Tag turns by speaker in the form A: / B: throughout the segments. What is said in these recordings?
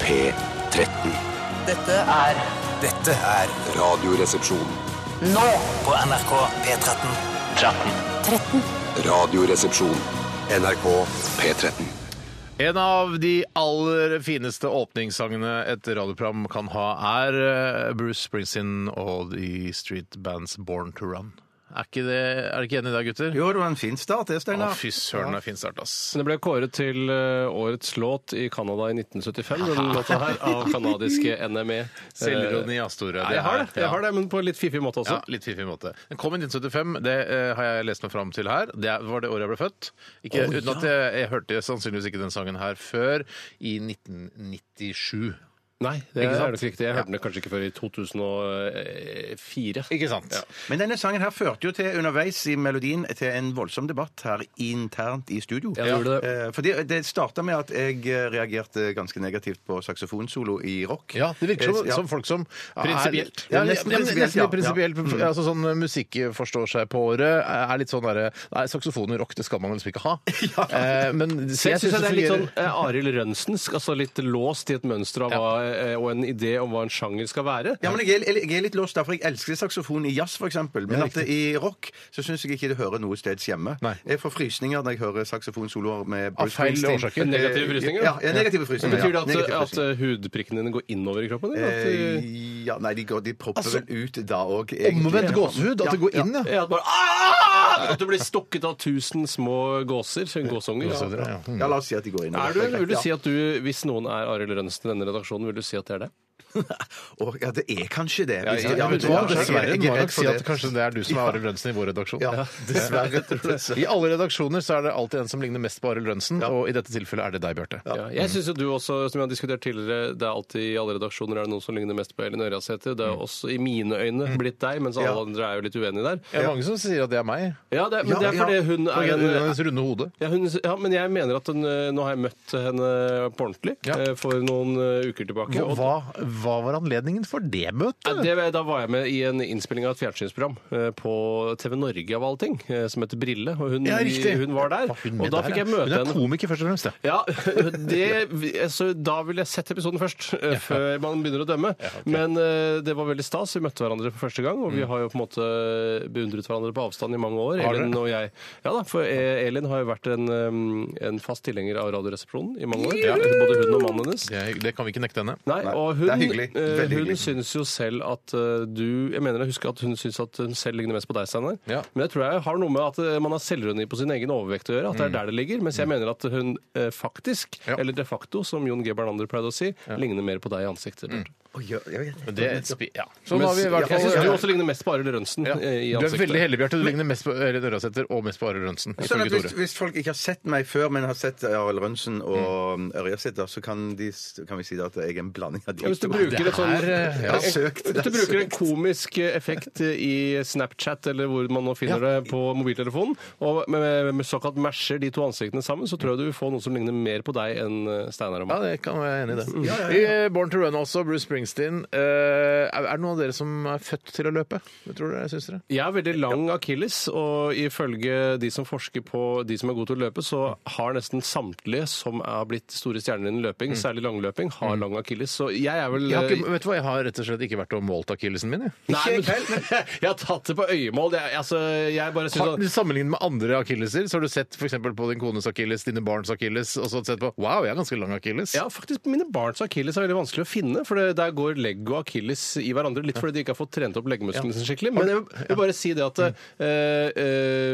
A: P13.
B: Dette er
C: Dette er
A: Radioresepsjon.
B: nå
C: på NRK P13.
A: Radioresepsjon. NRK P13.
D: En av de aller fineste åpningssangene et radioprogram kan ha, er eh, Bruce Springsteen og The Street Bands Born to Run. Er, ikke det, er dere ikke enige i det, gutter?
E: Jo, det var en fin start, det,
D: Å,
E: Steinar.
D: fy søren, det er fin start, ass.
F: Den ble kåret til eh, årets låt i Canada i 1975, den låta her, av kanadiske NME.
D: Selvironi av store.
F: Eh, Ja, jeg har det, jeg har det, men på en litt fiffig måte
E: altså.
F: også.
D: Ja, litt fiffig måte. Den kom i 1975, det eh, har jeg lest meg fram til her. Det var det året jeg ble født. Ikke, uten at jeg, jeg hørte sannsynligvis ikke den sangen her før i 1997.
F: Nei, det
D: Ikke sant?
F: er nok riktig. Jeg hørte den kanskje ikke før i eh, 2004.
D: Ikke sant?
E: Men denne sangen her førte jo til underveis i melodien til en voldsom debatt her internt i studio.
F: Ja, det gjorde det.
E: Eh, Fordi det starta med at jeg eh, reagerte ganske negativt på saksofonsolo i rock.
D: Ja, det virker som,
E: Eh, ja.
D: som folk som
E: Ja,
D: prinsipielt.
E: er- Ja, nesten
D: Ja,
E: prinsipielt,
D: nesten
E: ja.
D: prinsipielt.
E: Ja.
D: Mm. Altså sånn musikk forstår seg på året, er litt sånn derre Nei, saksofon og rock, det skal man liksom ikke ha. Eh, Men jeg
F: Så jeg
D: syns
F: synes det er litt sånn
D: fungerer.
F: eh, Arild Rønsensk, altså litt låst i et mønster av
D: Ja.
F: hva, eh, og en idé om hva en sjanger skal være.
E: Ja, men jeg er, jeg er litt låst der, for jeg elsker saksofon i jazz, for eksempel. Men at det, i rock så syns jeg ikke det hører noe steds hjemme.
D: Nei.
E: Jeg får frysninger når jeg hører saksofonsoloer med
D: Av feil årsaker.
F: Negative frysninger?
E: Ja, ja, negative frysninger.
F: Betyr det
E: ja.
F: at,
E: Negative
F: at eh, hudprikkene dine går innover i kroppen? Eller? At
E: Eh,
F: de-
E: Ja, nei, de, går, de propper vel ut da òg.
D: Altså, sånn Omvendt gåsehud, at det går inn, ja.
F: Ja, at, bare, «Ah!» at du blir stukket av tusen små gåser. Gåsunger.
D: Gåsehud, ja. Mm.
E: Ja, la oss si at de går inn.
F: Er du, vil du si at du, hvis noen er Arild Rønsen i denne redaksjonen, vil du si at det er det?
E: Å, ja, det er kanskje det.
D: Ja,
E: Hvis-
D: jeg-
E: ja,
D: vet
E: men-
D: du hva,
E: ja, jeg- jeg er
D: Dessverre
E: redd
D: må jeg
E: for
D: nok si at
E: det.
D: kanskje det er du som er Arild Rønsen i vår redaksjon.
E: Ja, dessverre. dessverre.
D: I alle redaksjoner så er det alltid en som ligner mest på Arild Rønsen, og i dette tilfellet er det deg, Bjarte.
F: Ja, jeg synes jo du også, som vi har diskutert tidligere, det er alltid i alle redaksjoner er det noen som ligner mest på Elin Ørjasæter. Det er også i mine øyne blitt deg, mens alle
E: Ja.
F: andre er jo litt uenige der.
D: Det er mange som sier at det er meg.
F: Ja, det, men
E: Ja,
F: det er
E: ja.
F: fordi hun
D: På
F: er
D: grunn av
F: en eh,
D: hennes runde hode.
F: ja, hun, ja, men jeg mener at hun, eh, nå har jeg møtt henne på ordentlig
D: Ja.
F: eh, for noen eh, uker tilbake.
D: Hva,
F: og-
D: hva var anledningen for det møtet?
F: Ja, det, da var jeg med i en innspilling av et fjernsynsprogram eh, på TV Norge av alle ting, eh, som heter Brille. Og hun, hun var der.
D: Var hun med
F: og da
D: der,
F: fikk jeg
D: ja?
F: møte
D: Hun er
F: henne.
D: komiker, først og fremst. ja.
F: Ja, det, så Da ville jeg sett episoden først, eh, før man begynner å dømme. Men eh, det var veldig stas. Vi møtte hverandre for første gang, og vi har jo på en måte beundret hverandre på avstand i mange år.
D: Har dere?
F: Elin og jeg. Ja da, for eh, Elin har jo vært en, eh, en fast tilhenger av Radioresepsjonen i mange år. Både hun og mannen hennes.
D: Det, det kan vi ikke nekte henne.
F: Nei,
E: Nei,
F: og
E: det er
F: hun,
E: hyggelig.
F: eh,
E: Veldig hyggelig.
F: hun syns jo selv at eh, du Jeg mener jeg husker at hun syns at hun selv ligner mest på deg, Steinar.
D: Ja.
F: Men jeg tror jeg har noe med at eh, man har selvironi på sin egen overvekt å gjøre. At det er der det ligger. Mens jeg mener at hun eh, faktisk,
D: Mm. Ja.
F: eller de facto, som Jon G. Bernander pleide å si, ligner mer på deg i ansiktet. Bjarte.
E: Å, ja, jeg vet
D: Men
E: ikke.
D: det er et spi... Ja. Mm. Sånn har vi i hvert
F: Jeg
D: fall
F: syns
D: ja.
F: du også ligner mest på Arild Rønsen
D: Ja.
F: eh, i
D: Du er
F: ansiktet.
D: veldig heldig, Bjarte. Du ligner mest på Øyre Ørjasæter og mest på Arild Rønsen.
E: Sånn at
D: Ifølge
E: hvis,
D: Tore.
E: hvis folk ikke har sett meg før, men har sett Arild Rønsen og mm. Ørjasæter, så kan, de, kan vi si da at jeg er en blanding av de
F: Ja, Hvis
E: to.
F: du bruker, et sånn,
D: Det er, eh, ja.
F: en-
E: søkt, det
F: hvis
E: er
F: du bruker en komisk eh, effekt i Snapchat, eller hvor man nå finner det på mobiltelefonen, og med, med, med såkalt masher de to ansiktene sammen, så tror jeg du vil få noe som ligner mer på deg enn eh, Steinar og
D: Ja,
F: meg.
D: det kan være enig i det.
E: ja,
D: I eh, Born to Run også, Bruce Springsteen. Eh, Er er det noen av dere som er født til å løpe? Det tror dere, syns dere?
F: Jeg er veldig lang akilles, og ifølge de som forsker på de som er gode til å løpe, så har nesten samtlige som er blitt store stjerner innen løping, særlig langløping, har lang akilles. Så jeg er vel
D: Mm. Jeg har,
F: eh,
D: ikke, vet du hva, jeg har rett og slett ikke vært og målt akillesen min. Jeg.
F: Nei, men, jeg har tatt det på øyemål. Jeg, altså, jeg bare synes
D: Har,
F: at-
D: sammenlignet med andre akilleser, så har du sett for eksempel på din kones akilles, dine barns akilles, og så har du sett på Wow, jeg er ganske lang akilles.
F: Ja, faktisk mine barns akilles er veldig vanskelig å finne, for det, der går legg og akilles i hverandre. Litt fordi de ikke har fått trent opp leggmusklene sin skikkelig. Men jeg vil- jeg vil bare si det at
D: Mm.
F: eh, eh,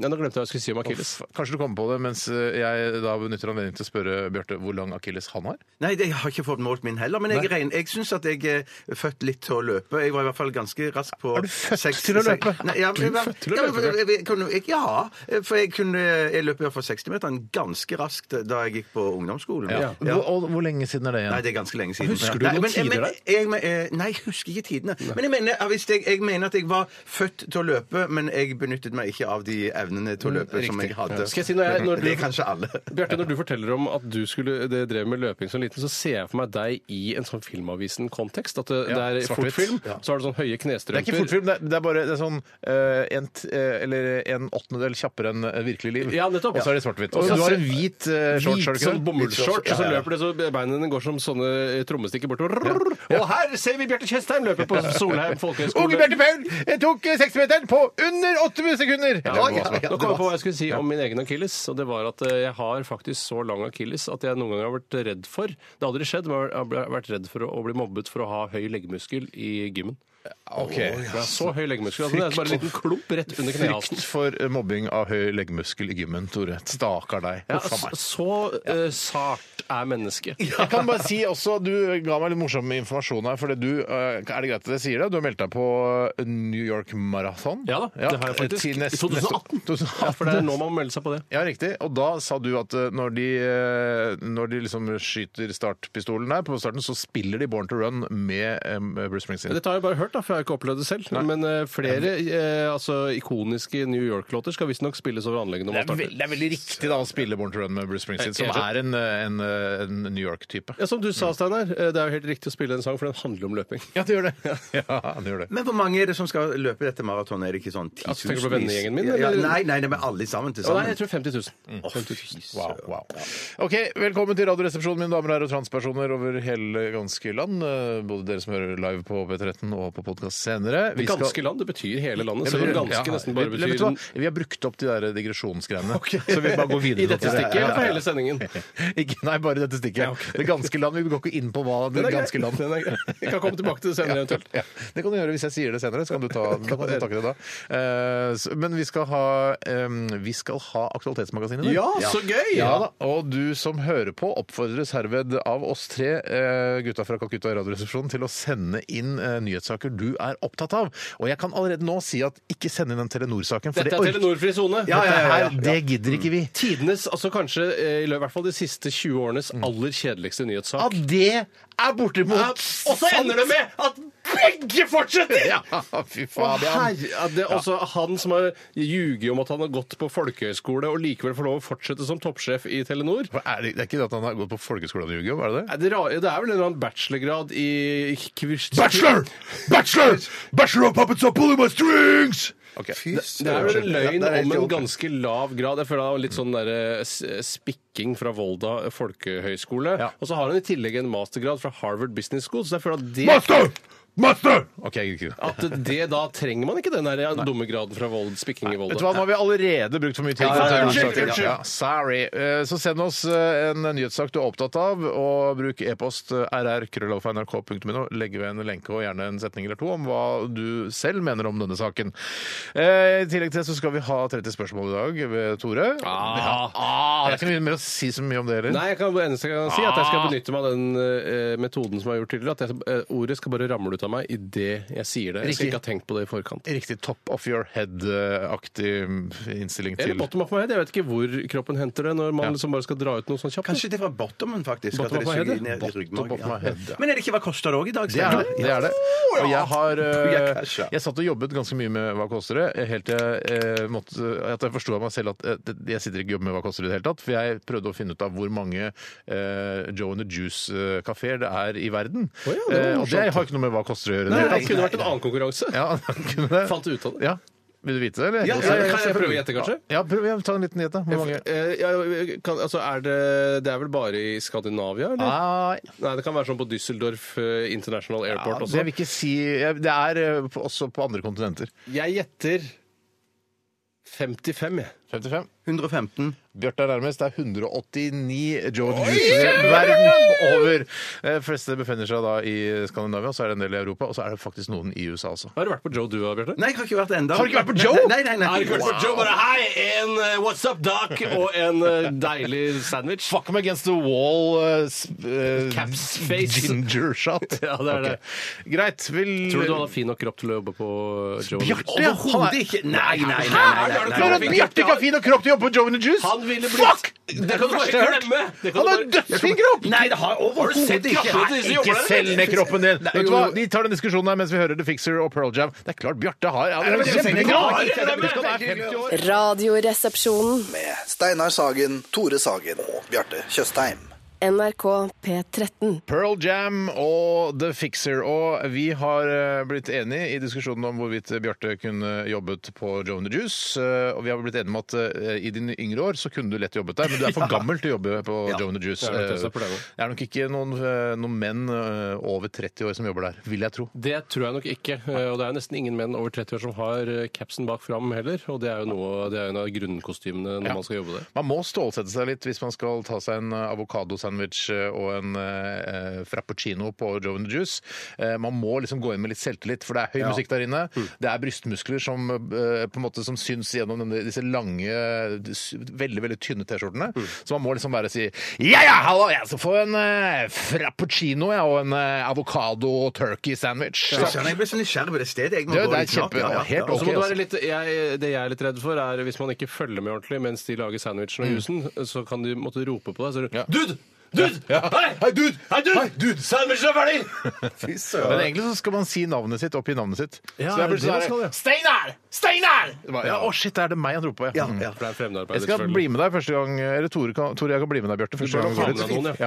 F: ja, Nå glemte jeg hva jeg skulle si om akilles.
D: Kanskje du kommer på det mens eh, jeg da benytter anledningen til å spørre Bjarte hvor lang akilles han har?
E: Nei, det, jeg har ikke fått målt min heller, men jeg, regner- jeg syns at jeg eh, er født litt til å løpe. Jeg var i hvert fall ganske rask på
D: Er du født
E: seks-
D: til å
E: seks-
D: løpe?
E: Nei, ja,
D: Du er
E: men-
D: født til å
E: ja, men-
D: løpe,
E: jeg- jeg kunne- jeg- Ja, for jeg, kunne, jeg løp i hvert fall 60-meteren ganske raskt da jeg gikk på ungdomsskolen.
D: Hvor, og hvor lenge siden er det igjen?
E: Nei, det er ganske lenge siden.
D: Husker du
E: Nei,
F: noen
E: men,
F: tider der?
E: men, jeg, men, eh, nei, jeg husker ikke tidene. Men jeg mener, ja, hvis jeg, jeg mener at jeg var født til å løpe, men jeg benyttet meg ikke av de evnene
D: Mm,
E: til å løpe som jeg hadde.
F: Skal jeg si når jeg- når du-
E: Det er kanskje alle.
F: Bjarte, når du forteller om at du skulle det drev med løping som liten, så ser jeg for meg deg i en sånn Filmavisen-kontekst. At det,
D: Ja,
F: det er
D: svart-hvitt.
F: fortfilm,
D: Ja.
F: så har du sånn høye
D: Det er
F: knestrømper.
D: ikke fortfilm, det er, det er bare det er sånn eh, en, t- eh, eller en åttendedel kjappere enn eh, virkelig liv.
F: Ja, nettopp.
D: Og så er det svart-hvitt.
F: Og
D: Og
F: så-
D: du har en hvit eh, shorts, har du
F: Hvit
D: ikke det?
F: sånn bomullsshorts, og så
D: Ja, ja.
F: løper det så beina dine går som sånne eh, trommestikker bortover. Og her ser vi Bjarte Tjøstheim løpe på Solheim
D: Unge
F: folkehøgskole.
D: Bjarte Paul eh, tok eh, 60-meteren på under åtte sekunder!
F: Ja, ja, ja, Nå kom jeg på hva jeg skulle si om min egen akilles. Og det var at eh, jeg har faktisk så lang akilles at jeg noen ganger har vært redd for Det har aldri skjedd, men jeg har bl- vært redd for å å bli mobbet for å ha høy leggmuskel i gymmen.
D: Ok.
F: Jeg har så høy leggmuskel at det er bare en liten klump rett under knehalsen.
D: Frykt for eh, mobbing av høy leggmuskel i gymmen, Tore. Stakkar deg.
F: Ja,
D: Huff a meg.
F: så så eh, sart er mennesket.
D: Jeg kan bare si også, Du ga meg litt morsom informasjon her. Fordi du, eh, er det greit at jeg sier det? Du har meldt deg på eh, New York Marathon.
F: Ja da, det har jeg faktisk.
D: til nest-
F: I 2018.
D: neste- 2018.
F: Ja, for det er nå man må melde seg på det.
D: Ja, riktig. Og da sa du at eh, når de, eh, når de liksom skyter startpistolen der på starten, så spiller de Born to Run med em, Bruce Springsteen.
F: Dette har jeg bare hørt, da, for jeg har ikke opplevd det selv. Men eh, flere eh, altså, ikoniske New York-låter skal visstnok spilles over anlegget
D: Det
F: når
D: er,
F: man starter.
D: veldig, det er veldig riktig da å spille Born to Run med Bruce Springsteen, som
F: Jeg-
D: er en, eh, en, eh, en New York-type.
F: Ja, Som du sa, Steinar, eh, det er jo helt riktig å spille en sang, for den handler om løping.
D: Ja, det gjør det. Ja, det gjør det.
E: Men hvor mange er det som skal løpe dette maratonet? Er det ikke sånn
F: Altså,
E: titusenvis?
F: tenker du på vennegjengen min,
E: Ja, ja,
F: eller?
E: nei, nei, det er alle sammen til
F: Å, nei,
E: sammen.
F: jeg tror 50 000.
D: Mm. Wow, wow. Ok, Velkommen til Radioresepsjonen, mine damer og herrer og transpersoner over hele ganske land. Eh, Både dere som hører live på P13 og på podkast senere. Vi
F: Det
D: skal-
F: ganske land, det betyr hele landet. Selv om
D: Ja,
F: ganske nesten bare
D: vi- vet du
F: betyr
D: hva? Vi har brukt opp de der digresjonsgreiene, så vi bare går videre.
F: I dette
D: til det.
F: stikket, ja, for hele sendingen.
D: Ikke, nei, bare dette stikket. Det ganske land. Vi går ikke inn på hva det
F: Den er grei.
D: ganske land
F: Den er grei. Vi kan komme tilbake til det senere eventuelt.
D: ja. Det kan du gjøre hvis jeg sier det senere. Så kan du ta, da kan du ta tak i det da. Eh, så- men vi skal ha, eh, vi skal ha Aktualitetsmagasinet. der.
F: Ja, så gøy!
D: Ja da, og du som hører på oppfordres herved av oss tre eh, gutta fra Kakutta i Radioresepsjonen til å sende inn eh, nyhetssaker du er opptatt av. Og jeg kan allerede nå si at ikke send inn den Telenor-saken. for
F: Dette er
D: det orker-
F: Telenor-fri sone.
E: Ja, ja, ja, ja.
D: Her, det gidder ikke vi.
F: Tidenes, altså kanskje eh, i løpet- i hvert fall de siste 20 årenes
D: Mm.
F: aller kjedeligste nyhetssak.
D: At det er bortimot
F: Og så ender det med at begge fortsetter!
D: Ja, fy
F: Å,
D: faen.
F: herre- ja, det er også han som har ljuget om at han har gått på folkehøyskole og likevel får lov å fortsette som toppsjef i Telenor.
D: For Er det, det er ikke det at han har gått på folkeskolen og ljuger om, er det det?
F: Nei, Det, rare, det er vel en eller annen bachelorgrad i kvist...
D: Bachelor! Bachelor of puppets are pulling my strings!
E: Fy
F: Det er vel en
E: søren. Ja,
F: løgn
E: det er
F: om
E: helt
F: en
E: ok.
F: ganske lav grad. Jeg føler det er litt sånn der, eh, s- spikking fra Volda folkehøyskole.
D: Ja.
F: Og så har han i tillegg en mastergrad fra Harvard Business School, så jeg føler at det
D: Master! Master! Ok, jeg gidder ikke.
F: at det da trenger man ikke den der dumme graden fra Vold, spikking i Volda.
D: Vet du hva, Nå har vi allerede brukt for mye tid.
F: Ja, ja, ja,
D: på
F: unnskyld,
D: nyhetssaker.
F: unnskyld.
D: Ja, sorry. Eh, Så send oss eh, en nyhetssak du er opptatt av, og bruk e-post eh, rr.krøllalfa.nrk.no. Legg ved en lenke og gjerne en setning eller to om hva du selv mener om denne saken. Eh, I tillegg til det så skal vi ha 30 spørsmål i dag ved Tore.
F: Ah. Ah.
D: Ah, det er ikke mye mer å si så mye om det heller.
F: Nei, jeg kan, det eneste jeg kan si er at jeg skal benytte meg av den eh, metoden som jeg har gjort tidligere. At jeg, eh, ordet skal bare ramle ut av meg idet jeg sier det. Jeg skal
D: Riktig.
F: ikke ha tenkt på det i forkant.
D: Riktig top of your head-aktig innstilling
F: Eller
D: til
F: bottom of my head. Jeg vet ikke hvor kroppen henter det når man
D: Ja.
F: liksom bare skal dra ut noe sånn kjapt.
E: Kanskje det var bottomen, faktisk.
F: Bottom
E: at det
F: of my head,
E: suger
F: ja.
E: ned i ryggmargen.
D: Bottom of my head, ja.
E: Men er det ikke hva koster det òg i dag?
D: Det er det. det, er det. Og jeg har
E: Jeg
D: eh,
E: casha.
D: Jeg satt og jobbet ganske mye med Hva koster det? Helt til jeg, eh, måtte, at jeg forsto av meg selv at eh, det- jeg sitter ikke og jobber med Hva koster det i det hele tatt. For jeg prøvde å finne ut av hvor mange eh, Joe and the Juice-kafeer det er i verden.
F: Å ja, det var
D: Eh, og det
F: morsomt.
D: har ikke noe med Hva koster det å gjøre. i
F: Nei,
D: det hele
F: det
D: tatt.
F: kunne vært en annen konkurranse.
D: Ja, kunne det.
F: Fant du ut av det?
D: Ja. Vil du vite det, eller?
F: Ja, ja, ja, kan jeg prøve å gjette, kanskje?
D: Ja, prøv ja, ta en liten gjett, da. Hvor mange?
F: Eh, ja, kan, altså, er det, det er vel bare i Skandinavia, eller?
D: Nei,
F: Nei, det kan være sånn på Düsseldorf eh, International
D: ja,
F: Airport
D: Ah, det
F: også.
D: vil jeg ikke si jeg- Det er eh, på- også på andre kontinenter.
F: Jeg gjetter 55, jeg.
D: 55.
E: 115.
D: Bjarte er nærmest. Det er 189 Joe Juice verden over. De fleste befinner seg da i Skandinavia, så er det en del i Europa, og så er det faktisk noen i USA også.
F: Har du vært på Joe Dua, Bjarte?
E: Nei, jeg har ikke vært det enda.
D: Har du ikke vært på Joe?
E: Nei, nei, nei.
F: Jeg har ikke vært på Joe, bare hei, en eh, What's Up Doc og en eh, deilig sandwich.
D: Fuck them against the wall uh, sp- uh,
F: Caps face.
D: Ginger shot.
F: Ja, det er det.
D: Ok. Greit. Vil
F: Tror du du hadde fin nok kropp til å jobbe på Joe?
D: Bjarte, ja, han
E: Overhodet
D: er
E: ikke. Nei, nei, nei. nei,
D: Klarer at Bjarte ikke har er fin og kropp til å jobbe på Joe and the Juice!
F: Han ville blitt-
D: Fuck!
F: Det
D: er
F: kan
D: det
F: du bare
D: verste jeg har hørt.
F: glemme. Det
D: Han
F: kan du
D: har
F: bare-
D: dødsfin kropp!
E: Nei, det har overhodet ikke
F: kroppen til disse
E: Nei,
F: jobber
D: Ikke
F: der?
D: selg ned kroppen din!
E: Nei,
D: Vet du hva?
E: jo.
D: De tar den diskusjonen her mens vi hører The Fixer og Pearl Jam. Det er klart Bjarte har Han
E: men
D: er
E: det er
D: kjempeglad!
E: kjempeglad.
D: Han er 50 år.
G: Radioresepsjonen.
H: med Steinar Sagen, Tore Sagen og Bjarte Tjøstheim.
G: NRK P13.
D: Pearl Jam og The Fixer. Og vi har eh, blitt enige i diskusjonen om hvorvidt Bjarte kunne jobbet på Joe and the Juice. eh, Og vi har blitt enige om at eh, i dine yngre år så kunne du lett jobbet der, men du er for gammel til å jobbe på Joe and the Juice.
F: Det er nok
D: Eh,
F: også et problem.
D: Det er nok ikke noen, eh, noen menn eh, over 30 år som jobber der, vil jeg tro.
F: Det tror jeg nok ikke. eh, Og det er nesten ingen menn over 30 år som har eh, capsen bak fram heller. Og det er jo noe, det er jo en av grunnkostymene
D: Ja.
F: når man skal jobbe der.
D: Man må stålsette seg litt hvis man skal ta seg en eh, avokadosandwich eh, og en eh, eh, frappuccino på Joe and the Juice. Eh, man må liksom gå inn med litt selvtillit, for det er høy musikk der inne. Det er brystmuskler som, eh, på en måte, som syns gjennom denne, disse lange, s- veldig veldig tynne T-skjortene. Så man må liksom bare si Ja, ja, hallo, jeg skal få en eh, frappuccino ja, og en eh, avokado turkey sandwich.
E: Søren, jeg ble så nysgjerrig på det stedet. Jeg må
D: Det-
E: gå
D: det er
E: litt snart.
D: kjempe-
E: Ja, ja.
D: helt
E: Ja,
F: Og så må
D: Ok,
F: det
D: altså.
F: være litt, jeg, det jeg er litt redd for, er hvis man ikke følger med ordentlig mens de lager sandwichen og jusen, så kan de måtte rope på deg. Så er det,
D: Ja.
F: Dude! Dude! Hei!
D: Hei, dude!
F: Hei, dude! Sandwichen er ferdig!
E: Fy
D: Men
E: søren.
D: egentlig så skal man si navnet sitt, oppgi navnet sitt.
F: Ja,
D: så jeg blir
F: det er det man skal,
D: sånn
F: ja.
D: her, Steinar! Steinar! Det var, Ja, å shit, det er det meg han roper på.
E: Ja,
D: Mm.
E: ja.
F: For det er
D: Jeg
F: fremmedarbeid,
D: skal bli med deg første gang Eller Tore, kan, Tore jeg kan bli med deg, Bjarte. Første
F: bør
D: gang
F: ha
D: vi går
F: med deg
D: ut.
F: noen,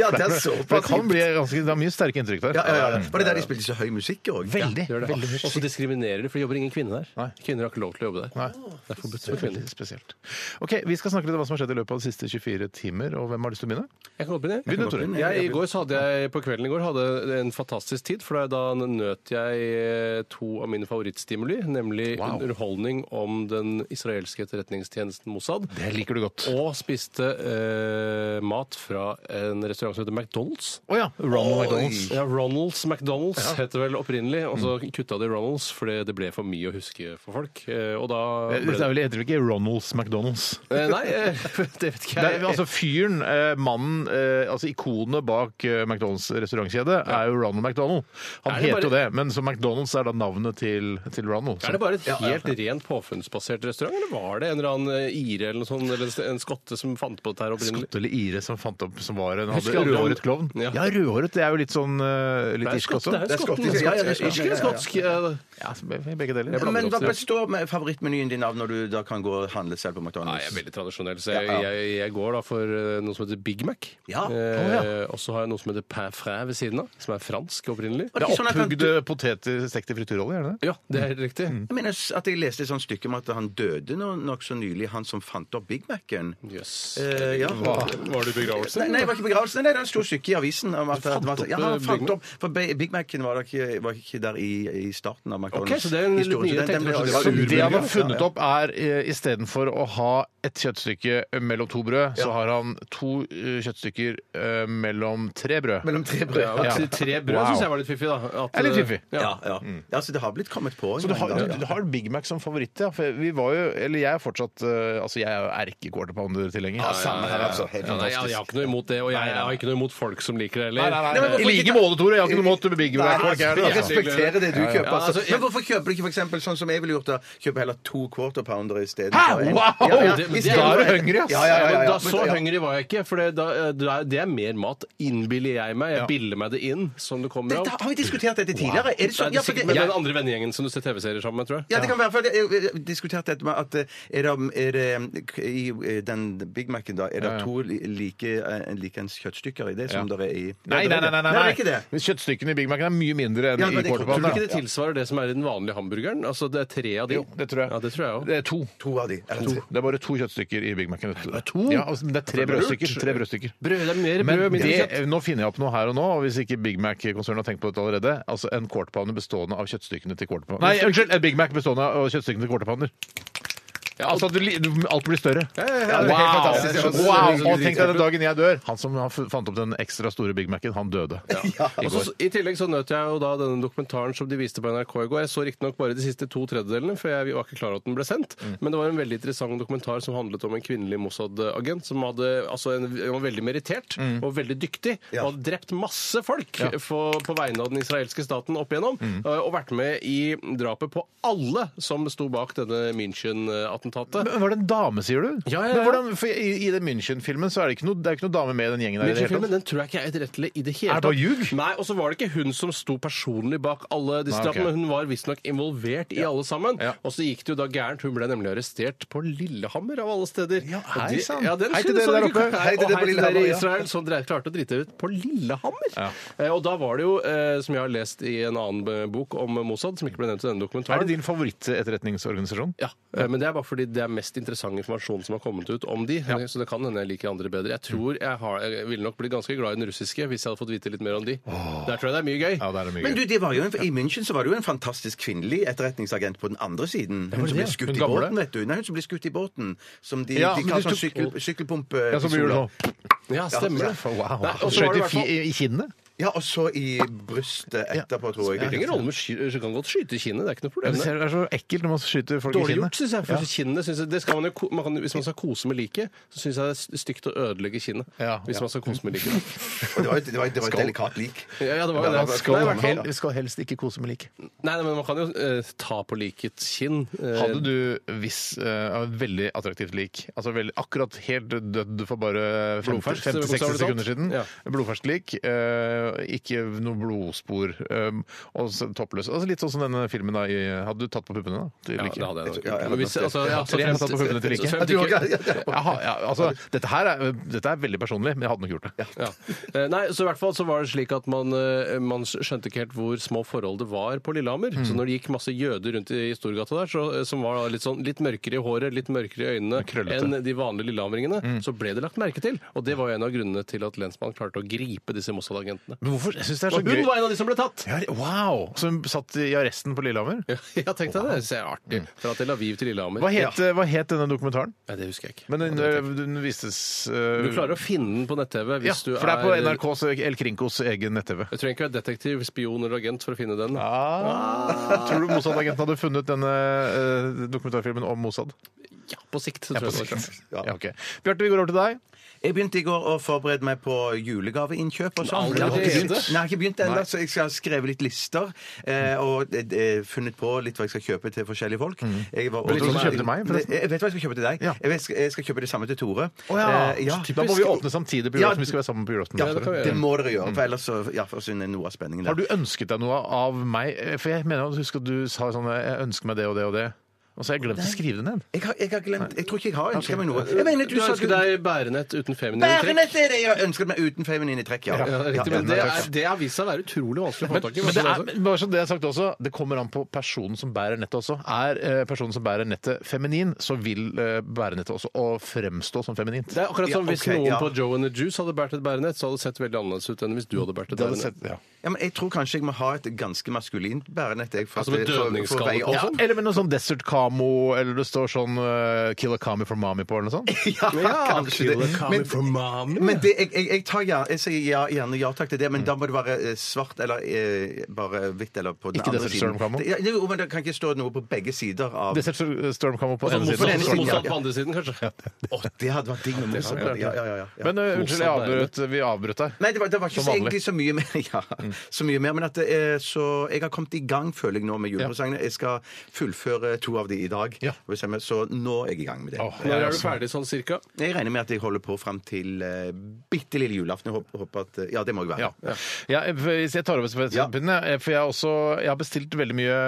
D: Ja.
E: Ja, det er såpass.
D: For det kan bli ganske Det er mye sterke inntrykk der. Mm.
E: Ja, ja, ja. Var det der de spilte så høy musikk òg?
D: Veldig. veldig
F: selvfølgelig. Og så diskriminerer de, for det jobber ingen kvinner der.
D: Nei.
F: Kvinner har ikke lov til å jobbe der.
D: Nei.
F: Det er forbudt for
D: Veldig
F: kvinner.
D: spesielt. Ok, Vi skal snakke litt om hva som har skjedd i løpet av de siste 24 timer. Og hvem har lyst til å begynne?
F: Jeg kan godt begynne. jeg.
D: Begynn du, Tore.
F: Jeg, I går så hadde jeg på kvelden i går hadde jeg en fantastisk tid, for da nøt jeg eh, to av mine favorittstimuli, nemlig
D: Wow.
F: underholdning om den israelske etterretningstjenesten Mossad.
D: Det liker du godt.
F: Og spiste eh, mat fra en restaurant som heter McDonald's.
D: Å ja. Ronald McDonald's. Mm.
F: Ja, Ronalds McDonald's heter vel opprinnelig, og så kutta de Ronalds fordi det ble for mye å huske for folk. eh, Og da
D: Det
F: ble
D: er vel, heter vel ikke Ronalds McDonald's?
F: Eh, Nei, eh, det vet ikke
D: Det er,
F: jeg.
D: altså Fyren, eh, mannen, eh, altså ikonet bak eh, McDonald's restaurantkjede, er jo Ronald McDonald. Han
F: Er det
D: heter jo det,
F: bare-
D: men så McDonald's er da navnet til, til Ronald.
F: Er det bare et helt rent påfunnsbasert restaurant, eller var det en eller annen eh, ire eller noe sånt, eller en- en skotte som fant på dette her opprinnelig?
D: Skotte eller ire som fant opp som var en
F: Husker
D: hadde
F: aldri om-
D: rødhåret klovn? Ja.
F: Ja.
D: rødhåret det er jo litt sånn eh, litt irsk også.
F: det er en skotte.
E: skotsk, ja, ja, ja, ja.
F: Irsk eller skotsk? eh,
D: Ja, så be- begge deler.
F: Jeg blander
E: Men
F: opp,
E: hva
F: ja.
E: består med favorittmenyen din av når du da kan gå og handle selv på
F: Nei, jeg
E: McDonald's?
F: er veldig tradisjonell, så jeg,
E: Ja, ja.
F: jeg, jeg går da for eh, noe som heter Big Mac.
E: Ja.
F: Eh,
D: Å,
F: Og så har jeg noe som heter Pain Frais ved siden av, som er fransk opprinnelig.
E: Var
D: Det
E: ikke
D: er
E: sånn at han-
D: opphugde poteter stekt i frityrolje, er det det?
F: Ja, det er helt riktig.
E: Jeg mener s- at jeg leste et sånt stykke om at han døde nå- nokså nylig, han som fant opp Big Mac-en.
F: Jøss.
E: Eh, ja.
F: Var du i begravelse?
E: Nei, nei, det var ikke begravelsen. Nei, det er et stort stykke i avisen. Om at, at, at, ja, han fant opp For Be- Big Mac-en var, da ikke- var ikke der i, i starten av McDonald's.
F: Ok, så det er en litt
E: historie, så den-
F: nyere
E: den ble-
F: teknologi.
E: var
D: Så det han har
E: urmulig.
D: funnet
E: Ja, ja.
D: opp, er eh, istedenfor å ha et kjøttstykke mellom to brød, så har han to eh, kjøttstykker eh, mellom tre brød.
E: Mellom tre brød.
F: Ja,
D: Ja.
F: så Tre brød
D: Wow.
F: syns jeg var litt fiffig, da. At,
D: Er litt fiffig.
F: eh,
E: Ja, ja. ja, så det har blitt kommet på. en
D: Så du
E: gang
D: har,
E: da,
D: du, du har Big Mac som favoritt, ja. For vi var jo, eller jeg er fortsatt eh, Altså, jeg er ikke quarter pounder-tilhenger.
E: Samme her, altså. Helt
F: Ja, nei, jeg, jeg har ikke noe imot det, og jeg, jeg har ikke noe imot folk som liker det
E: nei,
F: heller.
E: men hvorfor
D: I like
E: ikke-
D: måte, Tore. Jeg har ikke noe imot Big
E: Nei,
D: Mac-folk. jeg er det,
E: jeg
D: altså.
E: respekterer det du kjøper.
F: Ja, altså,
E: Altså.
F: jeg-
E: Men hvorfor kjøper du ikke for eksempel, sånn som jeg ville gjort, da? Kjøper heller to quarter pounder isteden?
D: Hæ?
E: for en?
D: Wow!
F: Det-
E: i
F: men
E: stedet
F: da er
E: for
D: du
E: en.
D: hungry, ass.
E: Ja, ja, ja, ja,
F: Men
E: ja.
F: da så
E: Men- ja.
F: hungrig var jeg ikke, for det, da, da, det er mer mat, innbiller jeg meg. Jeg biller meg det inn som det kommer
E: Dette,
F: av.
E: har vi diskutert dette tidligere? Er det sånn? Ja,
F: Nei, det er
E: for det,
F: sikkert med den andre vennegjengen som du ser TV-serier sammen med, tror jeg.
E: ja, det kan være. For jeg, jeg, jeg diskuterte dette med at eh, er det, er det eh, i eh, den Big Mac-en, da, er det to li- like, eh, likeens kjøttstykker i det som
D: Ja.
E: det er i
D: Nei, nei, nei. nei, nei,
E: det er ikke det.
D: Men Kjøttstykkene i Big Mac er mye mindre enn
E: Ja, men
D: i
E: det-
D: quarter
F: Tror du ikke
D: pounder.
F: det tilsvarer det som er i den vanlige hamburgeren? Altså, det er tre av de.
D: Jo, det tror jeg.
F: Ja, det tror jeg også.
D: Det er to.
E: To av de. Eller
D: To.
E: tre.
D: Det er bare to kjøttstykker i Big Mac-en. vet du. Ja, altså, men det er tre brødstykker. Tre brødstykker.
F: Brød, det er mer
D: Men
F: brød, mindre kjøtt.
D: det, nå finner jeg opp noe her og nå, og hvis ikke Big Mac-konsernet har tenkt på dette allerede. Altså en quarter pounder bestående av kjøttstykkene til quarter pounder. Nei, unnskyld! En Big Mac bestående av kjøttstykkene til quarter pounder. altså at du li- du- alt blir større.
E: det er helt fantastisk. Jeg skjønner.
D: wow. Og tenk deg den dagen jeg dør. Han som har fu- fant opp den ekstra store Big Mac-en, han døde. I
F: Og
D: går.
F: Altså, så, I tillegg så nøt jeg jo da denne dokumentaren som de viste på NRK i går. Jeg så riktignok bare de siste to tredjedelene, for jeg var ikke klar over at den ble sendt.
D: Mm.
F: Men det var en veldig interessant dokumentar som handlet om en kvinnelig Mossad-agent som hadde, altså en, hun var veldig merittert
D: Mm.
F: og veldig dyktig.
E: Ja.
F: Og hadde drept masse folk for, på vegne av den israelske staten opp
D: Mm.
F: eh, igjennom. Og vært med i drapet på alle som sto bak denne resultatet.
D: Men var det en dame, sier du?
F: Ja, ja, ja.
D: Men hvordan, for I, i den München-filmen så er det ikke noe, det er ikke noe dame med i den gjengen der. i det hele tatt.
F: München-filmen den tror jeg ikke er etterrettelig i det hele
D: Er det bare ljug?
F: Nei, Og så var det ikke hun som sto personlig bak alle disse
D: Nei, ok.
F: drapene, men hun var visstnok involvert i alle sammen.
D: Ja.
F: Og så gikk det jo da gærent. Hun ble nemlig arrestert på Lillehammer, av alle steder.
D: Ja,
F: Og
D: hei
F: det-
D: sann.
F: Ja, den
D: Hei til
F: synes
D: dere
F: jeg
D: der
F: ikke-
D: oppe.
F: Hei,
D: Hei til
F: og
D: dere
F: hei
D: på
F: til dere
D: Lillehammer,
F: i
D: ja.
F: Israel som dere klarte å drite ut på Lillehammer.
D: Ja.
F: Eh, Og da var det jo, eh, som jeg har lest i en annen eh, bok om Mossad, som ikke ble nevnt i denne dokumentaren
D: Er det din favorittetterretningsorganisasjon?
F: ja, eh, men det er bare fordi det er mest interessant informasjon som har kommet ut om de. Eh, Så det kan hende jeg liker andre bedre. Jeg tror
D: Mm.
F: jeg, har, jeg ville nok blitt ganske glad i den russiske hvis jeg hadde fått vite litt mer om de. Der tror jeg det er mye gøy.
D: Ja, det er det mye
E: Men du,
D: gøy.
E: det var jo en, I München så var det jo en fantastisk kvinnelig etterretningsagent på den andre siden. Hun som ble
D: det?
E: skutt
D: Hun
E: i
D: gamle?
E: båten, vet du. Nei, hun som ble skutt i båten. Som de,
D: Ja,
E: de
D: men
E: kaller
D: du tok-
E: sånn sykkel, sykkelpumpe...
D: Ja, som vi gjorde nå.
F: Ja, stemmer det.
D: Wow.
F: Nei, og så
D: Skjøt i,
F: var det i hvert
D: fi-
F: fall-
D: i kinnet?
E: Ja, og så i brystet etterpå, tror
F: Det er
E: jeg.
F: ingen rolle med sky, så kan godt skyte i kinnet, det er ikke noe
D: Ja,
F: problem.
D: det
F: det.
D: ser- det er så ekkelt når man skyter folk i
F: Dårlig gjort,
D: kinnet.
F: syns jeg. For kinnet synes jeg det skal man jo, ko- man kan, Hvis man skal kose med liket, så syns jeg det er stygt å ødelegge kinnet.
D: Ja.
F: hvis
D: Ja.
F: man skal kose med liket.
E: Og det var, det var, det var et delikat lik.
F: Ja, ja, det var jo
D: Man
F: det.
D: skal,
F: Nei, i hvert fall-
D: hel, skal helst ikke kose med lik.
F: Nei, nei, men man kan jo eh, ta på likets kinn. eh,
D: Hadde du hvis eh, et veldig attraktivt lik, altså veldig, akkurat helt dødd for bare
F: Blodferskt,
D: 50-60
F: bokstavelig talt.
D: sekunder siden,
F: Ja.
D: blodferskt lik, eh, ikke noe blodspor, eh, og så toppløs altså Litt sånn som denne filmen, da. I, hadde du tatt på puppene da? Til
F: Ja,
D: liket?
F: det hadde jeg nok.
E: Ja, ja,
F: Men
E: nok
F: hvis-
E: det.
F: altså, ja, så
D: Tre hadde
F: fremst-
D: tatt på puppene til
F: så
D: liket.
F: fremst
E: Ja, du
F: ikke-
E: har- ja, ja.
D: Jaha, ja, altså, dette, her er, dette er veldig personlig, men jeg hadde nok gjort det.
F: Ja. Eh, Nei, så i hvert fall så var det slik at man, eh, man skjønte ikke helt hvor små forhold det var på Lillehammer.
D: Mm.
F: Så når det gikk masse jøder rundt i Storgata der, så, eh, som var da litt, sånn, litt mørkere i håret, litt mørkere i øynene
D: Krøllete. Mm.
F: enn de vanlige lillehammeringene, så ble det lagt merke til. Og det var jo en av grunnene til at lensmannen klarte å gripe disse Mossad-agentene.
D: Men hvorfor? Jeg synes det er så
F: Og hun
D: gøy.
F: var en av de som ble tatt!
D: Ja, wow! Som satt i arresten på Lillehammer?
F: Ja, tenk deg det. Det er artig. Fra Tel Aviv til Lillehammer.
D: Mm. Hva het, hva het denne dokumentaren?
F: Ja, det husker jeg ikke.
D: Men den, øh, den vistes eh,
F: Du klarer å finne den på nett-TV
D: Ja,
F: hvis du
D: for det er på NRKs øh, El Krinkos egen nett-TV.
F: Jeg trenger ikke være detektiv, spion eller agent for å finne den. Ah.
D: Tror du Mossad-agenten hadde funnet denne eh, dokumentarfilmen om Mossad?
F: Ja, på sikt. så tror jeg det var klart.
D: Ja. ok. Bjarte, vi går over til deg.
E: Jeg begynte i går å forberede meg på julegaveinnkjøp og sånn.
F: Aldri
E: Jeg har ikke
F: begynt.
E: begynt. Nei, jeg har ikke begynt ennå, så jeg skal ha skrevet litt lister. eh, Og eh, funnet på litt hva jeg skal kjøpe til forskjellige folk. Jeg var-
D: Mm. Vet du hva du skal kjøpe til meg, forresten?
E: Jeg vet hva jeg skal kjøpe til deg.
D: Ja.
E: Jeg, vet, jeg skal kjøpe det samme til Tore. Eh, ja.
D: Da må vi åpne samtidig på
E: Ja.
D: julaften. Vi skal være sammen på julaften.
E: Ja,
D: Sorry.
F: det kan vi gjøre.
E: det må dere gjøre, for ellers så ja, forsvinner noe av spenningen
D: Har
E: der.
D: du ønsket deg noe av meg? Eh, For jeg mener, husk at du sa sånn Jeg ønsker meg det og det og det. Og så har jeg glemt å skrive det ned.
E: Jeg har, jeg har glemt Jeg tror ikke jeg har ønsket meg
D: Eh,
E: noe. Jeg mener,
F: Du ønsker deg bærenett uten feminine trekk.
E: Bærenett er det jeg har ønsket meg uten feminine trekk, ja.
F: Ja, det er riktig, men det, er, det har vist seg å være utrolig vanskelig å få tak i.
D: Men
F: altså.
D: det er, men bare som det jeg har sagt også, det kommer an på personen som bærer nettet også. Er eh, personen som bærer nettet feminin, så vil eh, bærenettet også å fremstå som feminint.
F: det er akkurat som
E: Ja,
F: hvis
E: ok,
F: noen
E: ja.
F: på Joe and the Juice hadde båret et bærenett, så hadde det sett veldig annerledes ut enn hvis du hadde båret et
D: Det hadde
F: bærenett.
D: sett- ja.
E: Ja, men jeg tror kanskje jeg må ha et ganske maskulint bærenett. jeg, for
F: Altså med
E: at- for- for å veie
F: dødningsskalle på?
E: opp.
D: Ja, eller med noe sånn Desert Camo, eller det står sånn eh, Kill a Kami from Mami på, eller noe sånt.
E: Ja, kanskje det. Men, men det, jeg, jeg, jeg, tar ja, jeg sier ja, gjerne ja takk til det, men da må det være eh, svart eller eh, bare hvitt eller på den
D: Ikke
E: andre
D: Desert
E: siden.
D: Storm Camo?
E: Det- ja, jo, men det kan ikke stå noe på begge sider av
D: Desert Storm Camo på
F: Altså,
D: ene
F: motsatt-
E: den
D: siden.
E: ene siden,
D: og Storm
E: ja.
F: Motsatt på andre siden, kanskje.
E: Å, det hadde vært digg med motsatt.
D: klart,
E: Ja, ja, ja, ja, ja.
D: Men eh, unnskyld, jeg avbrøt, vi avbrøt deg.
E: Nei, det var, det var ikke
D: Som
E: så,
D: vanlig.
E: egentlig så mye mer. Ja, så mye mer men at det er, så jeg har kommet i gang, føler jeg nå, med julepresangene. Jeg skal fullføre to av de i dag.
D: Ja.
E: Får vi se med- Så nå er jeg i gang med det.
D: Åh,
F: Når er
D: altså.
F: du ferdig sånn cirka?
E: Jeg regner med at jeg holder på fram til uh, bitte lille julaften. Jeg håper, håper at eh, Ja, det må jeg være.
D: Ja. Ja, hvis jeg tar over stafettpinnen, jeg, for jeg har, også, jeg har bestilt veldig mye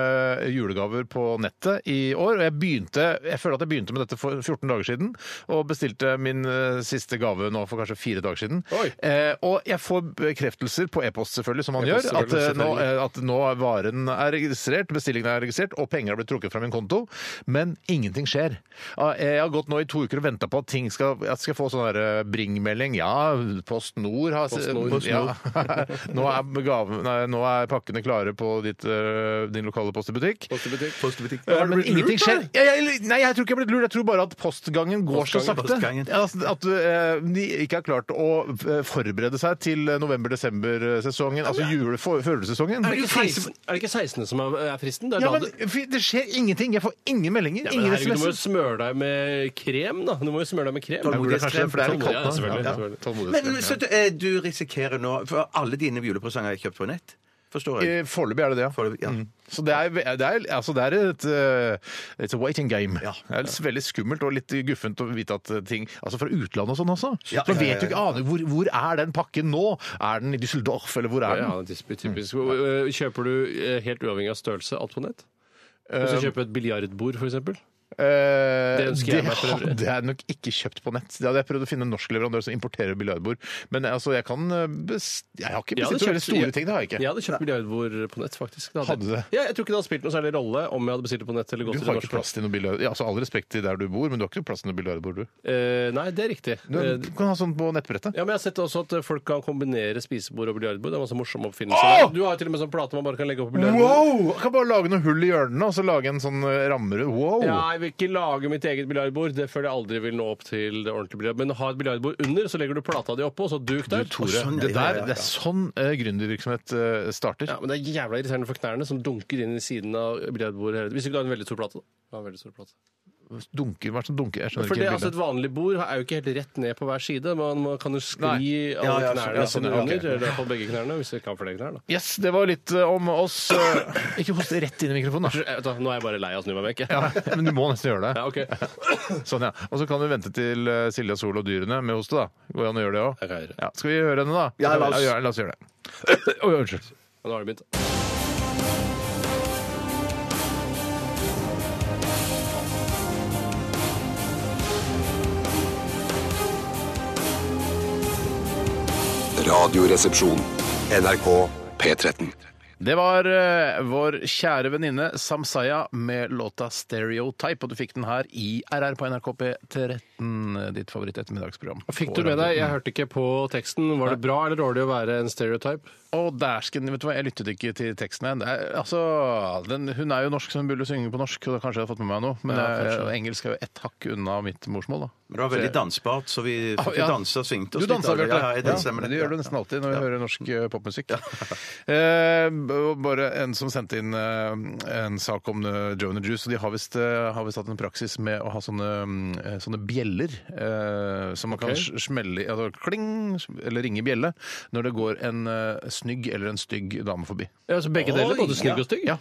D: julegaver på nettet i år. Og jeg begynte, jeg føler at jeg begynte med dette for 14 dager siden, og bestilte min eh, siste gave nå for kanskje fire dager siden.
F: Oi.
D: Eh, og jeg får bekreftelser på e-post, selvfølgelig, som man
F: E-post,
D: gjør, at, eh,
F: selvfølgelig,
D: nå, eh, at nå er varen er registrert, bestillingen er registrert, og penger har blitt trukket fra min konto. Men ingenting skjer. Ah, Jeg har gått nå i to uker og venta på at ting skal, at jeg skal få sånn der, eh, bringmelding. Ja, Post Nord har
F: Post Nord.
D: Ja, nå, er gaven, nei, nå er pakkene klare på ditt, øh, din lokale post i butikk.
F: Post i butikk?
D: Øh,
F: Har du
D: men
F: blitt lurt,
D: ingenting skjer.
F: eller?
D: Ja, jeg, nei, jeg tror ikke jeg har blitt lurt. Jeg tror bare at postgangen går så
E: Postgangen,
D: sakte.
E: postgangen.
D: Ja, altså, at øh, de ikke har klart å øh, forberede seg til øh, november-desember-sesongen, altså jule-førjulssesongen.
F: Er det ikke 16 er det ikke 16. som er er fristen? Det er
D: Ja,
F: da
D: men
F: det-
D: fy, Det skjer ingenting. Jeg får ingen meldinger.
F: Ja, men
D: ingen
F: herregud, du må jo
D: SMS-er.
F: smøre deg med krem, da. Du må jo smøre deg med krem.
E: Tålmodighet.
D: Burde jeg kanskje, for det er litt
F: Tålmodighet,
D: kaldt nå.
F: selvfølgelig,
D: Ja,
F: selvfølgelig.
D: tålmodighet.
E: Men så du, eh, du risikerer nå For alle dine julepresanger er kjøpt på nett? forstår jeg.
D: Eh, Foreløpig er det det, ja.
E: Foreløpig, ja.
D: Mm. Så det er, det er, altså det er et eh, It's a waiting game. Det er litt- veldig skummelt og litt guffent å vite at ting Altså fra utlandet og sånn også.
E: Ja,
D: så
E: ja,
D: man
E: ja,
D: vet du ikke aner hvor, hvor er den pakken nå? Er den i Düsseldorf, eller hvor er
F: Ja,
D: den?
F: det er typisk. Øh, Kjøper du eh, helt uavhengig av størrelse alt på nett? Eh, Hvis du kjøper et biljardbord, f.eks.?
D: Eh,
F: Det ønsker jeg meg for øvrig.
D: Det er nok ikke kjøpt på nett. Det hadde jeg prøvd å finne en norsk leverandør som importerer biljardbord. Men altså, jeg kan eh, best... Jeg har ikke bestilt så veldig store ting, det har jeg ikke.
F: Jeg hadde kjøpt biljardbord på nett, faktisk. Det
D: Hadde du det?
F: Ja, jeg tror ikke det hadde spilt noen særlig rolle om jeg hadde bestilt det på nett. eller gått
D: Du
F: til
D: har
F: det
D: ikke
F: norske.
D: plass til noe biljard... Ja, altså, all respekt til der du bor, men du har ikke plass til noe biljardbord, du.
F: Eh, nei, det er riktig.
D: Du
F: Eh,
D: kan ha sånn på nettbrettet.
F: ja, men Jeg har sett også at eh, folk kan kombinere spisebord og biljardbord. Det er masse morsomme oppfinnelser.
D: Åh!
F: der. Du har jo til og med sånn plate man bare kan legge opp på biljardbord.
D: Wow! Jeg kan bare lage noen hull i hjørnene og så lage en sånn eh, ramme rundt. Wow!
F: Ja, jeg vil ikke lage mitt eget biljardbord. Det føler jeg aldri vil nå opp til det ordentlige biljard. Men ha et biljardbord under, så legger du plata di oppå, og så duk der.
D: Du, Tore,
E: sånn, ja,
D: det,
E: ja, ja,
D: der,
E: ja.
D: det er sånn eh, gründervirksomhet eh, starter.
F: Ja, men Det er jævla irriterende for knærne, som dunker inn i siden av biljardbordet. hele tiden. Hvis ikke du har en veldig stor plate, da. Du har en veldig stor plate.
D: Dunker, hva er det som dunker? Jeg skjønner
F: For det,
D: ikke
F: altså,
D: helt
F: et vanlig bord er jo ikke helt rett ned på hver side. Man, man kan jo skli alle
E: Ja, ja,
F: knærne
D: ja, sånn,
F: sine
D: ja, ok.
F: under, eller i hvert fall begge knærne, hvis det ikke har flere knær. da.
D: Yes, det var litt eh, om oss. eh, Ikke hoste rett inn i mikrofonen, da.
F: Jeg vet da, Nå er jeg bare lei av å snu meg vekk. jeg.
D: Ja, men du må nesten gjøre det.
F: Ja, ok. Jeg
D: Sånn, ja. Og så kan du vente til eh, Silja Sol og dyrene med hoste, da. Går det an å gjøre det òg?
F: kan gjøre det.
D: Ja, skal vi høre henne, da?
E: Ja, la oss.
D: Ja, la oss gjøre det. Oi, unnskyld.
F: Men Nå har det begynt.
A: Radioresepsjon. NRK P13.
D: Det var eh, vår kjære venninne Samsaya med låta 'Stereotype', og du fikk den her i RR på NRK P13, ditt favoritt-ettermiddagsprogram.
F: Fikk du med deg? Jeg hørte ikke på teksten. Var det bra eller dårlig å være en stereotype?
D: Og dæsken, vet du hva, jeg lyttet ikke til teksten igjen. Det er- Altså, den, hun er jo norsk, så hun burde synge på norsk, og da kanskje jeg har fått med meg noe. Men
F: kanskje.
D: eh, engelsk er jo ett hakk unna mitt morsmål, da.
E: Men det var veldig dansbart, så vi
F: Ah,
E: fikk
D: ja.
E: jo danse og svingte oss
D: Du dansa,
E: litt.
D: Bjarte.
E: Ja, ja, jeg danser, men-
D: det gjør du nesten alltid når vi hører norsk eh, popmusikk. Eh, b- bare en som sendte inn eh, en sak om eh, Joe and the Juice. og De har visst eh, har visst hatt en praksis med å ha sånne, mm, eh, sånne bjeller eh, som man
F: Ok.
D: kan sj- smelle i altså, Kling! Eller ringe i bjelle når det går en eh, snygg eller en stygg dame forbi.
F: Ja, så Begge deler,
E: Oi,
F: både snygg og stygg?
D: Ja.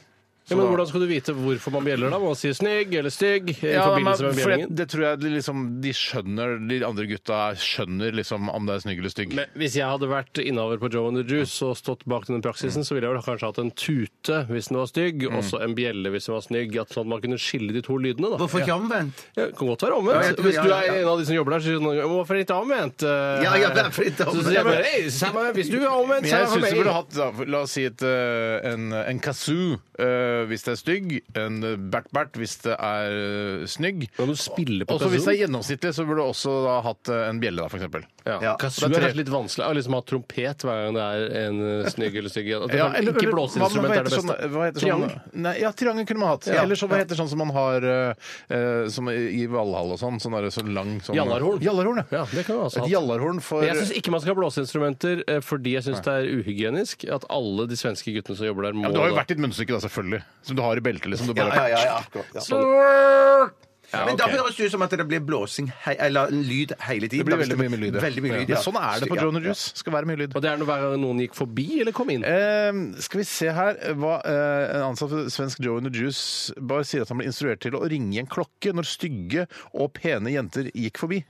F: Ja, men Hvordan skal du vite hvorfor man bjeller da? Må man si snygg eller stygg? i
D: Ja, men,
F: forbindelse med
D: for det,
F: bjellingen?
D: det tror jeg de, liksom, de skjønner, de andre gutta skjønner liksom om det er snygg eller stygg.
F: Men hvis jeg hadde vært innehaver på Joe and the Juice og stått bak denne praksisen, så ville jeg vel kanskje hatt en tute hvis den var stygg,
D: Mm.
F: og så en bjelle hvis den var snygg. At sånn at man kunne skille de to lydene. da.
E: Hvorfor ikke omvendt?
F: Ja, det kan godt være
E: Ja,
F: omvendt.
E: jeg tror-
F: Hvis
E: ja,
F: du
E: ja,
F: er
E: ja.
F: en av de som jobber der, så sier noen ganger 'Hvorfor ikke omvendt?' eh,
E: Ja, ja, hvorfor ikke
F: Så
E: omvendt?»
F: sier jeg bare «Ei, samme, Hvis du er omvendt,
D: Men
F: så er
D: jeg
F: det for
D: syns du burde
F: meg.
D: hatt da, for- La oss si et, eh, en, en kazoo eh, hvis det er stygg. En bert-bert hvis det er eh, snygg.
F: Hva om du spiller på
D: Og så hvis det
F: kazoo?
D: er gjennomsnittlig, så burde du også da hatt eh, en bjelle, da, for eksempel.
F: Ja.
E: Ja.
F: Kazoo
D: Det er
F: er
D: tre.
F: kanskje litt vanskelig. Å liksom ha trompet hver gang det er en eh, snygg eller stygg At det
D: Ja,
F: kan-
D: eller-
F: Ikke
D: eller- hva-
F: blåseinstrument
D: hva
F: er det
D: heter
F: beste.
D: Sånn, hva heter
F: Triangel.
D: Sånn, nei, ja, triangel kunne man hatt.
F: Ja.
D: Eller så hva heter sånn som man har eh, eh, som i Valhall og sånn. Sånn, der, så lang sånn
F: Jallarhorn.
D: Jallarhorn, ja.
F: Ja, det kan vi også ha
D: Et
F: hatt.
D: jallarhorn for
F: Jeg syns ikke man skal ha blåseinstrumenter eh, fordi jeg syns det er uhygienisk at alle de svenske guttene som jobber der, må
D: ja, men Du har jo
F: da-
D: hvert ditt munnstykke, da, selvfølgelig. Som du har i beltet. Liksom, du bare
E: Ja, ja, ja, akkurat, ja.
F: Ja,
E: Men da
F: ok.
E: høres det ut som at det blir blåsing hei, eller en lyd hele tiden.
D: Det blir veldig mye lyd. ja.
E: Veldig mye lyd,
D: Men
E: ja.
D: Sånn er det på
E: Ja,
D: Drone
E: ja.
D: Juice. Skal være mye lyd.
F: Og det er når hver gang noen gikk forbi eller kom inn.
D: Eh, skal vi se her hva eh, En ansatt ved svensk Joe in the Juice bare sier at han ble instruert til å ringe i en klokke når stygge og pene jenter gikk forbi.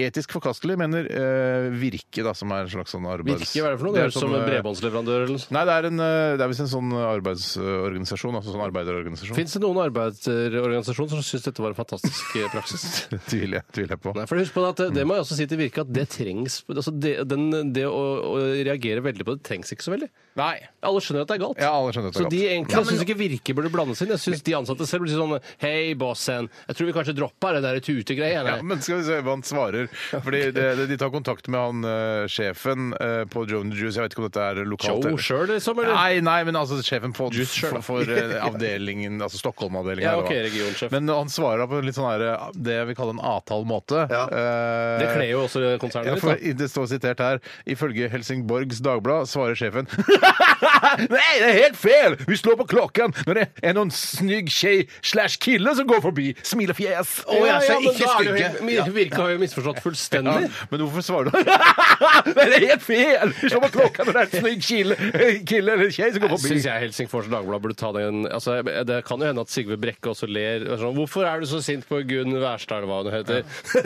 D: Etisk forkastelig, mener eh, Virke, da, som er en slags sånn arbeids...
F: Virke, hva er det for noe? Det
D: er
F: høres ut som
D: sånn,
F: en
D: eh,
F: bredbåndsleverandør eller noe.
D: Nei, det er, en, eh, det er visst en sånn arbeidsorganisasjon. Altså sånn arbeiderorganisasjon.
F: Fins det noen arbeiderorganisasjon som syns dette var en fantastisk eh, praksis?
D: Tviler jeg, tviler jeg på.
F: Nei, for husk på det at eh, det må jeg også si til Virke at det trengs altså det, den, det å, å reagere veldig på det trengs ikke så veldig.
D: Nei.
F: Alle skjønner at det er galt.
D: Ja, alle skjønner at det er
F: så de
D: galt.
F: egentlig, Jeg syns ikke Virke burde blandes inn. Jeg syns de ansatte selv burde si sånn Hei, bossen. Jeg tror vi kanskje dropper det der tutegreiene.
D: Ja, men skal vi se hva han svarer. Fordi det, det, de tar kontakt med han eh, sjefen eh, på Joan Juice. Jeg vet ikke om dette er lokalt.
F: Joe
D: eller-
F: selv, liksom, eller?
D: Nei, nei, men altså sjefen på
F: Juice selv, da.
D: for, for eh, avdelingen, altså Stockholm-avdelingen.
F: Ja,
D: her, da.
F: ok, regionsjef.
D: Men han svarer da på en litt sånn her, eh, det jeg vil kalle en avtale måte.
E: Ja.
D: Eh,
F: Det kler jo også
D: ja,
F: konsernet
D: for
F: litt. da.
D: i- Det står sitert her Ifølge Helsingborgs Dagblad svarer sjefen Nei, det er helt feil! Vi slår på klokken når det er noen snygg tjej slash kille som går forbi. Smilefjes.
E: Å, ja, så ikke
F: men da er det jo
E: stygge.
F: helt- Virke har jo misforstått fullstendig.
I: Men hvorfor svarer du? det er helt feil! Slå på klokka når det er en snygg kille, kille eller kjei som går
F: Jeg syns jeg Helsingfors Dagblad burde ta den altså, Det kan jo hende at Sigve Brekke også ler. og Sånn, 'Hvorfor er du så sint på Gunn Wærstad', eller hva hun heter?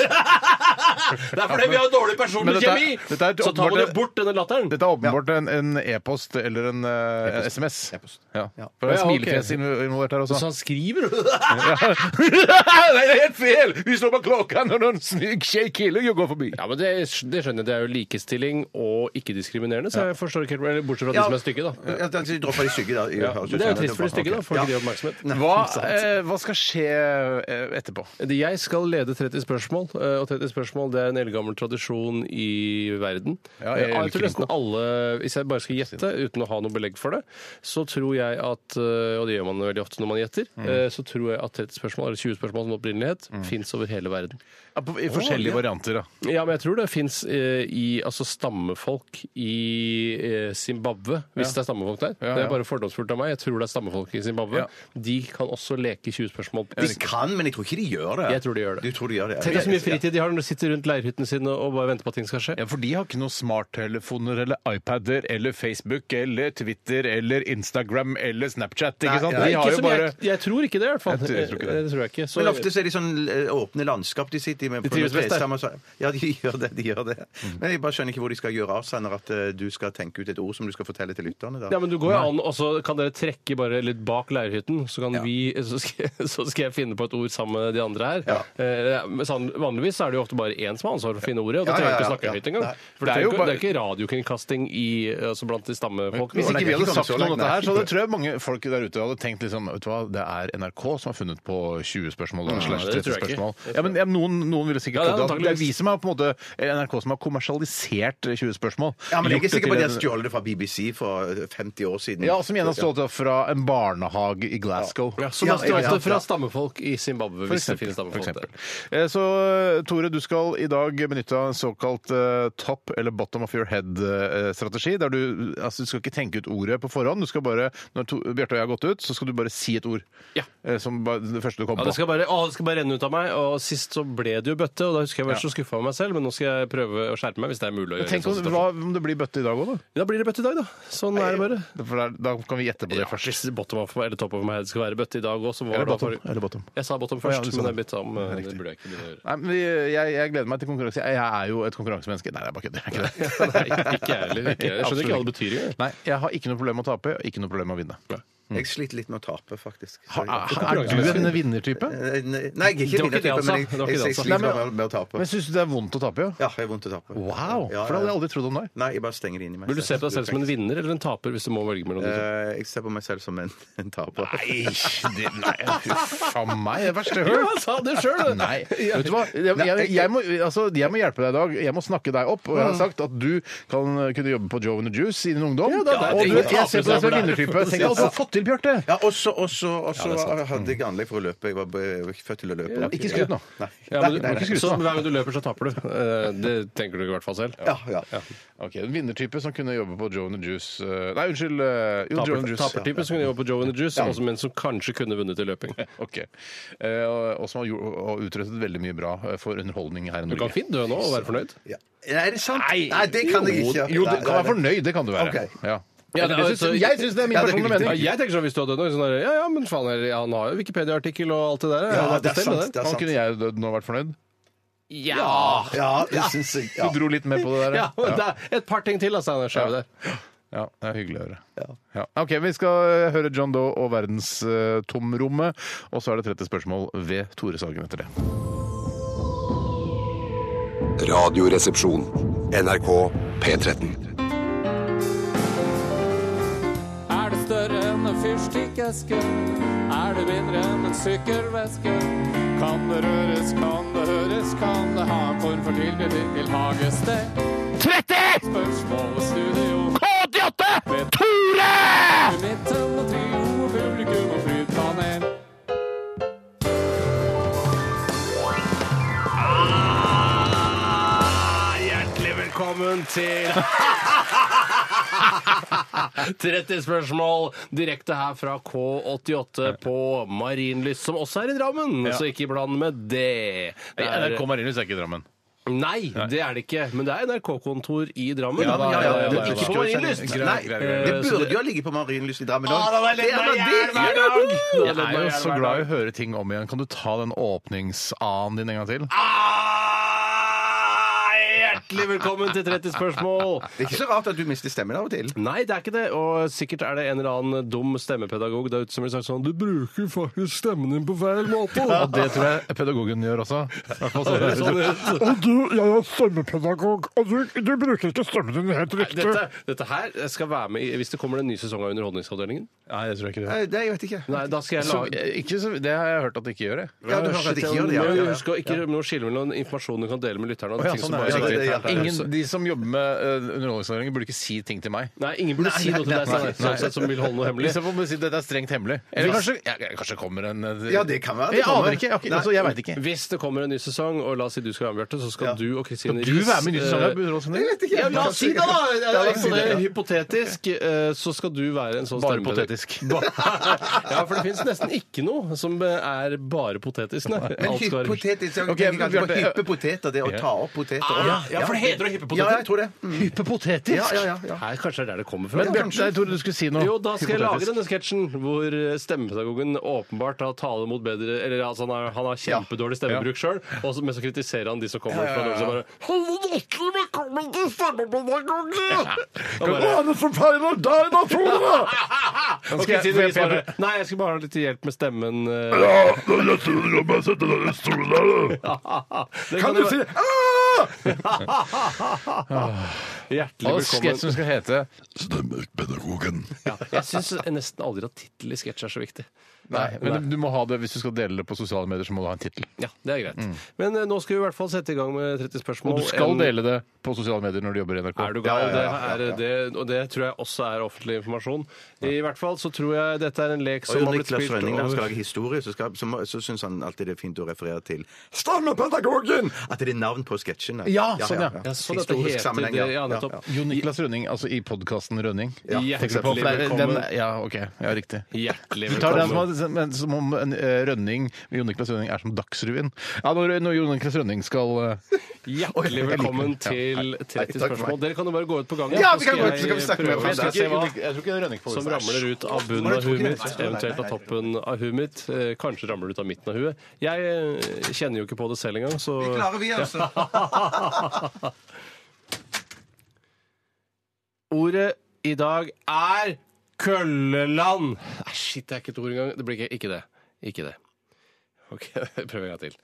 F: det er fordi vi har dårlig
I: Men
F: personlig
I: dette er-
F: kjemi!
I: dette er et
F: Så tar man jo
I: åpenbart-
F: bort denne latteren.
I: Dette er åpenbart en- en e-post eller en eh, SMS. Ja. For det er
F: Ja, ok.
I: smilefjes inv- involvert her også.
F: Så han skriver
I: Nei, det er helt feil! Vi slår på klokka når noen snygg shake killer jo går forbi.
F: Ja, men det, det skjønner jeg. Det er jo likestilling og ikke-diskriminerende, så jeg forstår ikke helt eller Bortsett fra de som er stygge, da.
E: Ja, altså, de dropper de stygge, da. i
F: Ja.
E: høres
F: Men
E: ut
F: det er jo
E: som.
F: trist for de stygge, da. Får
E: Ja.
F: ikke de oppmerksomhet.
I: Hva, eh, hva skal skje eh, etterpå?
F: Jeg skal lede 30 spørsmål, eh, og 30 spørsmål det er en eldgammel tradisjon i verden.
I: Ja,
F: Eh, jeg
I: El
F: tror nesten alle, Hvis jeg bare skal gjette uten å ha noe belegg for det, så tror jeg at eh, Og det gjør man veldig ofte når man gjetter.
I: Mm.
F: eh, Så tror jeg at 30 spørsmål, eller 20 spørsmål som opprinnelig het, fins over hele verden.
I: Ja, på- I forskjellige varianter, da.
F: Ja, men jeg tror det fins eh, i altså stammefolk i eh, Zimbabwe, hvis det er stammefolk der.
I: ja.
F: Det er bare fordomsfullt av meg. Jeg tror det er stammefolk i Zimbabwe.
I: Ja.
F: De kan også leke 20 spørsmål.
E: De kan, men jeg tror ikke de gjør det.
F: Jeg tror de gjør det.
E: Du tror de gjør det. ja.
F: Tenk deg så mye fritid de har når de sitter rundt leirhyttene sine og bare venter på at ting skal skje.
I: Ja, For de har ikke noen smarttelefoner eller iPader eller Facebook eller Twitter eller Instagram eller Snapchat. ikke sant?
E: ja,
I: De
F: Ikke
I: har jo
F: som
I: bare...
F: jeg, jeg tror ikke det, i hvert fall. Eh,
I: Jeg tror- jeg tror ikke det.
F: tror jeg ikke. Så,
E: Men ofte så er de sånn eh, åpne landskap de sitter i. Med,
F: De trives best der. Mm.
E: trestammer, så- Ja, de gjør det. de gjør det. Men jeg bare skjønner ikke hvor de skal gjøre av seg når at eh, du skal tenke ut et ord som du skal fortelle til lytterne.
F: ja,
E: da.
F: men du går jo an, og så kan dere trekke bare litt bak leirhytten, så, kan vi, så, skal, så skal jeg finne på et ord sammen med de andre her. Eh, men sånn- vanligvis er det jo ofte bare én som har ansvar for å finne ordet, og da
E: Ja, ja,
F: trenger vi ikke
E: ja,
F: snakke
E: ja.
F: høyt engang.
E: Nei.
F: For det
I: Det er
F: er
I: jo
F: jo
I: bare-
F: det er ikke radiokringkasting i, altså blant de stammefolkene.
I: Hvis ikke vi
E: ikke kommet
I: hadde sagt
E: så
I: noe om
E: langt,
I: dette her, så
E: nei.
I: hadde, tror jeg mange folk der ute hadde tenkt liksom, vet du hva, det er NRK som har funnet på 20 spørsmål. eller slash
F: det
I: 30
F: tror jeg ikke.
I: spørsmål. Ja, men ja, noen, noen ville sikkert
F: Ja, det er
I: trodd at det er
F: antageligvis.
I: vi som har på en måte eller NRK som har kommersialisert 20 spørsmål.
E: Ja, men Jeg er
I: Gjort
E: ikke
I: det
E: sikker på at de
I: til
E: har
I: en-
E: stjålet det fra BBC for 50 år siden.
I: Ja, som igjen har stått fra en barnehage i Glasgow.
F: Ja, som har
E: Ja, ja, ja,
F: stjålet
E: ja.
F: fra stammefolk i Zimbabwe,
I: For
F: hvis det
I: eksempel,
F: finnes
I: for
F: stammefolk
I: eksempel.
F: der.
I: Eh, Så Tore, du skal i dag benytte av en såkalt eh, top eller bottom of your head-strategi. der Du, altså, du skal ikke tenke ut ordet på forhånd. Du skal bare, Når to- Bjarte og jeg har gått ut, så skal du bare si et ord.
F: Ja.
I: Eh, Som bare, det første du
F: Ja,
I: kommer
F: det
I: på.
F: skal, bare, å, det skal bare renne ut av meg. Og sist så ble det jo bøtte, og da husker jeg jeg var så skuffa over meg selv, men nå skal jeg prøve å skjerpe meg hvis det er mulig å gjøre.
I: Tenk
F: en
I: om,
F: sånn
I: hva, om det blir bøtte i dag òg, da.
F: situasjon. Da blir det bøtte i dag, da. Sånn er det bare.
I: For der, da kan vi gjette på det
F: Ja,
I: først.
F: hvis bottom of, eller top of my head skal være bøtte i dag òg, så var
I: Eller
F: det da
I: bottom,
F: forrige-
I: eller bottom.
F: Jeg sa bottom
I: ja,
F: først,
I: du sa
F: men jeg
I: det.
F: bytta om. eh, Det burde jeg ikke begynne å gjøre.
I: Nei, men jeg, jeg gleder meg til konkurranse. Jeg er jo et konkurransemenneske. Nei, det er bare kødd. Jeg er ikke det.
F: Nei, ikke jeg heller. ikke jeg. Jeg skjønner
I: Absolutt
F: ikke hva det betyr engang.
I: Nei, jeg har ikke noe problem med å tape, og ikke noe problem med å vinne.
E: Jeg sliter litt med å tape, faktisk. Så-
I: Er, er du en vinnertype?
E: Eh, Nei, jeg er ikke
F: Det var ikke
E: vinnertype, men jeg,
F: det han sa. Det var
E: jeg,
F: ikke det han
E: jeg
F: sa.
E: sliter
I: Nei, men-
E: med, med å tape.
I: Men syns du det er vondt å tape, ja?
E: Ja, jeg har vondt å tape.
I: Wow!
E: Ja,
I: For det hadde
E: ja.
I: jeg aldri trodd om deg.
E: Nei, jeg bare stenger det inn i meg
F: Vil du se på deg selv som en
E: Perfekt.
F: vinner eller en taper hvis du må velge mellom de to?
E: Eh, Jeg ser på meg selv som en, en taper.
I: det, nei, huff a meg. Det verste jeg har hørt.
F: han sa det sjøl!
I: Nei. Vet du hva? Jeg, jeg, jeg, må, altså, jeg må hjelpe deg i dag. Jeg må snakke deg opp. Og jeg har
D: Mm.
I: sagt at du kan eh, kunne jobbe på Joe and the Juice i din ungdom.
F: Ja, det er
I: og
F: det.
I: du, vet, jeg ser på deg som en
F: Det er det.
I: vinnertype. Tenk at du har fått til, Bjarte!
E: Ja, også, også, også hadde jeg anlegg for å løpe. Jeg var b- født til å løpe.
I: Ikke skryt nå.
E: Nei.
F: Ja, men du,
E: Nei, nei, nei.
F: så hver gang du løper, så taper du. Eh, Det tenker du i hvert fall selv.
E: Ja, ja.
I: Ok, En vinnertype som kunne jobbe på Joe and the Juice eh, Nei, unnskyld. eh, Jo, Joe and
F: Taper-
I: the Juice.
F: Tapertype som kunne jobbe på Joe and the Juice, også, men som kanskje kunne vunnet i løping.
I: Ok. Eh, Og, og som har gjort- og utrettet veldig mye bra eh, for underholdning her i
F: Du
I: Norge.
F: kan fint dø nå og være fornøyd.
E: Ja. Nei, er det sant? Nei, det kan jeg ikke.
I: Jo, du
E: Nei,
I: kan
E: nei,
I: være fornøyd, det kan du være.
E: Ok.
I: Ja.
F: Ja, det er
I: Jeg
F: altså-
I: syns- jeg syns det er min
E: Ja, det er
I: personlige
F: Ja,
I: mening.
F: jeg tenker sånn hvis du hadde dødd nå. Sånn der, ja, ja, men faen, jeg- han har jo Wikipedia-artikkel og alt det der.
E: Ja,
F: han har
E: det er
F: bestemt
E: sant. Det
F: der.
E: er
I: Han
E: sant.
I: kunne jeg dødd nå og vært fornøyd?
F: Ja!
E: Ja, det syns jeg.
I: Du
E: Ja.
I: dro litt med på det der?
F: Ja, men det er et par ting til, altså. Han er skjev der.
I: Ja, det er hyggelig å høre. Ja. OK, vi skal eh, høre John Doe og verdenstomrommet, og så er det 30 spørsmål ved Tore Sagen etter det.
A: Radioresepsjon. NRK P13.
J: Er det større enn en fyrstikkeske? Er det mindre enn en sykkelveske? Kan det røres, kan det høres, kan det ha en form for tilknytning til hagested?
I: 30!
J: Spørsmål og studio,
I: K88! Tore!
J: i midten og trio, og publikum og flytpanel.
F: Hjertelig velkommen til 30 spørsmål direkte her fra K88 på Marienlyst, som også er i Drammen. Så ikke bland med det. Det er-
I: NRK Marienlyst er ikke i Drammen.
F: Nei, det er det ikke. Men det er NRK-kontor i Drammen.
D: Ja, da, ja, ja, ja,
F: Men
D: ja, ja.
F: ikke på Marienlyst.
D: Greit,
E: Nei,
D: greit,
E: det
D: greit.
E: burde jo ligge på Marienlyst i Drammen
F: Ah, da var jeg lett meg i hjel hver
D: Jeg er jo så glad i å høre ting om igjen. Kan du ta den åpningsanen din en gang til?
F: Ah, Hjertelig velkommen til 30 spørsmål!
E: Det er ikke så rart at du mister stemmen av og til.
F: Nei, det er ikke det. Og sikkert er det en eller annen dum stemmepedagog der ute som vil sagt sånn Du bruker faktisk stemmen din på feil måte!
D: Og det tror jeg pedagogen gjør også. I hvert fall sånn høres
F: Sånn
D: ut.
F: ut.
I: Og du, jeg er stemmepedagog, og du, du bruker ikke stemmen din helt riktig.
F: Dette, dette her skal være med i, hvis det kommer en ny sesong av Underholdningsavdelingen.
D: Nei, jeg tror ikke det.
E: Nei, det vet jeg ikke.
F: Nei, da skal jeg
D: Så,
F: lage
D: eh, ikke så, det har jeg hørt at det ikke gjør, jeg.
E: Ja, du hører at det ikke gjør det, ja.
F: Men
E: ja, ja.
F: Husk å ikke noe skille mellom informasjon du kan dele med lytterne. og
D: Å, ja,
F: ting
D: sånn
F: som
D: er
F: bare-
D: det.
E: Ja, det-
D: Ja,
E: det-
D: riktig. Ingen, de som jobber med eh, underholdningsavdelingen, burde ikke si ting til meg. Liksom,
F: Nei, ingen burde si noe til deg
E: nei,
F: sånn, sånn sett, som vil holde noe hemmelig.
D: Hvis jeg får si at dette er strengt hemmelig. Eller kanskje, ja, kanskje kommer en eh,
E: Ja, det kan være.
D: Jeg aner ikke. Jeg, har ikke- altså, jeg veit ikke.
F: Hvis det kommer en ny sesong, og la oss si du skal være med, Bjarte, så skal
E: Ja.
F: du og Kristine
D: Du være med i Nytt
F: Riis,
D: Sogndal,
F: eh,
D: Underholdningsavdelingen?
E: Jeg vet ikke.
F: ja, altså, La oss si det, da!
E: Ja, la oss si det, ja.
F: hypotetisk, eh, så skal du være en sånn
D: Bare
F: stemmepedagog.
D: potetisk.
F: ja, for det fins nesten ikke noe som eh, er bare potetisk. Nei.
E: Men
F: Alt skal være-
E: hypotetisk så
D: Ok,
E: tenker jeg kanskje på
D: Bjarte,
E: hyppe poteter, det å ta opp poteter.
F: Ah, ja, for det heter det, hyppe poteter.
E: Ja, jeg tror det. Mm.
D: Hyperpotetisk?
E: Ja, ja, ja, ja.
F: Her kanskje det er der det kommer fra.
D: Men Bjarte, jeg trodde du skulle si noe.
F: Jo, da skal jeg lage
D: hypotetisk.
F: denne sketsjen hvor eh, stemmepedagogen åpenbart har tale mot bedre Eller altså, han har, han har kjempedårlig stemmebruk sjøl, men så kritiserer han de som kommer fra Norge. så bare, «Hallo, hjertelig velkommen til stemmepedagogen!» Og bare,
I: Hva er det som feiler deg, da, tror du?
F: Og
D: skal jeg-
F: Kristine Riis
D: for jeg-
F: bare Nei, jeg skulle bare ha litt hjelp med stemmen. eh,
I: Ja, det er lettere enn å bare sette deg i stolen der, du.
F: det
I: Kan du si
F: Hjertelig
D: Og
F: velkommen.
D: sketsjen skal hete
I: Stemmepedagogen.
F: Ja, jeg syns nesten aldri at tittel i sketsj er så viktig.
D: Nei, men du må ha det hvis du skal dele det på sosiale medier, så må du ha en tittel.
F: Ja, det er greit. Men eh, nå skal vi i hvert fall sette i gang med 30 spørsmål.
D: Mm. Og du skal
F: En-
D: dele det på sosiale medier når du jobber i NRK.
F: Er du gal? Det, er, det, og det tror jeg også er offentlig informasjon. I hvert fall så tror jeg dette er en lek som
E: Og
F: har blitt
E: Niklas
F: spilt
E: Rønning, når han skal lage historie, så, skal, så, må- så syns han alltid det er fint å referere til Stammepedagogen! At det er navn på sketsjene.
D: Ja, sånn, ja.
F: Ja, sånn at det
E: Historisk
F: heter
E: sammenheng,
F: det, ja, nettopp.
D: Jo Niklas Rønning, altså i podkasten Rønning.
E: Ja,
D: Tenker du på, for
F: Hjertelig
D: det er-
F: velkommen.
D: den- ja, OK. Ja, riktig.
F: Hjertelig
D: Du tar den som, har- men som om en, eh, Rønning Jon Niklas Rønning er som Dagsrevyen. Ja, når, når Jon Niklas Rønning skal eh,
F: Hjertelig
D: liker den.
F: velkommen
D: Ja,
F: til 30
E: takk for
F: spørsmål.
E: meg.
F: Dere kan jo bare gå ut på gangen.
E: Ja,
F: så
E: vi kan
F: skal
E: gå ut, så kan vi
F: jeg
E: snakke med
F: prøve
E: hverandre.
F: å se hva
D: ikke Rønning får
F: som ramler ut av bunnen av huet mitt, eventuelt av toppen av huet mitt. eh, Kanskje ramler det ut av midten av huet. Jeg eh, kjenner jo ikke på det selv engang, så
E: Vi klarer vi, altså.
F: Ordet i dag er kølleland. Nei, shit, det er ikke et ord engang. Det blir ikke, ikke det. Ikke det. Ok, prøv en gang til.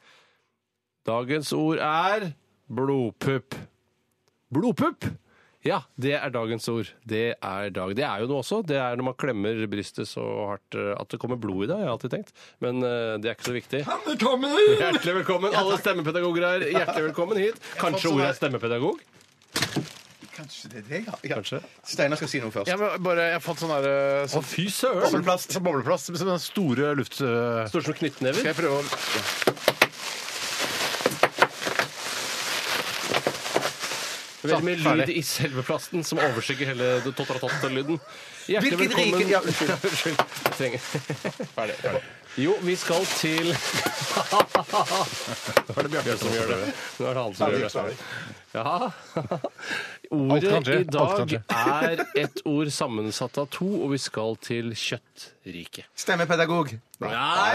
F: Dagens ord er blodpupp. Blodpupp? Ja, det er dagens ord. Det er dag. Det er jo noe også. Det er når man klemmer brystet så hardt eh, at det kommer blod i det, har jeg alltid tenkt. Men eh, det er ikke så viktig. Hjertelig velkommen. Alle stemmepedagoger er hjertelig velkommen hit. Kanskje ordet er stemmepedagog?
E: Kanskje det er det, ja. ja.
F: Kanskje.
E: Steinar skal si noe først.
D: Ja, men bare, jeg har fått sånn der eh,
F: Å,
D: sånn
F: fy søren!
E: Bobleplast.
D: sånn bobleplast med sånne store luft... eh,
F: Står som
D: Skal
F: knyttnever.
D: jeg prøve å
F: Veldig mye
D: Ferdig.
F: lyd i selve plasten som overskygger hele det totteratott-lyden. Hjertelig
E: Hvilket rike-
F: velkommen.
E: ja,
F: Unnskyld. unnskyld. Jeg trenger Ferdig. ferdig. Jo, vi skal til Nå er det Bjarte som gjør det. Nå er det han som gjør det. Ja.
D: kan
F: Ordet
D: skje.
F: i
D: Alt
F: dag
D: kan
F: er et ord sammensatt av to, og vi skal til kjøttriket.
E: Stemmepedagog.
F: Nei!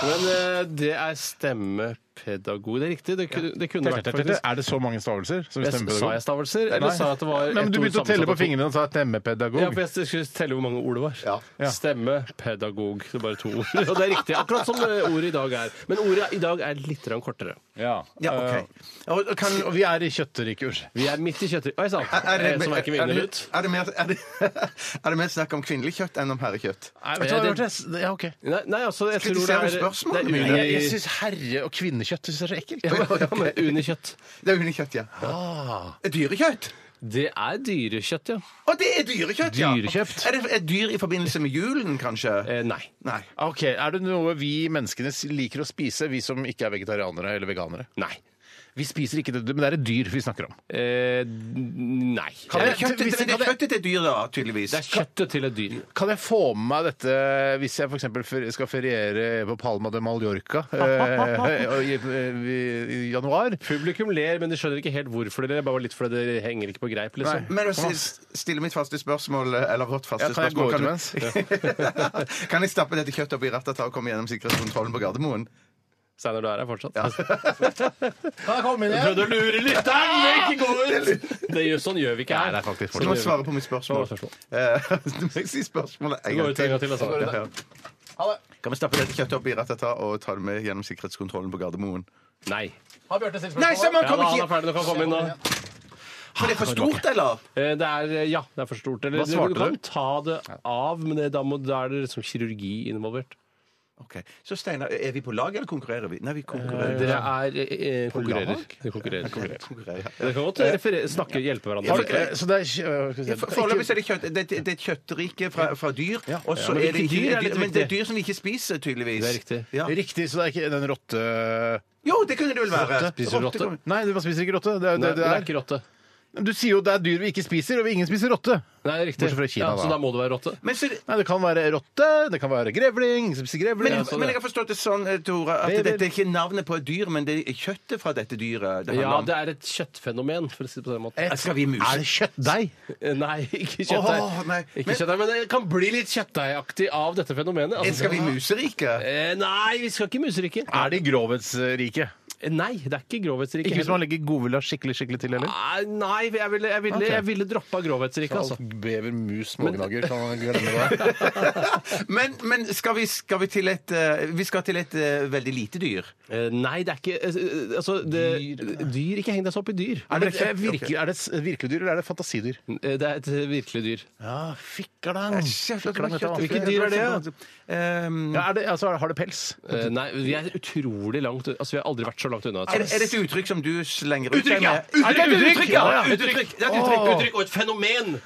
F: Men eh, det er stemmepedagog. Det er riktig. Det, ku- det kunne vært faktisk
D: Er det så mange stavelser? Som
F: jeg, sa jeg stavelser, eller
D: Nei.
F: sa jeg at det var
D: Nei, men
F: et
D: du
F: ord
D: begynte å telle
F: sammensatt
D: på
F: av to?
D: fingrene og sa
F: Ja,
D: stemmepedagog.
F: for jeg skulle telle hvor mange ord det var.
D: Ja.
F: Stemme, pedagog. Det er bare to ord. Og det er riktig. Akkurat som eh, ordet i dag er. Men ordet i dag er litt grann kortere.
D: Ja.
E: Ja,
D: Eh,
E: OK. Og, og kan,
D: og vi er i kjøtteriket, unnskyld.
F: Vi er midt i kjøttet. Oi sann! Eh, Som verken
E: er,
F: vinner
E: det,
F: eller ut.
E: er, det mer, er, det, er det mer snakk om kvinnelig kjøtt enn om herrekjøtt?
D: Nei,
F: vet du hva,
D: Ja, ok.
F: Eh, Nei, nei, altså, jeg tror det
E: Kritiserer
F: er
E: du spørsmålet
F: det
E: mine?
F: er
D: Jeg, jeg
F: uni-
D: syns herre- og kvinnekjøtt synes jeg er så ekkelt.
F: Ja, men- ja, men Unikjøtt.
E: Det er hundekjøtt, ja.
F: Ah.
E: Dyrekjøtt?
F: Det er dyrekjøtt, ja.
E: Å, det er dyrekjøtt, ja!
D: Dyrekjøtt.
E: Er det et dyr i forbindelse med julen, kanskje?
F: Eh, nei.
E: Nei.
D: Ok, Er det noe vi menneskene liker å spise, vi som ikke er vegetarianere eller veganere?
F: Nei.
D: Vi spiser ikke det, men det er et dyr vi snakker om.
F: Eh, nei.
D: Kan
E: Men
D: jeg,
E: kjøttet,
D: hvis,
E: men det
D: kan
E: er
D: jeg,
E: kjøttet til dyret, da, tydeligvis.
F: Det er kjøttet til et dyr.
D: kan jeg få med meg dette hvis jeg f.eks. skal feriere på Palma de Mallorca eh, i, eh, i, i januar?
F: Publikum ler, men de skjønner ikke helt hvorfor dere bare litt fordi dere henger ikke på greip, liksom.
E: Men å si- stille mitt faste spørsmål, eller vårt
D: Ja,
E: faste
D: kan jeg gå
E: spørsmål
D: ut
E: du-
D: mens?
E: Kan jeg stappe dette kjøttet opp i rattet og komme gjennom sikkerhetskontrollen på Gardermoen?
F: Steinar, du er her fortsatt?
D: Kan jeg komme inn
F: Jeg prøvde å lure lytteren, men ikke gå ut! Det gjør, sånn gjør vi ikke her.
D: Nei, det er faktisk
E: Du
F: Sånn
E: må
F: gjør vi
E: svare
F: ikke.
E: på mitt spørsmål.
F: Hva var spørsmålet?
E: Eh, Du må si spørsmålet en
F: Gå
E: gang
F: ut en gang til,
E: til.
F: altså.
E: Ja, ja. Kan vi stappe dette kjøttet opp i rattet og ta det med gjennom sikkerhetskontrollen på Gardermoen?
F: Nei.
D: Har Bjarte sitt
E: Nei,
D: spørsmål?
E: Sam, han
F: Ja, da,
E: kommer
F: han er
E: ikke
F: ferdig, du kan komme inn nå.
E: For det er for stort, eller?
F: Eh, Det er, eh, ja, det er for stort. Eller,
D: Hva svarte
F: du kan
D: du?
F: ta det av, men det, da, må, da er det liksom kirurgi involvert.
E: Ok, Så Steinar, er vi på lag, eller konkurrerer vi? Nei, vi konkurrerer.
F: Dere er eh, konkurrerer.
E: lag?
F: Dere konkurrerer. konkurrerer.
E: konkurrerer.
F: Dere kan godt referere, snakke, hjelpe hverandre.
D: Har du, eh, så det er kjø- hva skal jeg si?
E: For- Foreløpig så er det, kjøtt, det, det det er et kjøttrike fra, fra dyr. Og så
F: men
E: er det
F: hvilke
E: ikke,
F: dyr er det-
E: men det er dyr som vi ikke spiser, tydeligvis.
F: Det er riktig.
E: Ja.
D: Riktig, så det er ikke den rotte...
E: Jo, det kunne det vel være.
F: Spiser du rotte?
D: Nei, du man spiser ikke rotte. Det er,
F: Nei,
D: det, det er.
F: ikke rotte.
D: Du sier jo det er dyr vi ikke spiser, og ingen spiser rotte.
F: Nei, riktig.
D: Bortsett fra Kina,
F: ja, så
D: da.
F: da må det være rotte.
E: Men, så,
D: Nei, det kan være rotte, det kan være grevling, ingen spiser grevling.
E: men,
D: Altså,
E: men jeg har forstått det sånn, eh, Tore, at
D: Vel, vel.
E: dette er ikke navnet på et dyr, men det er kjøttet fra dette dyret det
F: Ja, det
E: handler om. Eh,
F: er et kjøttfenomen, for å si det på den måten.
D: Et-
E: Skal vi muse?
D: Er det kjøttdeig?
F: Eh, Nei, ikke kjøttdeig.
E: Åh, nei.
F: Ikke
E: Men- Eh,
F: kjøttdeig, men det kan bli litt kjøttdeigaktig av dette fenomenet. altså.
E: Skal vi muserike?
F: Eh, Nei, vi skal ikke muserike.
D: Er det i grovhetsriket?
F: Eh, Nei, det er ikke grovhetsrike.
D: Ikke hvis man legger godvilja skikkelig skikkelig til, heller?
F: Nei, nei, jeg ville, jeg ville,
D: Ok.
F: jeg ville droppa grovhetsrike, altså.
D: bever, mus, smågnager kan man glemme det.
E: Men, men skal, vi, skal vi til et eh, Vi skal til et eh, veldig lite dyr.
F: Eh, Nei, det er ikke eh, eh, Altså, det, dyr, Ikke heng deg så opp i dyr.
D: Er det, eh, virke- er det s- virkelig dyr, eller er det fantasidyr?
F: Eh, Det er et virkelig dyr.
D: Ja, fikkerlang.
F: Hvilket dyr er det, da?
E: Ehm,
D: Ja, er det, altså, har det pels?
F: Eh, Nei, vi er utrolig langt Altså, vi har aldri vært så langt unna. Altså,
E: er, det- er det et uttrykk som du slenger ut?
F: Uttrykk, ja.
E: Steinar? Er det et
F: Uttrykk,
E: uttrykk,
F: ja,
E: ja!
F: ja.
E: Uttrykk! Det er et uttrykk.
F: Åh. uttrykk og et fenomen!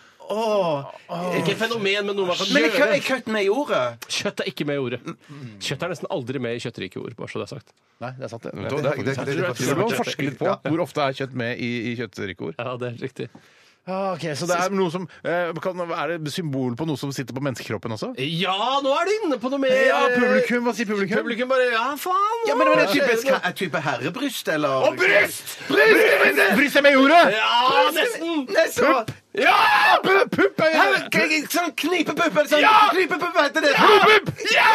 F: Ikke et fenomen, men noe man kan
E: Men jeg,
F: gjøre.
E: jeg kødder med i ordet.
F: Kjøtt er ikke med i ordet. Kjøtt er nesten aldri med i kjøttrike ord, bare så det er sagt.
D: Nei, det er sant. Det,
E: det er- det er- det er-
D: Jeg tror du må forske litt på hvor ofte er kjøtt med i, i kjøttrike ord.
F: Ja, det er riktig.
D: ok, Så det er noe som eh, kan, Er det symbol på noe som sitter på menneskekroppen også?
F: Ja, nå er du inne på noe mer! eh,
D: Hva sier publikum?
F: Publikum bare Ja, faen!
E: Ja, men, men er det
F: skjer
E: type,
F: det nå?
E: er det type herrebryst, eller
D: Bryst! Bryst! Bryst er med i ordet!
F: Ja, nesten!
E: Nei, så
D: Ja! pu- Pupp er
E: Her, k- k- Sånn knipepupp, eller sånn
D: Ja!
E: knipepupp heter det.
D: Pupp! Ja!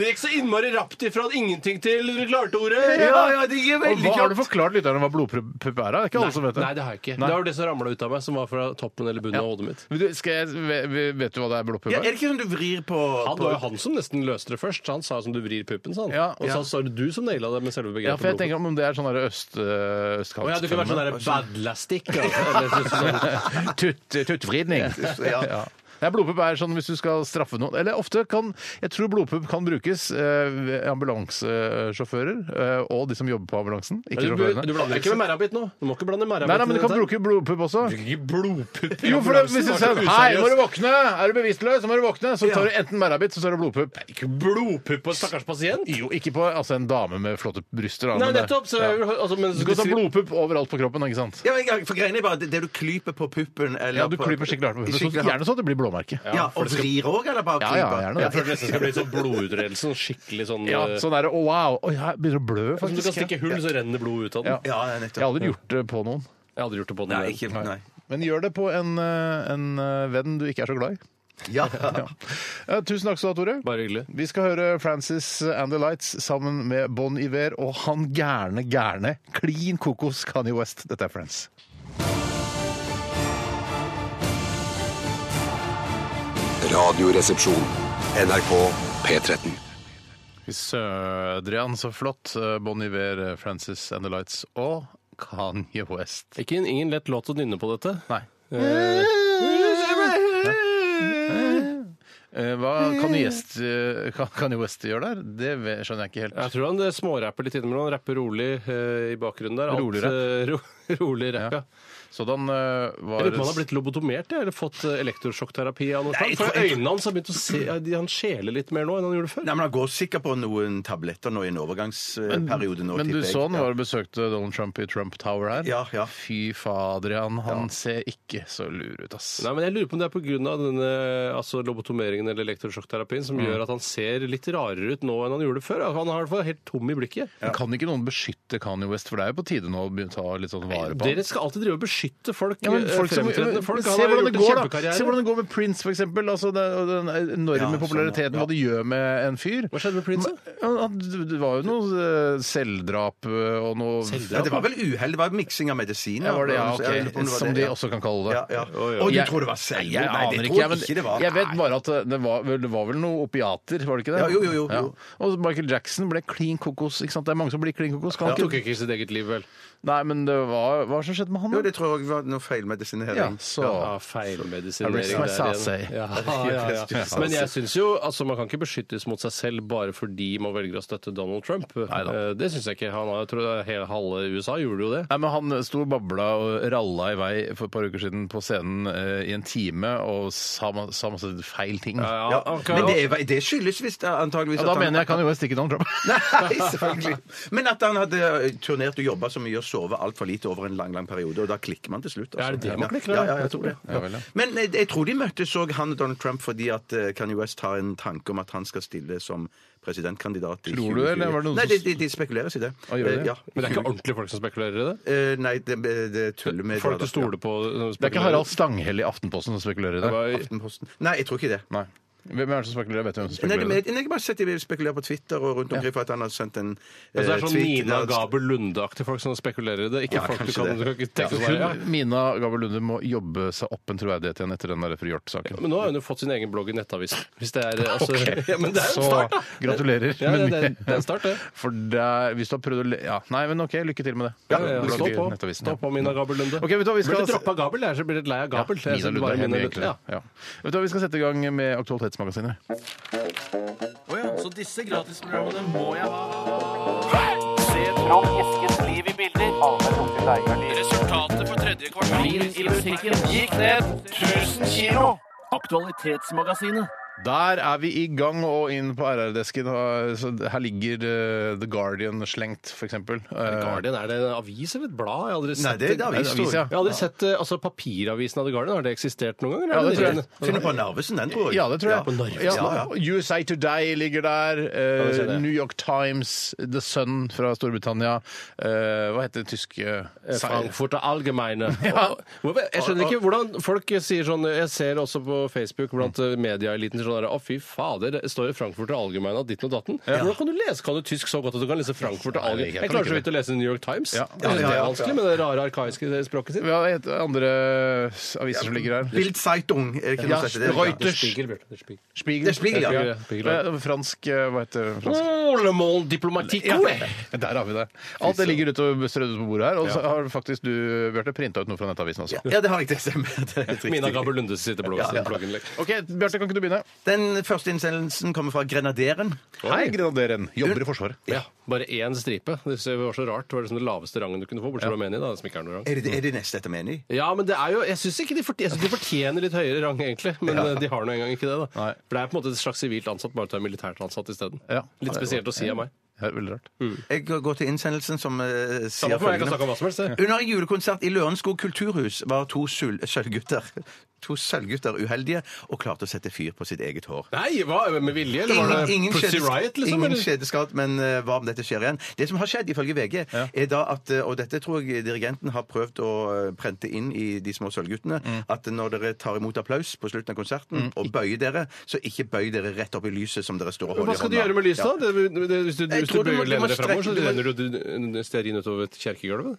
F: Det gikk så innmari rapt ifra ingenting til du klarte ordet.
E: Ja, ja, det gir
D: Og
E: veldig
D: hva Har du
E: kjapt.
D: forklart lytterne hva blodpupp er? da? Det er ikke alle som vet det.
F: Nei, det har jeg ikke.
D: Nei.
F: Det var det som ramla ut av meg, som var fra toppen eller bunnen av hodet mitt.
D: Men du, skal jeg, ve- ve- vet du hva det er blodpupp
E: Ja, er
D: er?
E: det ikke sånn du vrir på,
F: Han
E: på
F: var jo han som nesten løste det først. Han sa som du vrir puppen, sa han.
D: Ja,
F: og
D: ja.
F: så sa det du som naila det med selve begrepet.
D: Ja, for jeg
F: blodpupp.
D: tenker om det er sånn der øst, øh, østkant.
F: Å ja, du kunne vært sånn derre badlastikk. Sånn,
D: Tutt, tuttvridning.
E: Ja.
D: ja. Ja, blodpupp er sånn hvis du skal straffe noen. Eller ofte kan Jeg tror blodpupp kan brukes eh, ved ambulansesjåfører eh, og de som jobber på ambulansen. Ikke
F: du,
D: sjåførene.
F: du blander ikke med merrabit nå. Du må ikke blande merrabit
D: Nei, nei, men du kan bruke blodpupp også.
F: blodpupp
D: Jo, for det, hvis du sier Hei, må du våkne! Er du bevisstløs, så må du våkne! Så tar du enten merrabitt, så tar du blodpupp.
F: Ikke blodpupp på en stakkars pasient?
D: Jo, ikke på altså, en dame med flotte bryster. Da,
F: Nei,
D: men det-
F: nettopp! Så,
D: Ja.
F: altså, men,
D: Du skal ta blodpupp overalt på kroppen, ikke sant?
E: Ja, men jeg- for greiene er bare det, det du klyper på puppen eller
D: Ja, du
E: på-
D: klyper skikkelig hardt på puppen.
E: Skikkelig
D: så-
E: hardt.
D: Gjerne så det blir blåmerke.
E: Ja, og vrir òg, eller bare
D: Ja, ja,
E: klyper?
D: gjerne
F: Jeg
D: det.
F: føler det nesten skal bli sånn blodutredelse. Sånn skikkelig sånn,
D: Ja,
F: eh,
D: sånn er det. Å, wow! Oi, jeg begynner å blø,
F: Som du kan
D: faktisk.
F: stikke hull, så renner blod ut av den.
D: Ja.
E: Ja, ja,
D: Jeg har
E: nettopp.
D: aldri gjort det på noen.
F: Jeg hadde gjort det på den.
E: Nei,
F: veien.
E: ikke Nei.
D: Men gjør det på en, eh, en eh, venn du ikke er så glad i.
E: Ja.
D: Eh, Tusen takk skal du ha, Tore.
F: Bare hyggelig.
D: Vi skal høre Francis and the Lights sammen med Bon Iver og han gærne, gærne, klin kokos Kanye West. Dette er Friends.
A: Radioresepsjon. NRK P13.
D: Fy Sødrian, så flott. Eh, Bon Iver, Francis and the Lights og Kanye West.
F: Ikke en- ingen lett låt å nynne på dette.
D: Nei. Eh, Hva kan West, eh, kan- Kanye West gjøre der? Det ve- skjønner jeg ikke helt.
F: Jeg tror han eh, smårapper litt innimellom. Han Rapper rolig eh, i bakgrunnen der.
D: Rolig rapp?
F: eh, ro rolig rapp, ja.
D: Sådan eh, var
F: Jeg lurer på om han har blitt lobotomert jeg, eller fått eh, elektrosjokkterapi av noe
E: Nei,
F: slag. For
E: jeg-
F: øynene hans har begynt å se ja, de- Han skjeler litt mer nå enn han gjorde før.
E: Nei, men Han går sikkert på noen tabletter nå i en overgangsperiode. nå,
D: Men du
E: tipper jeg.
D: så han var og besøkte Donald Trump i Trump Tower her.
E: Ja, ja.
D: Fy fader, Jan. Han ser ikke så lur ut, ass.
F: Nei, men Jeg lurer på om det er pga. denne altså lobotomeringen eller elektrosjokkterapien
D: Mm.
F: som gjør at han ser litt rarere ut nå enn han gjorde før. Han har i hvert fall helt tom i blikket.
D: Men Kan ikke noen beskytte Kanye West, for det er jo på tide nå å begynne å ta litt sånn vare på
F: Dere
D: han.
F: skal alltid drive og beskytte folk. eh,
D: Ja, men folk som,
F: fremtredende folk. Han
D: se,
F: har
D: hvordan
F: gjort
D: det
F: en
D: går, da.
F: kjempekarriere.
D: se hvordan det går med Prince, for eksempel. Altså, det, og den enorme
E: Ja, sånn,
D: populariteten,
E: ja.
D: hva det gjør med en fyr.
F: Hva skjedde med Prince, da?
D: Men, ja, han- Det var jo noe eh, selvdrap eh, og noe
E: Ja, det var vel uhell. Det var miksing av medisiner.
D: Ja, var det, ja,
E: Jeg lurer
D: ok.
E: på om det var
D: Som
E: det,
D: de
E: ja.
D: også kan kalle det.
E: Ja, ja.
D: Oi, oi.
E: Og du
D: Jeg-
E: tror det var
D: Jeg
E: selvmord? Nei, det
D: aner
E: tror
D: ikke. Jeg,
E: jeg ikke det var.
D: jeg vet bare at det var, vel- det var vel noe opiater, var det ikke det?
E: Ja, jo, jo, jo, jo.
D: Og Michael Jackson ble klin kokos. ikke sant? Det er mange som blir klin kokos. Kan
F: Han tok
D: ikke...
F: ikke sitt eget liv, vel?
D: Nei, men det var, hva som skjedde med han? da?
E: Jo, det tror jeg var noe
D: Ja,
E: feilmedisinering.
D: så...
F: Ja, feilmedisinering.
D: I rest my
F: der igjen.
D: sase.
F: Ja, ja, ja, ja. Men jeg syns jo altså, man kan ikke beskyttes mot seg selv bare fordi man velger å støtte Donald Trump. Eh, Det syns jeg ikke. Han har, jeg tror det er hele halve USA gjorde jo det.
D: Nei, men Han sto og babla og ralla i vei for et par uker siden på scenen eh, i en time og sa, ma- sa masse feil ting. Ja,
E: Ja,
F: han kan-
E: men det, er- det skyldes visst antageligvis
D: Da mener jeg kan jo stikke Donald Trump.
E: Nei, selvfølgelig. Men at han hadde eh, turnert og jobba så mye og sovet altfor lite over en lang lang periode. Og da klikker man til slutt. altså.
F: Er det det man
E: Ja.
F: klikker,
E: Ja,
F: da?
E: ja, jeg tror det.
D: Ja, vel, ja.
E: Men eh, jeg tror de møttes òg, han og Donald Trump, fordi at eh, Kanye West har en tanke om at han skal stille som presidentkandidat. i
D: Tror du det, eller
E: 2020?
D: var det noen
E: Nei,
D: som-
E: de, de, de spekuleres i det.
D: Ah, gjør de
E: Eh,
D: det?
E: ja.
F: Men det er ikke ordentlige folk som spekulerer i det?
E: Eh, Nei, det, det tuller med
F: Folk du stoler på?
D: Det er
F: eh,
D: ikke
F: spekulerer.
D: Harald Stanghelle i Aftenposten som spekulerer i det.
F: Hva-
E: Aftenposten. Nei, jeg tror ikke det.
D: Nei. Hvem er det som spekulerer? Vet du hvem som
E: Nei, det
D: spekulerer?
E: men jeg jeg har bare sett de spekulerer på Twitter og rundt omkring for at han har sendt en eh,
D: Eh,
F: Altså, det er sånn Nina
E: der-
F: Gabel Lunde-aktige folk som spekulerer i det. Ikke
E: Ja,
F: folk du
E: kanskje
F: kan,
E: det.
F: du kan ikke tenke
D: Hun,
F: deg ja.
D: Mina Gabel Lunde må jobbe seg opp en troverdighet igjen etter den der Fri Hjort-saken.
F: Men nå har hun jo fått sin egen blogg i Nettavisen. Hvis det er, altså, ja, men det er jo
D: Så
F: en start, da!
D: gratulerer.
F: Ja, det,
D: men-
F: det, det er en start, det.
D: For der, hvis du har prøvd å le... Ja, nei, men OK, lykke til med det.
F: Ja, ja, ja.
D: Blogg
F: Stå
D: i
F: på.
D: Nettavisen,
F: Stå
D: ja.
F: på, Mina Gabel Lunde.
D: Ok, vet du hva, vi skal-
F: Blir det droppa Gabel, der, så blir det lei av Gabel.
D: Ja,
F: Jeg synes
D: Mina Lunde er
F: det bare Mina
D: mye
F: Lunde.
D: enklere. Ja. Vet du hva, Vi skal sette i gang med Aktualitetsmagasinet. Der er vi i gang og inn på RR-desken. og- så Her ligger eh, The Guardian slengt, Eh, f.eks.
F: Guardian, er det en avis eller et blad? Jeg har aldri sett
E: Nei, det er en avis,
D: tror jeg.
F: Jeg har aldri sett eh, altså, papiravisen av The Guardian. Har det eksistert noen gang?
D: Ja, det tror jeg.
E: Finner på Narvesen, den, tror jeg.
D: Ja, det tror jeg.
E: På Narvesen.
D: Ja,
E: Ja, ja.
D: USA Today ligger der. eh,
F: det ser jeg.
D: New York Times, The Sun fra Storbritannia. eh, hva heter det tyske
F: Eh, Frankfurt Allgemeine. Jeg skjønner ikke hvordan folk sier sånn Jeg ser også på Facebook blant eh, medieeliten sånn der, Å, fy fader, det står jo Frankfurt Allgemeine og ditten og datten. Hvordan kan du lese kan du tysk så godt at du kan lese Frankfurt
D: Nei, jeg kan
F: Allgemeine? Jeg
D: ikke
F: klarer så
D: det.
F: vidt å lese New York Times.
D: Ja.
F: Jeg synes Det er vanskelig med det rare, arkaiske språket sitt.
D: Hva heter andre eh, aviser som ligger her?
E: Bild Zeitung. Er det ikke noe
D: Ja,
E: som heter det?
D: Reuters. Spiegel.
E: Det er Spiegel, ja.
D: Ja, Spiegel, ja. Fransk eh, Hva heter det? fransk?
F: Le Monde Diplomatique,
D: Ja,
F: ouais.
D: der har vi det. Alt det ligger ute og strødd ut på bordet her. Og så har faktisk du, Bjarte, printa ut noe fra Nettavisen også.
E: Ja, det har jeg ikke stemmer. Det er helt
F: Mina
E: riktig.
F: Gabel Lunde sitter bloggen sin. bloggen, like.
D: OK, Bjarte, kan ikke du begynne?
E: Den første innsendelsen kommer fra Grenaderen.
D: Hei, grenaderen. Jobber i Forsvaret.
F: Ja, bare én stripe. Det synes jeg var så rart. Det var liksom den laveste rangen du kunne få, bortsett fra Armenia, da, som ikke er noen rang.
E: Er det, er det neste etter menig?
F: Ja, men det er jo, jeg syns ikke de fortjener, jeg synes de fortjener litt høyere rang, egentlig. Men eh, de har nå engang ikke det. da.
D: Nei.
F: For det er på en måte et slags sivilt ansatt, bare at du er militært ansatt isteden.
D: Ja.
F: Litt spesielt å si av meg.
D: Ja, veldig rart.
E: Jeg går til innsendelsen som eh, sier
F: Samme for meg, jeg kan
E: følgende.
F: snakke om hva som helst. jeg.
E: Under en julekonsert i Lørenskog kulturhus var to sul- sølvgutter To sølvgutter uheldige og klarte å sette fyr på sitt eget hår.
F: Nei, hva, med vilje? Eller var det Pussy
E: skjedes-
F: Riot, liksom?
E: ingen
F: eller?
E: skjedeskatt, men eh, hva om dette skjer igjen? Det som har skjedd, ifølge VG, er da at eh, Og dette tror jeg dirigenten har prøvd å eh, prente inn i de små sølvguttene.
F: Mm.
E: At når dere tar imot applaus på slutten av konserten og bøyer dere, så ikke bøy dere rett opp i lyset som dere står og holder
F: Hva skal du gjøre med lyset, da? Det, det, hvis du,
E: Jeg
F: hvis du
E: tror du må-
F: bøyer
E: du må
F: lener deg framover, så
E: strekke- du må-
F: renner du du- stearin utover et kjerkegulv?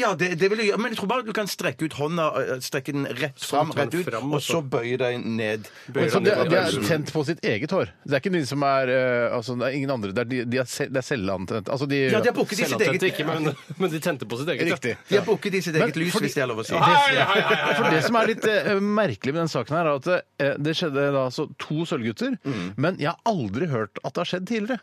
E: Ja, det, det vil jeg gjøre. Men jeg tror bare du kan strekke ut hånda, eh, strekke den rett fram,
F: den
E: rett ut,
F: fram,
E: og så bøye deg ned.
F: Bøyer
D: Så
F: deg
D: det,
F: ned.
D: det er tent på sitt eget hår. Det er ikke de som er eh, altså, Det er ingen andre. Det er, de, de er, selv- det er selvantennende. Altså, de,
E: Ja, de har booket i sitt eget,
F: Selvantente ikke, men, men de tente på sitt eget. ja.
D: Riktig.
E: de har booket i sitt eget
D: Men
E: lys,
D: fordi-
E: hvis det er lov å si.
F: Hei, hei, hei, hei.
D: For det som er litt eh, merkelig med den saken her, er at eh, det skjedde da altså to sølvgutter, men jeg har aldri hørt at det har skjedd tidligere.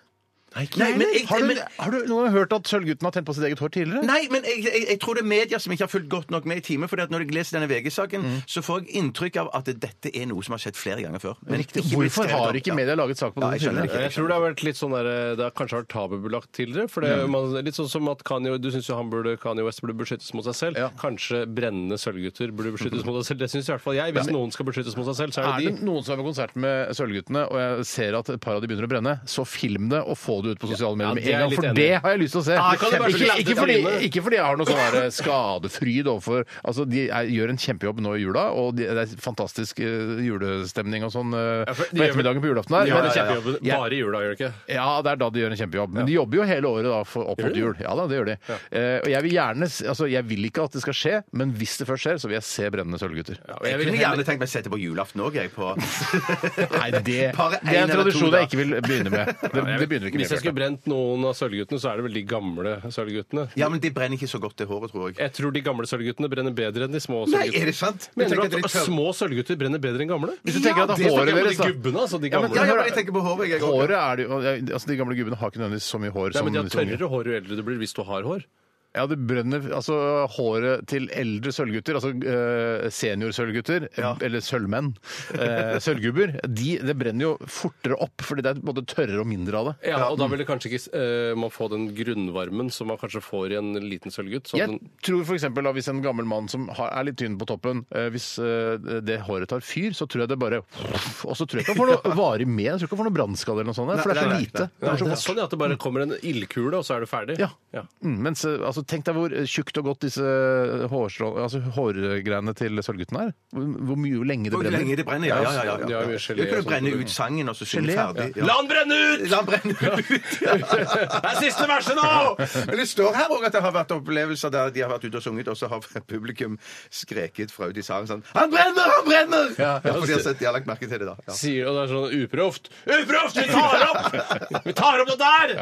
D: Nei, ikke
E: Mm. Nei,
D: jeg
E: men
D: heller.
E: jeg-
D: har, du- har
E: men-
D: du noen gang hørt at Sølvgutten har tent på sitt eget hår tidligere?
E: Nei, men jeg, jeg, jeg tror det er media som ikke har fulgt godt nok med i timen. For når jeg leser denne VG-saken,
D: Mm.
E: så får jeg inntrykk av at dette er noe som har skjedd flere ganger før. Men ikke- ikke blitt
D: Hvorfor
E: skrevet
D: har
E: opp,
D: ikke
E: da.
D: media laget sak på
E: Ja,
D: det?
E: jeg skjønner
D: tidligere?
E: ikke.
F: Jeg tror det har vært litt sånn der, det har kanskje vært tabubelagt tidligere. for det,
D: Mm.
F: man, Litt sånn som at Kanye, du syns Kanye West burde beskyttes mot seg selv.
D: Ja.
F: Kanskje brennende sølvgutter burde beskyttes mot seg selv. Det syns i hvert fall jeg. Hvis noen skal beskyttes mot seg selv,
D: Er
F: så er det
D: det
F: de.
D: noen som er på konsert med Sølvguttene, og jeg ser at et par av de begynner å brenne, så film det og få det ut på sosiale medier med en
F: det er jeg
D: gang. For
F: litt
D: det
F: enig i.
D: har jeg lyst til å se.
F: Ja, det kan jo være så
D: ikke,
F: lett
D: ikke,
F: å
D: fordi,
F: filme.
D: ikke fordi jeg har noe sånn her skadefryd overfor Altså, de er, gjør en kjempejobb nå i jula, og de, det er fantastisk eh, julestemning og sånn eh,
F: Ja, for de
D: på
F: gjør vel-
D: ettermiddagen på julaften her.
F: De har
D: Men-
F: en kjempejobb
D: Ja.
F: bare i jula, gjør de ikke?
D: Ja, det er da de gjør en kjempejobb. Men de jobber jo hele året da for, opp mot jul. Ja da, det gjør de. Eh, og jeg vil gjerne s- Altså, jeg vil ikke at det skal skje, men hvis det først skjer, så vil jeg se brennende sølvgutter.
E: Jeg kunne gjerne tenkt meg å sette på julaften òg, jeg. På.
D: Nei, det, det
E: Bare en
D: er en
E: eller to,
D: tradisjon
E: da.
D: jeg ikke vil begynne med. Det, det begynner ikke
F: Hvis jeg
D: med.
F: skulle brent noen av sølvguttene, så er det vel de gamle sølvguttene.
E: Ja, men de brenner ikke så godt, det håret, tror jeg.
F: Jeg tror de gamle sølvguttene brenner bedre enn de små
E: Nei,
F: sølvguttene.
E: er det sant? Jeg
F: Mener
E: tenker
F: du
E: at
F: at
E: de tør-
F: små sølvgutter brenner bedre enn gamle?
D: Hvis du tenker at det er håret deres,
F: Hvis du tenker på
D: da.
F: de gubbene, altså de
D: Ja, men-
F: gamle.
E: Ja, ja, men jeg tenker på håret, jeg òg.
D: Håret er det jo altså De gamle gubbene har ikke nødvendigvis så mye hår
F: Nei,
D: som
F: men de har
D: disse unge.
F: tørrere hår jo eldre du blir, hvis du har hår.
D: Ja, det brenner Altså, håret til eldre sølvgutter, altså eh, seniorsølvgutter,
E: Ja.
D: eller sølvmenn, eh, sølvgubber, de, det brenner jo fortere opp, fordi det er både tørrere og mindre av det.
F: Ja, og da vil det kanskje ikke eh, man få den grunnvarmen som man kanskje får i en liten sølvgutt. så
D: Jeg
F: den-
D: tror for eksempel, da, Hvis en gammel mann som har, er litt tynn på toppen, eh, hvis eh, det håret tar fyr, så tror jeg det bare Og så tror jeg ikke han får noe varig med. Jeg tror ikke han får noe brannskade eller noe sånt. For det er så
E: nei, nei,
D: lite.
F: Ja, det er sånn ja, at det bare kommer en ildkule, og så er du ferdig.
D: Ja. Mm, mens, eh, altså, tenk deg hvor eh, tjukt og godt disse hårstrå- altså, hårgreiene til Sølvgutten er. Hvor, hvor mye hvor lenge det
E: Hvor
D: brenner.
E: lenge det brenner, ja. ja, ja,
F: De
E: ja, ja.
F: har
E: Du
F: mye gelé og
E: kunne
F: sånt.
E: brenne ut sangen, og så synge
D: Gelé, ja.
E: ferdig.
F: La han brenne ut!
E: La den brenne ut!
F: Det er siste verset nå!
E: Men det står her også at det har vært opplevelser der de har vært ute og sunget, og så har publikum skreket fra ute i salen sånn Han brenner! Han brenner! Ja,
D: Ja,
E: for de har, sett, de har lagt merke til det da. Ja.
F: Sier, og det er sånn uproft. Uproft! Vi tar opp! Vi tar opp det der!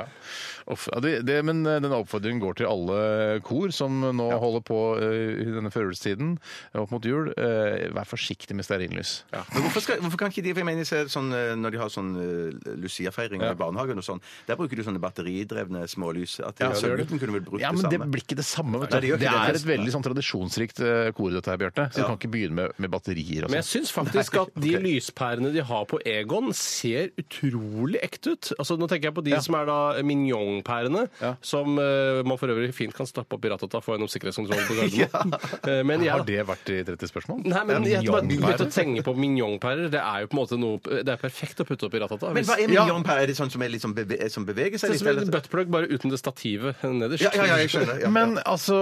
D: Uff, ja, det, det, men eh, denne oppfordringen går til alle eh, kor som nå holder på eh, i denne førjulstiden eh, opp mot jul. Eh, vær forsiktig med stearinlys.
E: Men hvorfor, skal, hvorfor kan ikke de for jeg mener, se sånn, eh, Når de har sånn eh, Lucia-feiring i barnehagen og sånn, der bruker de sånne batteridrevne smålys. At de,
D: Ja,
E: så
D: gjør det.
E: gutten kunne vel brukt
D: Ja, men
E: det
D: det
E: samme.
D: blir ikke det samme. Vet
E: Nei, det
D: du.
E: gjør
D: Det
E: ikke det.
D: er et veldig sånn tradisjonsrikt eh, kor, dette her, Bjarte. Så du kan ikke begynne med, med batterier og
F: Men jeg
D: sånn.
F: syns faktisk at de lyspærene de har på Egon, ser utrolig ekte ut. Altså, nå tenker jeg på de som er da mignon-pærene,
D: Ja.
F: som eh, man for øvrig fint kan stappe opp i rattet og få gjennom sikkerhetskontrollen på Gardermoen. Eh, men
D: Har
F: jeg
D: det vært i 30 spørsmål?
F: Nei, men jeg bare begynte
D: Mignon-pærer?
F: å tenke på mignon-pærer. Det er jo på en måte noe Det er perfekt å putte opp i ratata.
E: Men hva er
D: Ja.
E: million per? Er det sånn som, er litt sånn beve, som beveger seg
F: Det er som en
E: eller?
F: buttplug, bare uten det stativet nederst.
E: Ja, ja, ja, jeg skjønner. Ja,
D: Men altså,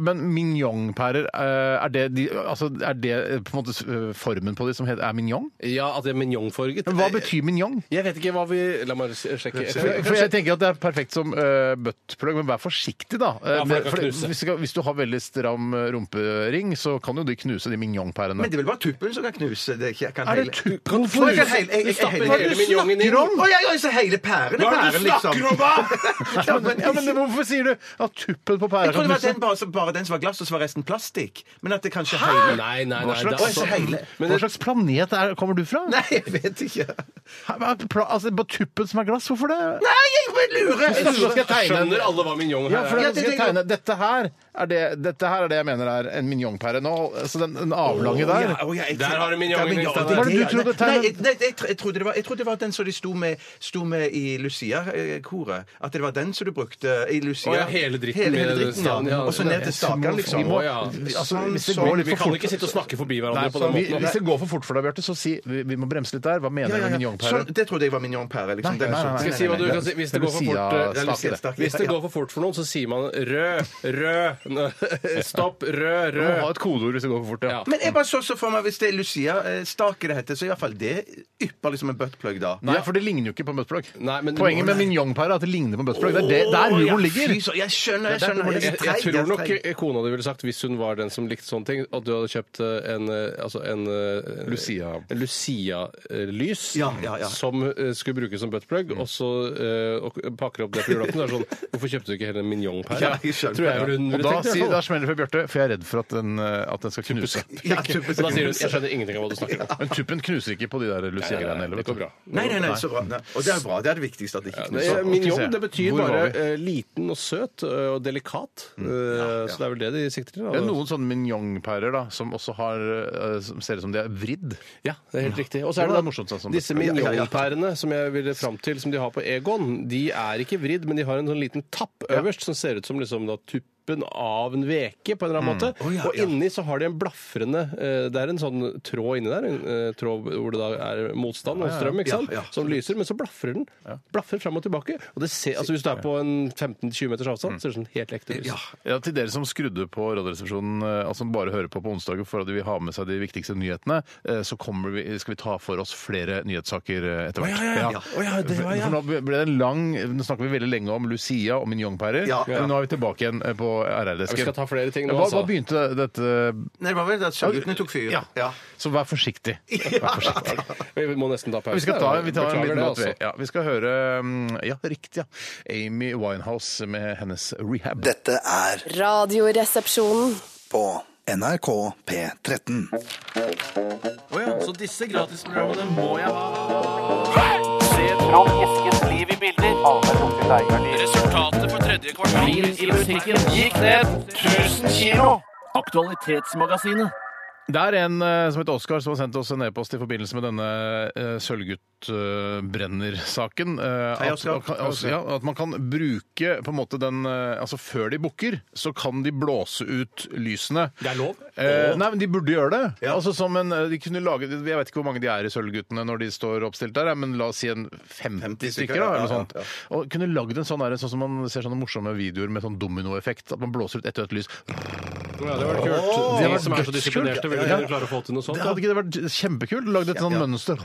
D: men mignon-pærer, eh, er det, de, altså, er det eh, på en måte eh, formen på de som heter, er mignon?
F: Ja, at det er mignonfarget.
D: Men
E: Eh,
D: Hva betyr mignon?
F: Jeg vet ikke hva vi La meg sjekke.
D: For, for jeg tenker at Det er perfekt som uh, buttplug, men vær forsiktig, da. Eh,
F: Ja, for
D: men-
F: det kan
D: for hvis,
F: knuse.
D: du skal- hvis du har veldig stram eh, rumpering, så kan jo de knuse de mignon-pærene.
E: Men det er vel bare tuppen som kan knuse? Det er ikke- jeg kan
D: Er
E: hele-
D: det tuppen?
E: Hvorfor? Jeg kan hele- jeg-
F: Du
E: jeg-
F: stapper
E: hele-
F: hele miniongen inn.
E: Snakker om? Å, jeg jeg så hele pæren i
F: Hva er det
E: pæren,
F: du
E: liksom.
F: snakker om, da?!
E: Ja,
D: Ja, men, ja, men det- Hvorfor sier du at tuppen på pæra
E: Jeg trodde det
D: kan
E: var
D: knuse?
E: den bare, som- bare den som var glass, og så var resten plastikk. Men at det kanskje
F: Nei,
E: hele
F: nei, nei.
D: Hva
F: det er
D: slags-
F: altså-
E: Hva slags-
F: Men
D: Hva
F: det-
D: slags planet er, kommer du fra?
E: Nei, jeg vet ikke.
D: Hæ, hva er pla- Altså, Bare tuppen som er glass, hvorfor det?
E: Nei, jeg bare lurer!
D: Jeg synes- skal jeg tegne en-
F: Skjønner alle hva mignon
D: Ja,
F: her
D: for
F: er?
D: da skal jeg tegne. Dette her er det, dette her er det jeg mener er en mignonpære nå. Så den, den avlange der
E: Å, ja, jeg-
F: Der har du minjongen,
E: Det er minjongen.
F: Steiner.
E: Det er
D: Hva var det du
E: det, ja.
D: trodde,
E: Nei,
D: Teiner?
E: jeg- nei, jeg tr- jeg trodde det var- jeg trodde det var den som de sto med, sto med i Lucia-koret. At det var den som du brukte i Lucia.
F: Å, ja, hele dritten
E: Hele, hele
F: med
E: dritten, ja.
F: staven, ja.
E: Og så ned til staken, liksom.
D: Vi må,
F: Å, ja.
D: altså, hvis det
E: Sånn,
D: går
E: sånn.
D: litt
F: Vi
D: for
F: kan
D: fort
F: ikke sitte og snakke forbi
D: Nei,
F: hverandre på
D: så
F: den
D: vi,
F: måten.
D: Hvis det går for fort for deg, Bjarte, så si vi, vi må bremse litt der. Hva mener
E: Ja,
D: du
E: ja,
D: med
E: ja.
D: mignonpære?
E: Sånn, det trodde jeg var minjonpære. Liksom. Den som-
F: Skal jeg si hva du kan si? Hvis det går for fort, eh,
E: det er Lucia
D: Stake det.
E: Staken,
F: Hvis det
E: ja.
F: går for fort for noen, så sier man rød, rød, stopp, rød,
D: Du må ha
F: rød.
D: et kodeord hvis det går for fort. Ja.
F: Ja.
E: Men jeg bare så så for meg, hvis det er Lucia-stake det heter, så er iallfall det ypperlig som en buttplug da.
D: Ja, for det ligner jo ikke på buttplug.
F: Nei, men-
D: Poenget med mignonpære er at det ligner på buttplug. Det er det, der humoren ligger.
E: Fy, så- jeg skjønner, jeg
D: Det er derfor
E: skjønner.
D: det-
E: Jeg,
F: Jeg,
E: er
F: jeg
E: treig,
F: tror
E: er
F: nok
E: treig.
F: kona di ville sagt, hvis hun var den som likte sånne ting, at du hadde kjøpt eh, en, eh, altså en eh,
D: Lucia.
F: en Lucia-lys
E: Ja, ja, ja.
F: som eh, skulle brukes som buttplug, og så eh, og pakker opp det på julaften. Det er sånn, Hvorfor kjøpte du ikke heller en mignonpære?
E: jeg skjønner.
F: Tror jeg hun
D: Og
F: ville
D: da,
F: tenkt. i hvert
D: sier,
F: fall.
D: da smeller det for Bjarte, for jeg er redd for at den, eh, at den skal knuse.
E: Ja,
F: Så da sier hun 'jeg skjønner ingenting av hva du snakker om'.
D: Men tuppen knuser ikke på de der Lucia-greiene heller.
F: Det går bra.
E: Nei, nei, nei, så bra. Nei. Og det er bra. Det er det viktigste at det ikke sånn.
F: Det
E: knuser.
F: er
D: Skal
F: min
D: vi se.
F: jobb det betyr
D: Hvor var
F: bare
D: vi?
F: eh, liten og søt eh, og delikat.
E: Mm.
F: Eh, Så det er vel det de sikter til. da.
D: Det er noen sånne mignon-pærer da, som også har, eh, som ser ut som de er vridd.
F: Ja, det er helt riktig. Og så
D: Det
F: er det
D: var
F: da
D: morsomt, sånn som
F: disse
D: det-
F: minionpærene som jeg ville fram til, som de har på Egon, de er ikke vridd, men de har en sånn liten tapp øverst som ser ut som liksom da tuppen av en veke, på en eller annen
D: Mm.
F: måte.
E: ja,
F: Og
E: ja.
F: inni så har de en blafrende eh, Det er en sånn tråd inni der, en eh, tråd hvor det da er motstand og strøm, ikke sant,
E: Ja, ja.
F: som lyser, men så blafrer den. Blafrer fram og tilbake. Og det ser, altså hvis du er på en 15-20 meters avstand, så er det sånn helt ekte lys.
E: Ja.
D: Mm. Ja, til dere som skrudde på Radioresepsjonen, eh, altså som bare hører på på onsdager for at de vil ha med seg de viktigste nyhetene, eh, så kommer vi, skal vi ta for oss flere nyhetssaker eh, etter hvert.
F: ja, ja. Å, ja, det var- ja.
D: For nå ble det en lang Nå snakker vi veldig lenge om Lucia og minjonpærer,
E: Ja.
D: men nå er vi tilbake igjen eh, på RR-desken.
F: Vi skal ta flere ting nå,
D: hva,
F: altså.
D: hva begynte dette
E: Nei, det var vel at sjaluttene tok fyr.
D: Ja.
E: Ja.
D: Så vær forsiktig. Vær forsiktig.
F: Vi må nesten ta pause.
D: Vi skal ta vi tar en
F: Beklager
D: liten
F: det,
D: låt. vi.
F: altså.
D: Ja, vi skal høre mm, Ja, riktig, ja. Amy Winehouse med hennes Rehab.
H: Dette er
G: Radioresepsjonen.
H: på NRK P13.
D: Det er en eh, som heter Oskar som har sendt oss en e-post i forbindelse med denne eh, Sølvgutt-Brenner-saken.
E: Hei,
D: at,
E: Oskar.
D: at kan- altså, ja, at man kan bruke på en måte den eh, Altså før de bukker, så kan de blåse ut lysene.
F: Det er lov?
D: Eh, nei, men de burde gjøre det. Altså som en, eh, de kunne lage, Jeg vet ikke hvor mange de er i Sølvguttene når de står oppstilt der, eh, men la oss si en 50,
E: 50 stykker,
D: stykker. da, eller
E: ja,
D: noe
E: ja,
D: sånt. Og kunne lagd en sånn, der, sånn som man ser sånne morsomme videoer med sånn dominoeffekt. At man blåser ut ett og ett lys.
F: Ja, det var kult.
D: det
F: De
D: var
F: som er så
D: dødskult.
F: disiplinerte, vil
D: Ja.
F: dere klare å få til noe sånt?
D: Det
F: da?
D: hadde ikke det vært kjempekult? Lagd et sånt mønster.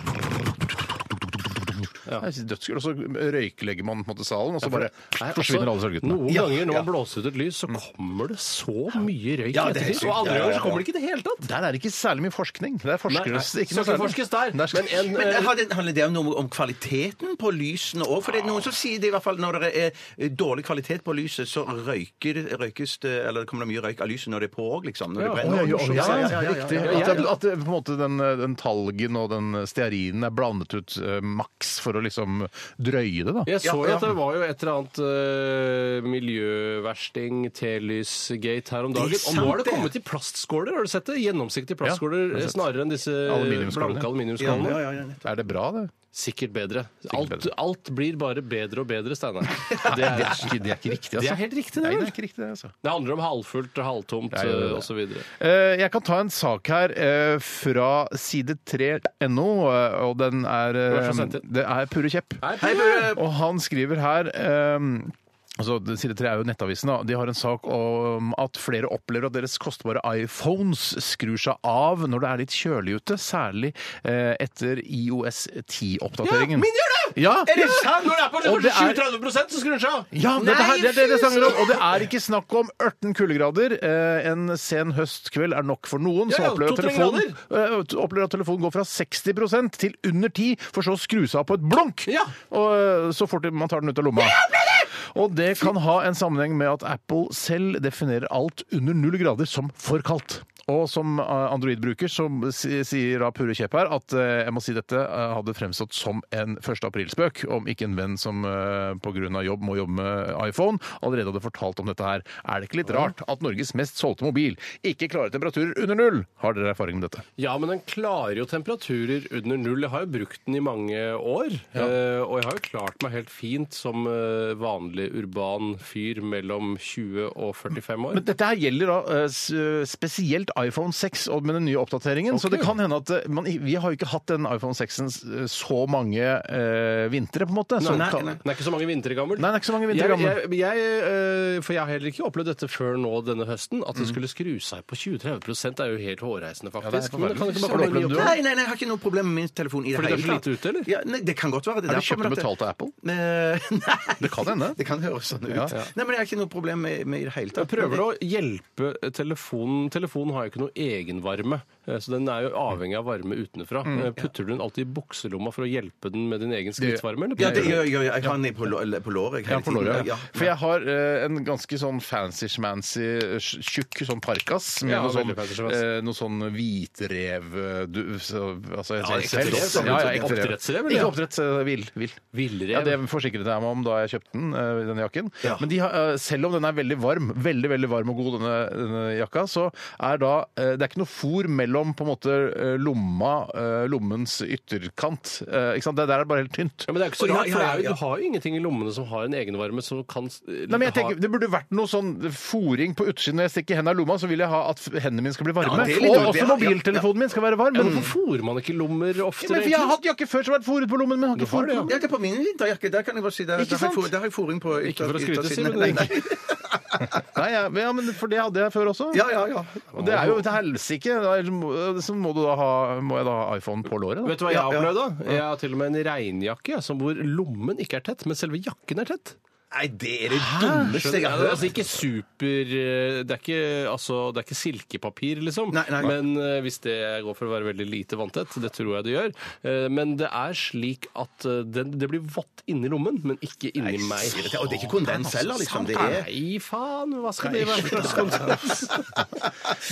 D: Det er Dødskult. Og så røyklegger man på en måte salen, og så bare altså, forsvinner alle sølvguttene.
F: Noen
E: Ja,
F: ganger når
E: ja.
F: man blåser ut et lys, så kommer det så mye røyk
E: Ja, det er helt
F: ettertid.
E: sykt.
F: Og andre
E: Ja, ja, ja.
F: ganger så kommer det ikke i det hele tatt.
D: Der er det ikke særlig mye forskning. Det er forskeres
F: Nei, nei,
D: ikke noe
F: skal ikke
D: særlig.
F: forskes der,
D: skal-
F: men en- eh,
E: Men har det- handler det om noe om kvaliteten på lysene òg? For det er noen som sier det i hvert fall når det er eh, dårlig kvalitet på lyset, så røyker, røykes det Eller det kommer det mye røyk av lyset når det er på òg, liksom? Når det
D: Å,
E: brenner.
D: ja, ja, ja, ja, riktig.
F: ja, ja.
D: At, det- at det, på en måte den, den talgen og den stearinen er blandet ut eh, maks for å liksom drøye det, da.
F: Jeg så
E: Ja,
F: jo
E: ja.
F: at det var jo et eller annet eh, miljøversting, telysgate her om dagen. Og nå har det kommet i plastskåler, har du sett det? Gjennomsiktige plastskåler
D: Ja, jeg har sett.
F: snarere enn disse
D: Aluminiumsskålene.
F: blanke aluminiumsskålene.
E: Ja, ja, ja, ja.
D: Er det bra, det?
F: Sikkert bedre. Alt,
D: bedre.
F: alt blir bare bedre og bedre, Steinar.
D: Det
F: Det,
D: er,
F: er-
D: ikke, det er ikke riktig, altså.
F: det er helt riktig, det.
D: Nei, det
F: vel?
D: er ikke riktig, det, altså.
F: Det handler om halvfullt, halvtomt
D: Nei, det er det.
F: osv.
D: Eh, Jeg kan ta en sak her eh, fra side3.no, eh, og den er eh,
F: Vær så snill.
D: Det er Purre Kjepp.
F: Hei, Bure!
D: Eh, Og han skriver her ehm, Altså, Side 3 er jo Nettavisen. da. De har en sak om at flere opplever at deres kostbare iPhones skrur seg av når det er litt kjølig ute, særlig eh, etter iOS 10-oppdateringen.
F: min gjør det!
D: Ja,
F: Er det sant? Når det er på
D: Og det er-
F: 37 så skrur den seg av!
D: ja, dette her, det er det det snakker om. Og det er ikke snakk om 18 kuldegrader. Eh, en sen høstkveld er nok for noen som
F: Ja, ja,
D: opplever at,
F: to-tre
D: telefonen, eh, opplever at telefonen går fra 60 til under 10, for så å skru seg av på et blunk!
F: Ja.
D: Og eh, så fort man tar den ut av lomma. Og det kan ha en sammenheng med at Apple selv definerer alt under null grader som for kaldt. Og som eh, Android-bruker så si- sier da Purre Kjepp her at eh, jeg må si dette eh, hadde fremstått som en 1. aprilspøk om ikke en venn som eh, pga. jobb må jobbe med iPhone, allerede hadde fortalt om dette her. Er det ikke litt rart at Norges mest solgte mobil ikke klarer temperaturer under null? Har dere erfaring med dette?
F: Ja, men den klarer jo temperaturer under null. Jeg har jo brukt den i mange år. eh, Og jeg har jo klart meg helt fint som eh, vanlig urban fyr mellom 20 og 45 år.
D: Men dette her gjelder da eh, s- spesielt iPhone 6 og med den nye oppdateringen. Så det kan hende at eh, man, vi har jo ikke hatt den iPhone 6-en så mange eh, vintre, på en måte. Så,
E: Nei,
D: ta-
E: nei.
F: Den er ikke så mange vintre gammel.
D: Nei, den er ikke så mange vintre
F: Jeg,
D: gammel.
F: jeg, jeg, eh, for jeg har heller ikke opplevd dette før nå denne høsten. At det skulle skru seg på 20-30 er jo helt hårreisende,
D: Mm. det er
F: faktisk.
D: forferdelig.
F: Men det kan ikke
D: Har du
F: bare komme
D: opplevd
F: en ny
D: det
F: opp-
E: Nei, nei, nei, jeg har ikke noe problem med min telefon i det
F: Fordi
E: hele
F: det er så lite ute, eller?
E: Ja, nei, det kan godt være. Det
D: Er det
E: derfor,
D: kjøpt
E: men
D: og
E: at det-
D: betalt av Apple?
E: Eh, nei.
D: Det kan hende.
E: Det kan høres sånn ut.
D: Ja.
E: Nei, men jeg har ikke noe problem med, med i det hele tatt.
F: Jeg prøver å hjelpe telefonen. Telefonen har jo ikke noe egenvarme. Eh, Så den er jo avhengig av varme utenfra. Eh, Putter du den alltid i bukselomma for å hjelpe den med din egen skrittvarme? eller
E: Ja, det
F: putter du-
E: gjør jeg. Jeg har den på lå- på låret. hele
F: Ja, på låret,
E: tiden.
F: ja.
D: For jeg har eh, en ganske sånn fancy-schmancy, eh, tjukk sånn parkas med
F: Ja,
D: noe,
F: veldig
D: sånn,
F: fancy-schmancy.
D: eh, noe sånn hvitrev eh, du, så, altså, jeg,
F: Ja,
D: ser-
F: ekte rev, sånn-
D: Ja, ja, ekte rev.
F: oppdrettsrev, eller?
D: Ikke oppdretts, eh, vill. vill.
F: Villrev?
D: Ja, det forsikret jeg meg om da jeg kjøpte den, eh, denne jakken.
E: Ja.
D: Men de har, eh, selv om den er veldig varm, veldig veldig varm og god, denne, denne jakka, så er da eh, Det er ikke noe fôr mellom på en måte eh, lomma, eh, lommens ytterkant. eh, Ikke sant? Det der er bare helt tynt.
F: Ja, men det er jo ikke så
E: Ja,
F: rart, for det
E: ja, ja,
F: er jo,
E: ja.
F: du har jo ingenting i lommene som har en egenvarme som kan
D: Nei, men jeg tenker, Det burde vært noe sånn fòring på utsiden når jeg stikker hendene i lomma. Så vil jeg ha at f- hendene mine skal bli varme.
E: Ja, det er litt
D: og
E: dumt,
D: også
E: ja, ja,
D: mobiltelefonen min skal være varm. Men,
F: Hvorfor fôrer man ikke lommer
D: Ja,
F: oftere?
D: men Jeg har hatt jakke før som har vært fòret på lommen, men har
F: Du
D: ikke
F: har
D: fòret på
F: det, ja.
D: lommen.
E: Ja, ikke på min vinterjakke. Der, kan jeg bare si, der,
D: Ikke
E: der, har,
D: sant?
E: jeg fôr, der har jeg fôring på ytter-
F: Ikke for å skryte,
E: yttersiden.
F: Siv, men
E: Nei,
F: det er
E: nei.
D: Nei, ja, men- ja, men For det hadde jeg før også.
E: Ja, ja, ja.
D: Og det er jo til helsike. Da er- Så må, du da ha, må jeg da ha iPhone på låret. Da.
F: Vet du hva jeg
E: Ja,
F: har
E: ja.
F: opplevd, da? Jeg har til og med en regnjakke som hvor lommen ikke er tett, men selve jakken er tett.
E: Nei, det er det dummeste jeg
F: Skjønner
E: har
F: du? Altså
E: hørt.
F: ikke super eh, Det er ikke, altså, det er ikke silkepapir, liksom.
E: Nei, nei.
F: Men eh, hvis det går for å være veldig lite vanntett, det tror jeg det gjør. Eh, Men det er slik at eh, den, det blir vått inni lommen, men ikke inni meg.
E: sier det. Og det er ikke kondens heller, liksom. Det er-
F: Nei, faen! Hva skal det være? for kondens?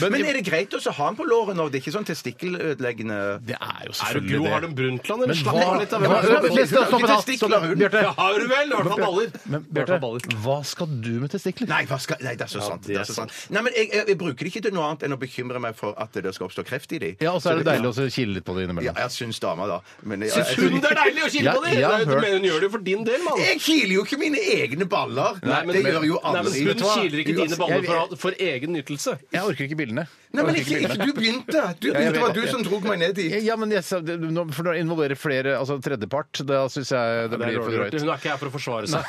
E: Men er det greit også å ha den på låret når det er ikke sånn testikkelødeleggende
D: Det er jo
F: Er du gro? Har du en Brundtland, eller slapp
D: hva-
F: av litt av
D: hva-
F: hvem er
D: Vent
F: det?
D: litt, stopp, stopp, stopp, stopp, stopp, Bjarte.
F: Ja, har du vel? I hvert fall baller.
D: Men
F: I hvert
D: Bjarte,
F: fall baller.
D: hva skal du med testikler?
E: Nei, hva skal, nei, det er så sant. Det er så sant. Nei, men jeg, jeg, jeg bruker det ikke til noe annet enn å bekymre meg for at det skal oppstå kreft i de.
D: Ja, og så er det deilig å så kile litt på det
E: Ja,
D: innimellom.
E: jeg syns dama, da. Men jeg,
F: Syns hun det er deilig å kile
D: Ja,
F: på det?
D: jeg har
F: Nei, Du
D: hørt-
F: mener hun gjør det for din del, mann.
E: jeg kiler jo ikke mine egne baller!
F: Nei, men-
E: det gjør jo alle.
F: Nei, men Hun kiler ikke dine baller for, for egen nytelse.
D: Jeg orker ikke bildene.
E: Nei, men ikke, ikke, du begynte! Du begynte, det var du som drog meg ned dit.
D: Ja, men jeg, sa- det- nå- for når det involverer flere, altså tredjepart, da syns jeg det, blir for drøyt.
F: Hun er ikke her for å forsvare seg.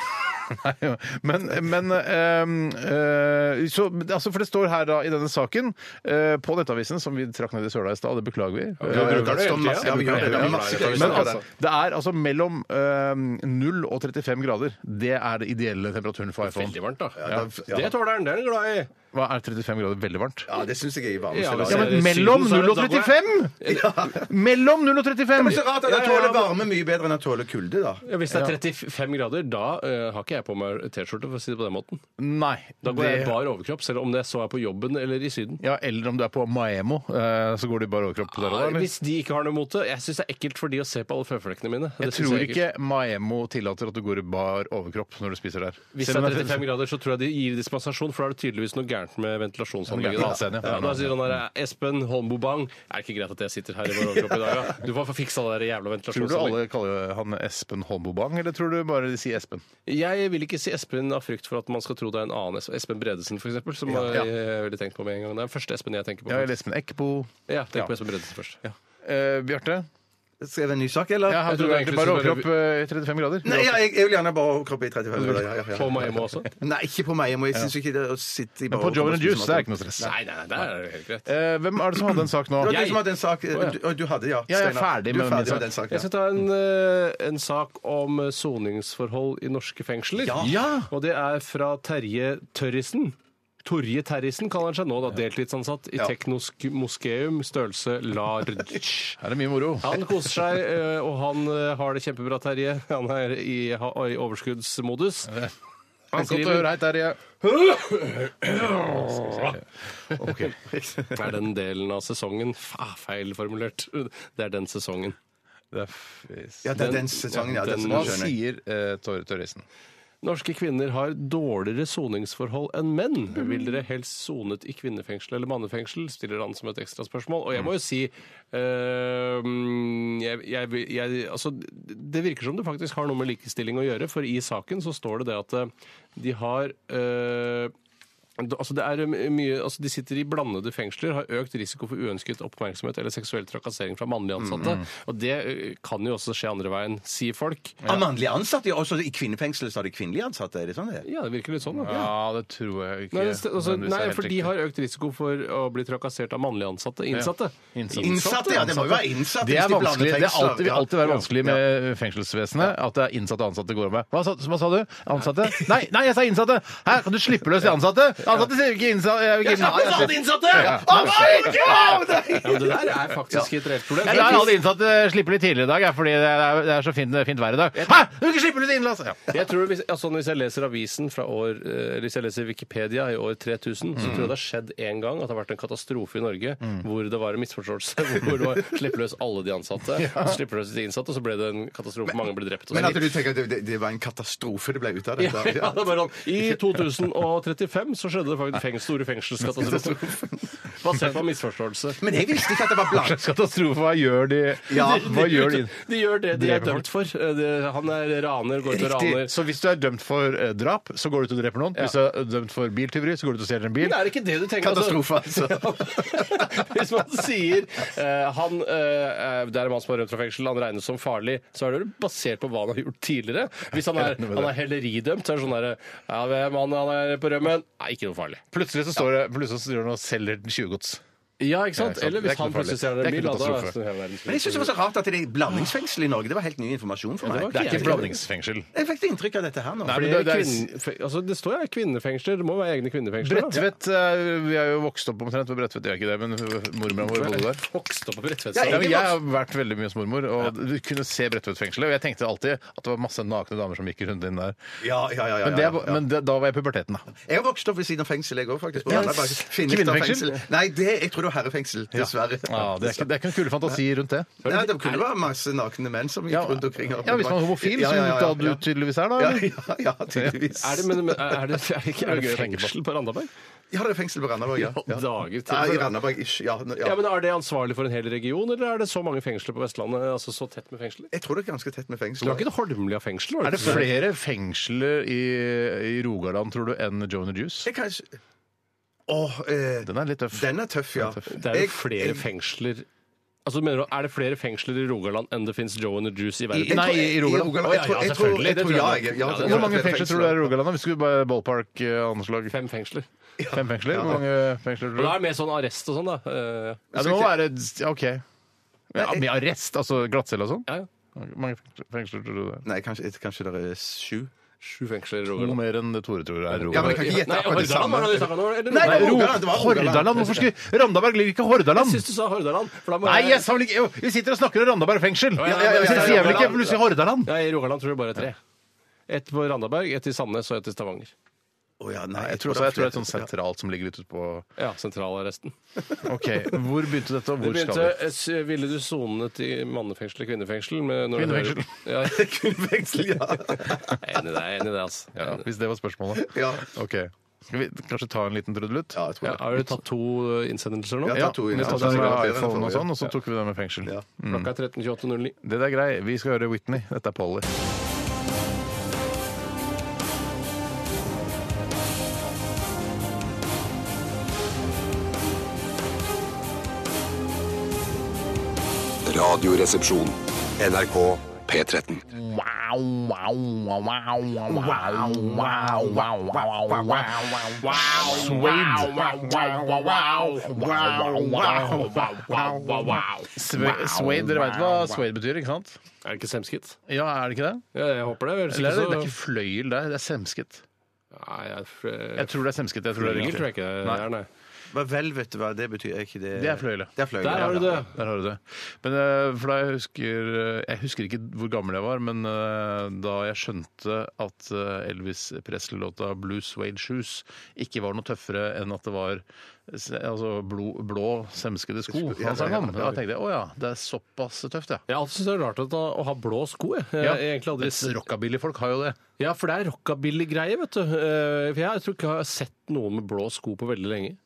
D: Nei, jo. men, men ehm, eh, så, altså For det står her da i denne saken, eh, på Nettavisen, som vi trakk ned i søla i stad, det beklager vi.
F: vi bruker det
D: Eh,
F: hele tiden.
E: Ja, vi gjør det. Vi har masse greier.
D: Men altså, det er altså mellom ehm, 0 og 35 grader. Det er det ideelle temperaturen for iPhone.
F: Veldig varmt, da.
E: Ja,
F: Det tåler den. Det er den glad i.
D: Hva er 35 grader veldig varmt?
E: ja, det syns jeg er i varmeste
F: Ja,
E: laget.
F: hvis
D: Ja,
F: jeg-
D: men
F: i
D: mellom
F: Syden så er
D: 0 og
F: Eh, det dobbelt.
D: 35! Mellom 0 og 35!
E: Men så rart at jeg tåler varme mye bedre enn jeg tåler kulde, da.
F: Ja, hvis det er 35 grader, da eh, har ikke jeg på meg T-skjorte, for å si det på den måten.
D: Nei.
F: Da går jeg
D: det-
F: i bar overkropp, selv om det så er på jobben eller i Syden.
D: Ja, eller om du er på Maemo, eh, så går du i bar overkropp der òg, eller?
F: Hvis de ikke har noe mot det. Jeg syns det er ekkelt for de å se på alle føflekkene mine. Det
D: Jeg
F: synes
D: tror
F: er ekkelt.
D: ikke Maemo tillater at du går i bar overkropp når du spiser der.
F: Hvis det
D: Selv
F: er
D: om
F: 35 grader, så tror jeg de gir dispensasjon, for da er det tydeligvis noe gærent med ventilasjonsanlegget.
D: Noe gærent med AC-en, ja.
F: Ja, da sier han der, Espen Holmbobang, er det ikke greit at jeg sitter her i vår overkropp i dag, da? Du får få fiksa det der jævla
D: Tror du
F: ventilasjonsanlegget.
D: alle kaller han Espen Holmbobang, eller tror du bare de sier Espen?
F: Jeg vil ikke si Espen av frykt for at man skal tro det er en annen Espen. Espen Bredesen, for eksempel, som
D: Ja, ja.
F: jeg har veldig tenkt på med en gang. Det er den første Espen jeg tenker på.
D: Ja, eller Espen Eckbo.
F: Ja, tenk
D: Ja.
F: på Espen Bredesen først.
D: Eh, Bjarte?
E: Skal jeg være en ny sak, eller?
D: Ja, her
F: Jeg tror
D: tror du egentlig
F: egentlig
D: bare
F: så bare-
D: overkropp eh, i 35 grader?
E: Nei, ja, jeg, jeg vil gjerne bare overkropp i 35 grader. Ja, ja, ja.
F: På Maimo også.
E: Nei, ikke på meg. Jeg, må, jeg syns ikke det å sitte i
D: Men på Joe and Juice det er ikke noe stress.
F: Nei, nei, nei, der er det helt greit.
D: Eh, hvem er det som hadde en sak nå?
E: Det var
F: Jeg-
E: du som hadde en sak eh, du, og du hadde, ja.
D: Ja, jeg er
E: Steinar.
D: ferdig
E: Du
D: med
E: er ferdig
D: min
E: med den saken.
F: Jeg
E: Ja.
F: skal ta en, eh, en sak om eh, soningsforhold i norske fengsler.
E: Ah.
D: Ja.
F: Og det er fra Terje Tørrisen. Torje Terrisen kaller han seg nå, da, deltidsansatt i Teknosk Moskeum, størrelse large.
D: Her er det mye moro.
F: Han koser seg, eh, og han eh, har det kjempebra, Terje. Han er i, ha- i overskuddsmodus. Han
D: Godt å høre.
F: skriver
D: Hei, Terje.
F: er den delen av sesongen Fa, feilformulert. Det er den sesongen.
E: ja, det er den sesongen, ja. Den,
F: den-
D: Hva
E: den, skjønner jeg.
D: sier eh, Tore Tørresen?
F: Norske kvinner har dårligere soningsforhold enn menn. Vil dere helst sonet i kvinnefengsel eller mannefengsel? Stiller han som et ekstra spørsmål. Og jeg må jo si eh, jeg, jeg, vil- jeg, altså, Det virker som det faktisk har noe med likestilling å gjøre, for i saken så står det det at eh, de har eh, d- Altså det er eh, mye, altså de sitter i blandede fengsler, har økt risiko for uønsket oppmerksomhet eller seksuell trakassering fra mannlige ansatte. Og det eh, kan jo også skje andre veien, sier folk.
E: Av mannlige ansatte, ja. Også i kvinnefengselet så har de kvinnelige ansatte. Er det sånn det er?
F: Ja, det virker litt sånn. da.
D: Ja, det tror jeg ikke.
F: Nei, det, altså,
D: men hvis det er
F: nei
D: helt
F: for de
D: riktig.
F: har økt risiko for å bli trakassert av mannlige ansatte. Innsatte.
D: Ja. Innsatte.
E: Innsatte, ja. Det må jo være innsatte.
D: Det
E: hvis
D: er
E: de blander
D: vanskelig. Det er alltid,
E: fengsler.
D: vil
E: Ja.
D: alltid være vanskelig med fengselsvesenet. At det er innsatte og ansatte går med. Hva sa, hva sa du? Ansatte? Nei, nei, jeg sa innsatte! Hæ, kan du slippe løs de ansatte? Ansatte sier ikke innsatte. Jeg vil ikke Nei, jeg sier-
F: innsatte!
D: Ja,
F: Ja, men det der er faktisk et reelt problem.
D: Jeg lar alle innsatte slippe litt tidligere i dag, jeg, fordi det er, det er så fint, fint vær i dag. Hæ! Du vil ikke slippe litt innenlands! Ja.
F: Jeg tror hvis, altså hvis jeg leser avisen fra år eh, Hvis jeg leser Wikipedia i år 3000, så tror jeg det har skjedd én gang at det har vært en katastrofe i Norge hvor det var en misforståelse. Hvor det var slipp løs alle de ansatte, så slipper løs de innsatte, og så ble det en katastrofe. Mange ble drept. og
E: Men
F: så
E: at du tenker at det, det, det var en katastrofe det ble ut av
F: Ja,
E: dette?
F: ja, det er bare sånn. I 2035 så skjedde det faktisk feng, store fengselskatastrofer. Basert på en misforståelse.
E: Men jeg visste ikke at det var
D: Hva
E: blant
D: slags katastrofe? Hva gjør de?
E: Ja,
D: hva gjør de?
F: De gjør det de er dømt for. Eh, det- Han er raner, går ut og raner.
D: Riktig. Så hvis du er dømt for eh, drap, så går du ut og dreper noen. Hvis du er dømt for biltyveri, så går du ut og stjeler en bil.
F: Men er det ikke det du tenker?
E: katastrofe, altså.
F: Hvis man sier eh, han eh, det er en mann som har rømt fra fengsel, han regnes som farlig, så er det vel basert på hva han har gjort tidligere. Hvis han er, han er helleridømt, så er det sånn derre Ja, hvem han han er på rømmen? Nei, ikke noe farlig.
D: Plutselig så står det plutselig så står det noe og selger 20 gods.
F: Ja, ikke
D: sant?
F: sant? Eller
D: Det er
F: hvis
D: ikke
F: han
D: noe farlig.
F: plutselig stjeler en
D: Det er
F: bil,
D: ikke
F: da. da er
D: katastrofe.
F: det sånn liksom. hele verden-
E: Men jeg syns det var så rart at det er blandingsfengsel i Norge. Det var helt ny informasjon for meg.
F: var
D: Det er
F: jeg
D: ikke blandingsfengsel.
E: Jeg fikk inntrykk av dette her nå.
D: Nei, men
F: Flere
D: det- det er-
F: kvinne- fe- altså, det står jo kvinnefengsler. Det må være egne kvinnefengsler. da.
D: Bredtvet eh, Vi er jo vokst opp omtrent på Bredtvet, gjør jeg ikke det? Men mormora vår bodde der.
F: Vokste opp på Bredtvet.
D: Ja, men jeg har vært veldig mye hos mormor, og du kunne se Bredtvet-fengselet. Og jeg tenkte alltid at det var masse nakne damer som gikk rundt inn der.
E: Ja, ja, ja, ja,
D: Men, det,
E: ja, ja.
D: men det, da var jeg i puberteten, da.
E: Jeg har vokst opp ved siden av fengsel, jeg òg, faktisk. På
D: Ja,
E: Randaberg.
D: s-
E: Finnes det
D: kvinnefengsel?
E: fengsel? Nei, det, jeg tror det var herrefengsel, dessverre.
D: Ja, det, er ikke, det er ikke noen kule fantasier rundt det.
E: Nei, det kunne være masse nakne menn som gikk
D: Ja,
E: rundt omkring.
D: ja, hvis man er homofil, som da du tydeligvis er, da.
E: Ja,
D: eller?
E: ja, ja, tydeligvis.
F: Er det, men, men er det, er det, ikke- er det
D: Det er gøy å tenke på.
F: fengsel på Randaberg?
E: Ja, det er fengsel på Randaberg, ja. ja.
F: Dager til.
E: Ja, I Randaberg, ish. Ja, ja.
F: Ja, men Er det ansvarlig for en hel region, eller er det så mange fengsler på Vestlandet? altså så tett med fengsler?
E: Jeg tror det er ganske tett med
F: Det
E: fengsel.
F: var ikke det Holmlia fengsel? var
D: Er det
F: ikke det?
D: flere fengsler i, i Rogaland, tror du, enn Joan and the Juice?
E: Jeg kanskje... Åh, eh,
D: Den er litt tøff.
E: den er tøff, ja.
F: Det er jo
E: Jeg-
F: flere fengsler Altså, mener du, Er det flere fengsler i Rogaland enn det fins Joe and the Juice i verden?
E: jeg-
D: Nei, i Rogaland.
E: Jeg tror,
D: Å, ja,
E: jeg tror,
D: ja,
E: jeg tror,
D: selvfølgelig,
E: jeg
D: det
E: tror
D: tror
E: ja,
D: jeg.
E: jeg, ja, jeg tror
D: Hvor
E: det
D: mange
E: flere
D: fengsler tror du er i Rogaland? da? Hvis vi skulle bare eh, ballpark-anslag.
F: Fem fengsler.
D: Fem fengsler? Hvor mange fengsler
F: Og
D: tror
F: da
D: du?
F: er det mer sånn arrest og sånn, da. Eh,
D: Ja, det må være OK. Ja, med arrest, altså glattcelle og sånn?
F: Ja, ja.
D: Hvor mange fengsler- fengsler tror du det er?
E: Nei, kanskje, jeg- kanskje det er sju.
F: Sju fengsler i
D: Noe
F: Rogaland.
D: mer enn det Tore tror det er
E: Ja, men jeg
D: Rogaland.
E: kan ikke gjette
F: Nei,
E: akkurat det
F: Hordaland
E: samme.
F: var det du snakket om,
E: Nei,
F: eller?
E: det var
F: Nei,
E: Rogaland, det var
D: Hordaland! Hvorfor skulle Randaberg ligger ikke i Hordaland?
F: Jeg syns du sa Hordaland. For da må
D: Nei, jeg sa vel ikke jo, Vi sitter og snakker om Randaberg fengsel!
F: ja, ja, ja,
D: Så jeg
F: ja,
D: sier vel ikke
F: Rogaland.
D: plutselig Hordaland?
F: Ja, I Rogaland tror jeg bare det er tre. Ett på Randaberg, ett i Sandnes og ett i Stavanger.
E: Å ja,
D: Jeg tror,
E: nei, det
D: jeg
E: er
D: tror det er
E: flere.
D: et sånt sentralt som ligger litt utpå
F: Ja, sentralarresten.
D: OK, hvor begynte dette, og
F: Du
D: hvor skal
F: begynte,
D: vi?
F: eh, s- Ville du sonet i mannefengsel eller kvinnefengsel? Med når du
D: Kvinnefengsel.
F: hører- Ja, jeg
E: Fengsel, ja.
F: er enig i det, jeg er enig i det, altså. Jeg er
D: Ja,
F: enig i det.
D: hvis det var spørsmålet.
E: Ja.
D: OK. Skal vi kanskje ta en liten trudelutt?
E: Ja, jeg tror
F: Ja,
E: det.
F: har du tatt to eh, innsendelser nå?
E: Ja,
D: Ja,
E: ta to inn,
D: vi
E: ja.
D: tok
E: Ja,
D: den med
E: så er det flere enn
D: iPhone og
E: forrige.
I: altså.
D: sånn, og så tok vi den med fengsel.
E: Ja.
F: Klokka er 13.28.09.
D: Det der er grei. Vi skal høre Whitney. Dette er Polly.
A: Radioresepsjon. NRK P13.
D: Swade, Swade, dere veit hva Swade betyr, ikke sant?
F: Er det ikke semskit?
D: Ja, er det ikke det? Altså-
F: Ja, jeg håper det. Ellers
D: Eller
F: ikke
D: er det, det er
F: så
D: ikke fløyel der, det er semsket.
F: Nei, jeg,
D: Jeg tror det er semsket. Jeg tror det er
F: Fløyel tror jeg
D: riktig.
F: ikke det
D: Nei.
F: er, nei.
E: Hva velvet, hva det betyr? Er ikke det
D: Det er fløyle.
E: Det er fløyle,
F: Der har du det.
D: Der har du det. Men, eh, for da jeg husker eh, Jeg husker ikke hvor gammel jeg var, men eh, da jeg skjønte at eh, Elvis Presley-låta 'Blue Suede Shoes' ikke var noe tøffere enn at det var se- altså, blå, blå semskede sko han sang om, da tenkte jeg å ja, det er såpass tøft, ja.
F: Jeg alltid synes det er rart at å, å ha blå sko. Jeg. Jeg,
D: ja.
F: jeg egentlig aldri
D: Mens Rockabilly-folk har jo det.
F: Ja, for det er rockabilly-greie, vet du. Eh, For jeg tror ikke jeg har sett noen med blå sko på veldig lenge.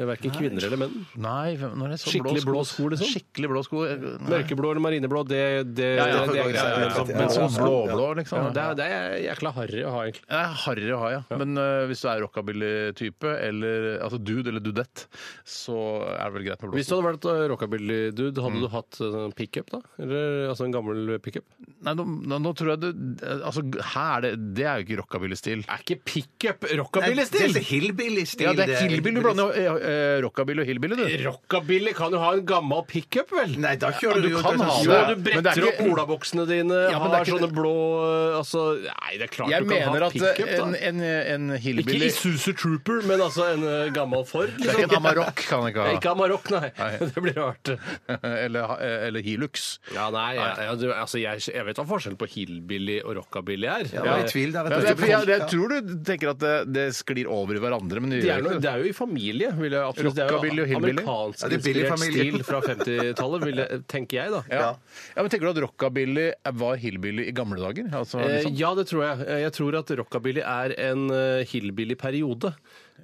F: Verken kvinner eller menn.
D: Nei, hvem- når jeg så
F: Skikkelig blå sko, liksom?
D: Skikkelig blå sko. jeg- nei.
F: Mørkeblå eller marineblå, det, det,
D: Ja, ja,
F: det,
D: ja,
F: det er
D: ja,
F: greit.
D: ja. Men sånn blå-blå, liksom.
F: Ja, det, er, det er jækla harry å ha, egentlig.
D: Det er harry å ha, ja. Men øh, hvis du er rockabilly-type, eller altså dude eller dudett, så er det vel greit med blå
F: Hvis du
D: sko.
F: hadde vært eh, rockabilly-dude,
D: Mm.
F: hadde du hatt eh, sånn pickup, da? Eller altså en gammel pickup?
D: Nei, nå, nå, nå tror jeg det Altså, her er det Det er jo ikke rockabilly-stil.
F: Er ikke pickup
E: Nei, Det er
F: rockabilly-stil?
E: så hillbilly-stil.
D: Ja, det er hillbilly du blander. Jeg, jeg, eh, rockabilly og hillbilly, du.
F: Rockabilly kan jo ha en gammel pickup, vel?
E: Nei, da kjører
D: du
E: du jo
D: kan
E: til-
D: ha
F: Jo,
D: det.
F: du
D: Men det er
F: bretter
D: ikke-
F: opp olaboksene dine,
D: Ja, men det er
F: har
D: ikke-
F: sånne blå altså, Nei, det er klart
D: Jeg
F: du kan
D: mener
F: ha
D: at
F: pickup, da.
D: en, en, en
F: Ikke
D: hillbilly
F: Isuzu Trooper, men altså en eh, gammel Ford.
D: Det er ikke en Amarok, kan jeg
F: Nei,
D: ikke ha.
F: Ikke Amarok, nei.
D: Nei.
F: Det blir rart.
D: Eller, eh, eller Hilux.
F: Ja, nei, jeg, jeg, du, altså, jeg, jeg vet hva forskjellen på hillbilly og rockabilly er. Eh,
E: Jeg var i tvil der.
D: Ja,
E: Vet
D: det, er,
E: du.
D: for jeg, jeg tror du tenker at det, det sklir over i hverandre, men det
F: Det er,
D: gjør
F: noe,
D: ikke
F: det
D: det.
F: er jo i familie, vil jeg absolutt Det er jo
D: Rockabilly og hillbilly.
F: Amerikansk
E: Ja, det er billig
F: inspirert
E: familie.
F: stil fra 50-tallet, vil jeg- tenker jeg, da.
D: Ja. ja, men Tenker du at rockabilly var hillbilly i gamle dager? Altså,
F: Eh,
D: liksom?
F: Ja, det tror jeg. Eh, Jeg tror at rockabilly er en eh, hillbilly-periode.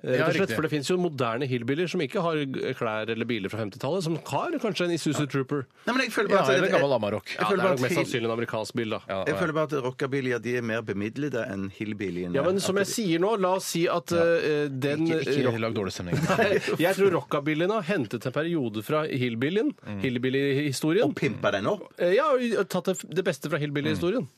F: Eh,
D: Ja,
F: rett og slett,
D: riktig.
F: for Det finnes jo moderne hillbillyer som ikke har g- klær eller biler fra 50-tallet, som har kanskje en Isuzu Trooper.
E: Nei, men jeg føler
D: ja,
E: bare at
D: eller gammel Amarok.
F: Ja,
E: føler
F: Det er
E: bare
F: nok mest
E: at hill-
F: sannsynlig en amerikansk bil, da. Ja.
E: jeg føler bare at rockabillyer de er mer bemidlede enn hillbillyene.
F: men som jeg sier nå, la oss si at eh, den
D: Ikke,
F: rock-
D: ikke lag dårlig stemning.
F: Jeg tror rockabillyen har hentet en periode fra hillbillyen, hillbilly-historien.
E: Og pimper den opp?
F: Eh, Ja, og tatt det f- det beste fra hillbilly-historien.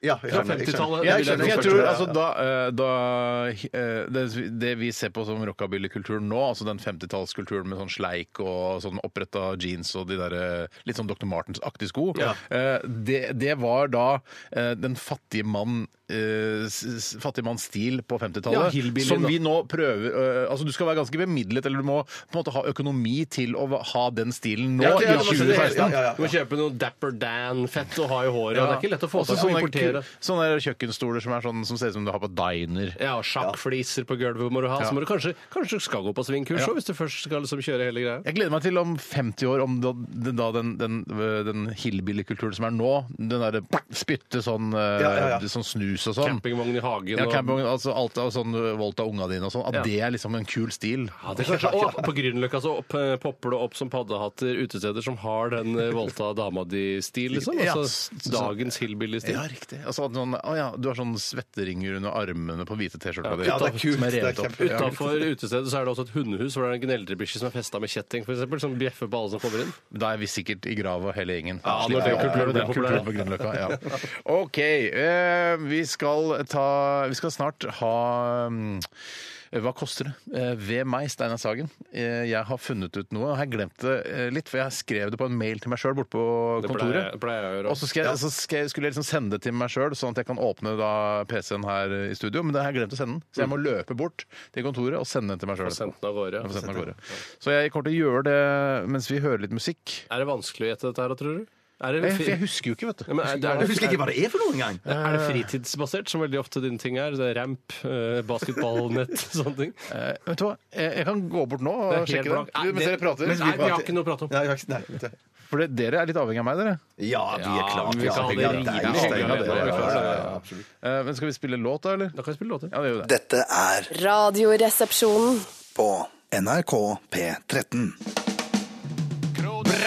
E: Ja, jeg
F: Fra
E: skjønner, jeg skjønner.
F: 50-tallet.
E: Ja,
D: Jeg,
E: skjønner,
D: jeg
E: skjønner,
D: tror
E: ja,
D: altså
E: ja.
D: da, eh, da eh, det, det vi ser på som rockabillykulturen nå, altså den 50-tallskulturen med sånn sleik og sånn oppretta jeans og de der eh, litt sånn Dr. Martens-aktige sko, eh, det, det var da eh, den fattige mann eh, s- s- fattige manns stil på
F: Ja,
D: 50-tallet,
F: hillbilly,
D: som
F: da.
D: vi nå prøver eh, altså Du skal være ganske bemidlet, eller du må på en måte ha økonomi til å va- ha den stilen nå.
F: Ja,
D: i
E: det er det man sier,
D: 2016.
E: ja, ja, ja.
F: Du må kjøpe noe Dapper Dan-fett og ha i håret.
D: Ja.
F: og sånn Det er ikke lett å få
D: Også
F: tak i.
D: sånne,
F: Importere.
D: ku- sånne kjøkkenstoler som, er sånn, som ser ut som du har på diner.
F: Ja, sjakkfliser på gulvet må du ha.
D: Ja.
F: Så må du kanskje, kanskje du skal gå på svingkurs
D: Ja.
F: også, hvis du først skal liksom kjøre hele greia.
D: Jeg gleder meg til om 50 år, om da, da den, den, den hillbilly-kulturen som er nå, den derre spytte sånn, eh,
E: Ja, ja, ja.
D: sånn snus og sånn
F: Campingvogn i hagen
D: ja,
F: og-
D: camping, altså alt av sånn voldt av unga dine og sånn. At
F: Ja.
D: det er liksom en kul stil.
F: Ja, det er kanskje, og på Grünerløkka så opp, eh, popper det opp som paddehatter utesteder som har den eh, voldta dama di-stil, liksom.
D: Ja, s- s-
F: Altså dagens hillbilly-stil.
D: Ja, riktig. Altså, at sånn, å, ja, du har sånn svetteringer under armene på hvite T-skjorta di.
E: Ja, det er kult,
D: Som er
E: det er
D: revet opp.
E: kjempe-
D: Ja.
F: Utafor utestedet så er det også et hundehus hvor det er en gneldrebikkje som er festa med kjetting, for eksempel, som bjeffer på alle som kommer inn.
D: Da er vi sikkert i grava hele gjengen.
F: Ja,
D: Slipp
F: når den
D: å-
F: kulturen blir
D: den
F: populær.
D: på Grünerløkka. Ja. OK. eh, vi, skal ta, vi skal snart ha mm, Hva koster det? Eh, ved meg, Steinar Sagen. Eh, jeg har funnet ut noe. og Jeg glemte det eh, litt, for jeg skrev det på en mail til meg sjøl borte på
F: Det
D: kontoret.
F: pleier- pleier jeg å gjøre.
D: Og så, skal jeg, så skal jeg, skulle jeg liksom sende det til meg sjøl, sånn at jeg kan åpne da PC-en her i studio. Men det har jeg glemt å sende den, så jeg må løpe bort til kontoret og sende den til meg
F: Og
D: sjøl.
F: sendt den av gårde.
D: Så jeg kommer til å gjøre det Eh, mens vi hører litt musikk.
F: Er det vanskelig å gjette dette her, da, tror du? Er
D: Nei,
F: det,
D: for jeg husker jo ikke, vet du.
F: Ja, men er, det,
E: Jeg
F: er,
E: husker
F: det,
E: ikke hva det er for noe engang.
F: er det fritidsbasert, som veldig ofte dine ting er? Det er Ramp, eh, basketballnett, sånne ting?
D: Eh, vet du hva, jeg, jeg kan gå bort nå og
F: Det er helt
D: sjekke
F: blankt.
D: det. Du, mens
F: Nei,
D: dere prater.
F: Nei, vi har ikke noe å prate om.
E: Nei, jeg har ikke- nei, det-
D: For det- dere er litt avhengig av meg, dere.
E: Ja, vi er klart.
F: vi kan ha det
E: avhengig av deg,
F: rimelig hyggelig
E: Steinar,
F: alene,
E: det er-
F: vi kan ha det.
D: Eh, men skal vi spille låt, da, eller?
F: Da kan jeg spille låter.
D: Ja, det gjør vi det.
H: Dette er
G: Radioresepsjonen.
H: på NRK P13.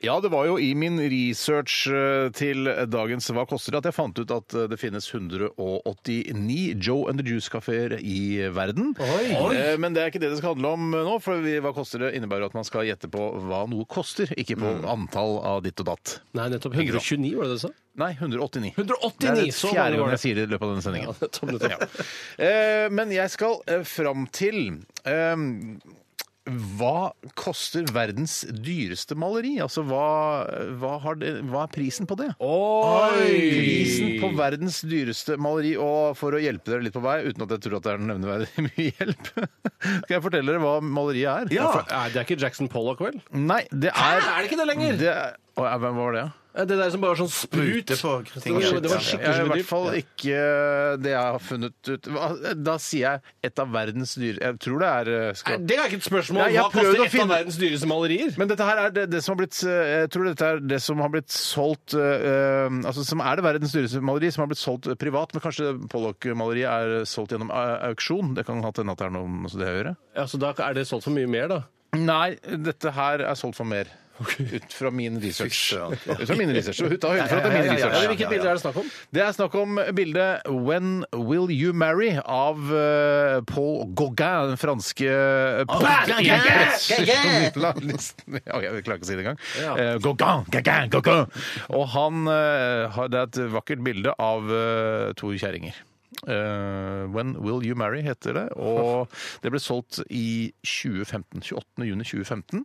D: Ja, det var jo i min research eh, til dagens Hva koster det? at jeg fant ut at eh, det finnes 189 Joe and the Juice-kafeer i verden. Eh, Men det er ikke det det skal handle om eh, nå, for vi- Hva koster det innebærer at man skal gjette på hva noe koster, ikke på antall av ditt og datt.
F: Nei, nettopp. 129, var det det du sa?
D: Nei, 189.
F: 189,
D: Det er det
F: så
D: fjerde
F: mange Sånn
D: gang
F: var det.
D: jeg sier det i løpet av denne sendingen.
F: nettopp, nettopp.
D: Eh, Men jeg skal eh, fram til eh, hva koster verdens dyreste maleri? Altså, hva, hva, har det, hva er prisen på det? Prisen på verdens dyreste maleri, og for å hjelpe dere litt på vei, uten at jeg tror at det er nevneverdig mye hjelp, skal jeg fortelle dere hva maleriet er?
F: Ja, for- Nei, det er ikke Jackson Pollock, vel?
D: Nei, det er
F: Hæ, er det ikke det lenger?
D: Det er, Å, ja, hvem var det? ja?
F: Eh, Det der som bare var sånn sprut.
E: Ute på
F: Det var,
D: Jeg
F: det var
D: er i
F: skikkelig
D: hvert
F: dyrt.
D: fall ikke det jeg har funnet ut Hva- Da sier jeg et av verdens dyre Jeg tror det er eh,
F: Nei,
D: skal...
F: Det er ikke et spørsmål.
D: Nei, jeg
F: Hva
D: prøvde å
F: koster et
D: finne-
F: av verdens dyreste malerier?
D: Men dette her er det, det som har blitt eh, Jeg tror dette er det som har blitt solgt eh, eh, Altså som er det verdens dyreste maleri, som har blitt solgt eh, privat, men kanskje Pollock-maleriet er eh, solgt gjennom eh, auksjon? Det kan hende at det er noe med det å gjøre?
F: Ja, så da er det solgt for mye mer, da.
D: Nei, dette her er solgt for mer. Ut fra min research.
E: søren.
D: Ut fra min research. Så hun tar høyde for at det er min
E: Ja, ja, ja, ja, ja, ja, ja, ja, ja.
D: research.
F: Hvilket bilde er det snakk om?
D: Det er snakk om bildet 'When Will You Marry' av eh, Paul Gauguin, den franske eh,
E: Gauguin!
D: Gauguin! Ja, jeg klarer ikke å si det engang. Eh, Gauguin, Gauguin, Gauguin! Og han eh, har Det er et vakkert bilde av eh, to kjerringer. Eh, When Will You Marry heter det. Og det ble solgt i 2015. 28. juni 2015.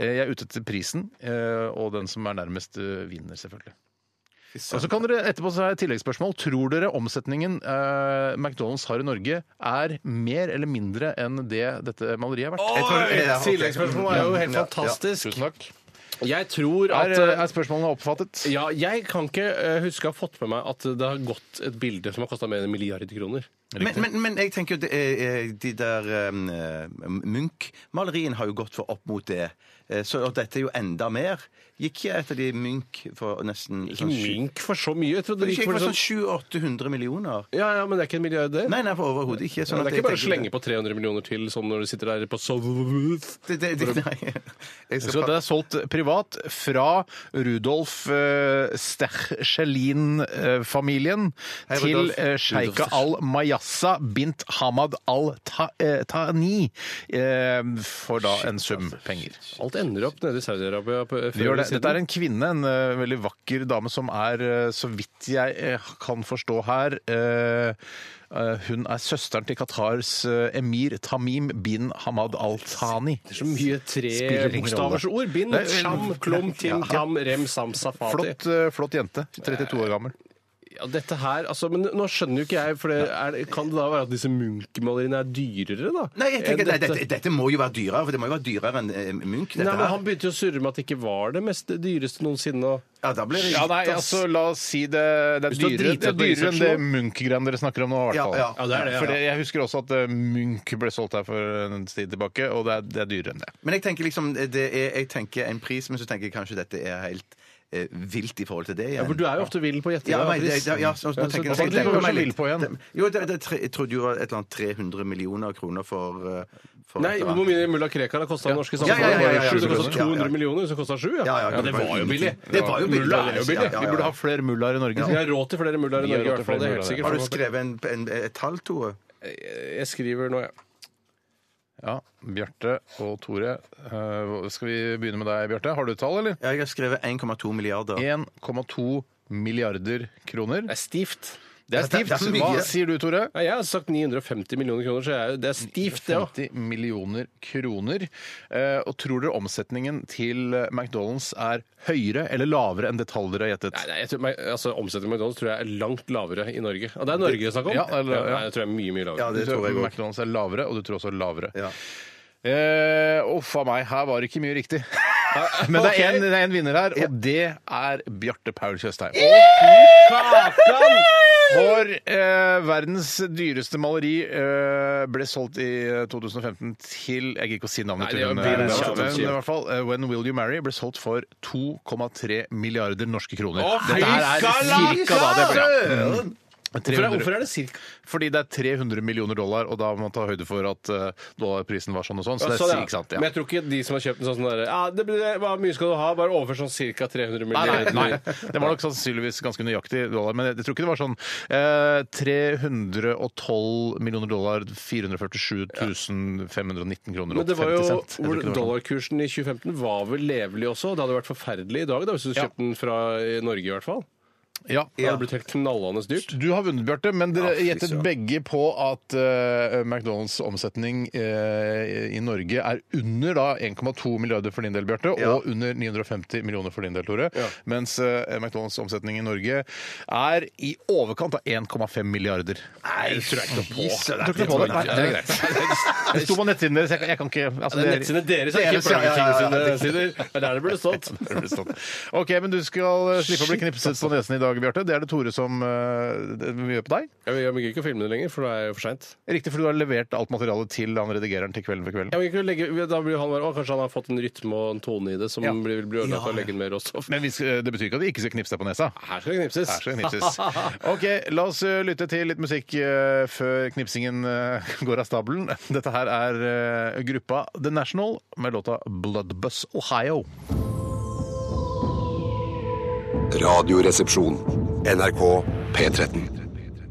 D: Eh, Jeg er ute etter prisen, eh, og den som er nærmest, eh, vinner, selvfølgelig. Og
I: Altså,
D: så kan dere etterpå så har jeg et tilleggsspørsmål. Tror dere omsetningen eh, McDonald's har i Norge er mer eller mindre enn det dette maleriet er verdt?
E: Jeg tror- ja, ok.
F: Tilleggsspørsmålet er jo helt
E: Ja, ja.
F: fantastisk.
D: Tusen takk.
F: Jeg tror
D: Er,
F: at
D: eh, er spørsmålene oppfattet?
F: ja, jeg kan ikke eh, huske å ha fått med meg at det har gått et bilde som har kosta mer enn en milliard kroner.
E: Men, men, men jeg tenker jo det er, er de der um, eh, Munch-malerien har jo gått for opp mot det. Eh, Så og dette er jo enda mer. Gikk jeg etter de Munch for nesten sånn
F: Ikke mink for så mye. Jeg trodde
E: Det
F: sånn det
E: gikk
F: gikk
E: for
F: for
E: sånn
F: sånn
E: 700-800 millioner.
F: Ja, ja, men det er ikke en milliard, det.
E: Nei, nei, for overhodet ikke. Sånn
F: det
E: at
F: er ikke
E: jeg
F: bare å
E: tenker-
F: slenge på 300 millioner til sånn når du sitter der på Sovjet.
E: det, det, det, Nei. Jeg
D: Så
E: skal
D: det er solgt privat fra Rudolf eh, Sterchelin-familien
E: Hei,
D: til
E: Rudolf.
D: eh, sjeika al-Mayassa bint Hamad al-Tani for da en sum penger.
F: Alt ender opp nede i Saudi-Arabia. på- før
D: Det gjør det.
F: eller siden.
D: Dette er en kvinne, en eh, veldig vakker dame, som er, eh, så vidt jeg eh, kan forstå her eh, eh, Hun er søsteren til Qatars eh, emir Tamim bin Hamad al-Thani.
F: Det er så mye
D: Spiller ingen
F: trebokstavers ord. Bind,
D: Nei, vel-
F: sham, klom, tim, tam, rem, sam, safati.
D: Flott, eh, flott jente. 32 år gammel.
F: Ja, dette her, altså, men nå skjønner jo ikke jeg, for det er, kan det da være at disse Munch-maleriene er dyrere, da?
E: Nei, jeg tenker,
F: enn
E: nei dette, dette må jo være dyrere, for det må jo være dyrere enn eh, Munch. Dette
F: Nei, men
E: her.
F: Han begynte jo å surre med at det ikke var det mest dyreste noensinne. og-
E: Ja, da blir det
D: Ja, nei,
E: ass.
D: altså, la oss si det Det er
F: Hvis du har
D: dyrere,
F: driti
D: det er
F: ut på
D: dyrere enn det
F: researchen
D: Munch-greiene dere snakker om nå, i
E: Ja,
D: hvert fall.
E: ja. Ja,
F: det er det, ja.
D: For jeg husker også at eh, Munch ble solgt her for en tid tilbake, og det er, det er dyrere enn det.
E: Men jeg tenker liksom det er, jeg tenker en pris, men så tenker jeg kanskje dette er helt eh, vilt i forhold til det. igjen.
F: Ja, for du er jo ofte vill på å gjette.
E: ja,
F: da,
E: men, det,
F: Chris.
E: ja, ja, så, nå tenker
D: hva var
E: jeg,
D: det du
E: tenker
D: var så
E: meg litt-
D: vild på igjen?
E: Jo, det, det, tre- jeg trodde jo det var et eller annet 300 millioner kroner for, eh, for
F: Nei,
E: et eller
F: Hvor
E: annet.
F: mye mulla Krekar har kosta det norske
E: Ja, ja,
F: samfunnet?
E: ja, ja, ja, ja.
F: Det kosta
E: Ja, ja.
F: 200 millioner, så kosta 7, ja.
E: Ja, ja,
F: Det
E: var
F: var jo
E: ingenting.
F: billig.
E: Det var jo billig.
F: Mulla er jo billig.
E: Ja, ja,
D: Vi
E: ja.
D: burde ha flere mullaer i Norge. altså.
F: Vi
D: sier jeg.
F: har råd til flere mullaer
D: Vi
F: i
D: har
F: Norge, i
D: råd til
F: hvert fall. Det
D: flere
F: er
D: mullaer.
F: helt sikkert.
E: Har du skrevet en, en, et tall, Tore?
F: Jeg skriver nå, ja.
D: Ja, Bjarte og Tore. eh, Skal vi begynne med deg, Bjarte? Har du et tall, eller?
E: Ja, jeg har skrevet 1,2 milliarder.
D: 1,2 milliarder kroner.
F: Det er stivt.
D: Det er
E: det er- det er
D: stivt. Hva
E: mye.
D: sier du, Tore?
F: Nei, jeg har sagt 950 millioner kroner, så jeg, er jo- det er stivt, det òg.
D: 50 millioner kroner. Eh, og tror dere omsetningen til eh, McDonald's er høyere eller lavere enn det tallet dere har gjettet?
F: Nei, nei, jeg tror, meg- altså, Omsetningen på McDonald's tror jeg er langt lavere i Norge. Ja, det er Norge det er snakk om?
D: Ja, eller- ja.
F: Nei, jeg tror jeg er mye, mye lavere.
E: Ja, det
D: Du tror
E: tror jeg òg.
D: McDonald's er lavere, og du tror også lavere.
E: Ja.
D: Eh, Uff a meg, her var det ikke mye riktig. Men det er
F: Ok.
D: en- det er en vinner her, og det er Bjarte Paul Tjøstheim.
F: Kakan!
D: For eh, verdens dyreste maleri eh, ble solgt i eh, 2015 til Jeg gidder ikke å si navnet
F: Nei,
D: til
F: det er
D: hun,
F: jo
D: eh,
F: billig,
D: men,
F: ja, men
D: men
F: kjipt.
D: i hvert fall eh, When Will You Marry ble solgt for 2,3 milliarder norske kroner.
F: Å, fy
D: Dette her er cirka da det ble. Mm. Ja.
F: Hvorfor er-
D: 300.
F: Hvorfor er det cirka
D: Fordi det er 300 millioner dollar, og da må man ta høyde for at eh, dollarprisen var sånn og sånn. Så det
F: Sånn,
D: er
F: ja.
D: ikke sant.
F: Men
D: Ja.
F: jeg tror ikke de som har kjøpt en sånn derre ja, det blir- Hva mye skal du ha? Bare overfør sånn ca. 300
D: Nei, nei,
F: milliarder.
D: nei. Det var nok sannsynligvis ganske nøyaktig dollar, men jeg tror ikke det var sånn eh, 312 millioner dollar, 447 519 kroner
F: Men
D: og
F: det var
D: 50
F: jo,
D: cent. Jeg tror ikke det
F: hvor
D: var sånn.
F: Dollarkursen i 2015 var vel levelig også. Det hadde vært forferdelig i dag da, hvis du
D: Ja.
F: kjøpte den fra eh, Norge i hvert fall.
D: sånn. Ja.
F: Det hadde blitt helt knallende dyrt.
D: Du har vunnet, Bjarte, men dere
E: Ja, fy
D: gjettet
E: søren.
D: begge på at eh, McDonald's omsetning eh, i Norge er under da 1,2 milliarder for din del, Bjarte,
E: Ja.
D: og under 950 millioner for din del, Tore.
F: Ja.
D: Mens eh, McDonald's omsetning i Norge er i overkant av 1,5 milliarder.
E: Nei, det tror jeg ikke på.
D: Jeg tror ikke på det. Nei, det er greit. Det sto på nettsiden deres, jeg kan, jeg kan ikke altså,
F: Det er nettsidene deres,
D: Det er
F: ikke
D: deres, ja, ja,
F: Burger
D: ja,
F: King
D: ja,
F: sine sider. Det er der det burde stått.
D: Der ble det stått. OK, men du skal eh, slippe å bli knipset på nesen i dag, Bjarte. Det er det Tore som eh, det vi gjør på deg.
F: Jeg jeg gidder ikke å filme det lenger, for da er jeg for seint.
D: Riktig, for du har levert alt materialet til han redigereren til Kvelden for kvelden.
F: Da blir han bare, å, kanskje han har fått en rytme og en tone i det som
D: Ja.
F: blir, vil bli ødelagt av å legge inn mer råstoff.
D: Men vi skal, det betyr ikke at vi ikke skal knipse deg på nesa.
F: Her skal det knipses.
D: Her skal det knipses. OK, la oss eh, lytte til litt musikk eh, før knipsingen eh, går av stabelen. Dette her er eh, gruppa The National med låta Bloodbus Ohio.
A: Radioresepsjon. NRK P13.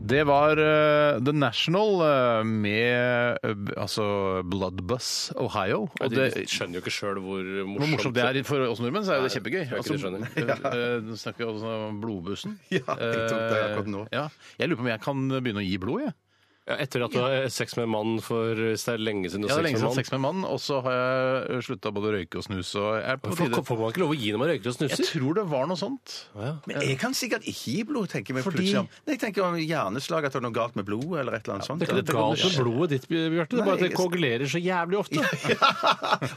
I: Det var eh, The National eh, med eh, altså Bloodbus Ohio. Og
F: de
I: det,
F: skjønner jo ikke sjøl hvor
I: hvor
F: morsomt,
I: morsomt det er for oss nordmenn, så er jo det
F: Nei,
I: kjempegøy.
F: tror jeg ikke de
I: Altså, eh, eh, snakker også om blodbussen.
E: Ja, jeg tok det akkurat nå.
I: Eh, Ja. Jeg lurer på om jeg kan begynne å gi blod, jeg.
F: Ja, etter at du har sex med en mann for hvis det er lenge siden du
I: Jeg
F: har
I: har lenge
F: sex med en
I: siden hatt
F: mann.
I: sex med en mann, og så har jeg slutta både å røyke og snus. Og jeg, er på
F: Hvorfor
I: tide.
F: får man ikke lov å gi når man røyker og
I: jeg
F: snuser?
I: tror det var noe sånt.
E: Men jeg kan sikkert ikke gi blod, tenker jeg meg
I: Fordi-
E: plutselig om. Nei, Jeg tenker om hjerneslag, at det er noe galt med blodet eller et eller annet sånt.
F: Det er ikke noe
E: Ja.
F: galt med blodet ditt, Bjarte. Det er bare at det koagulerer så jævlig ofte.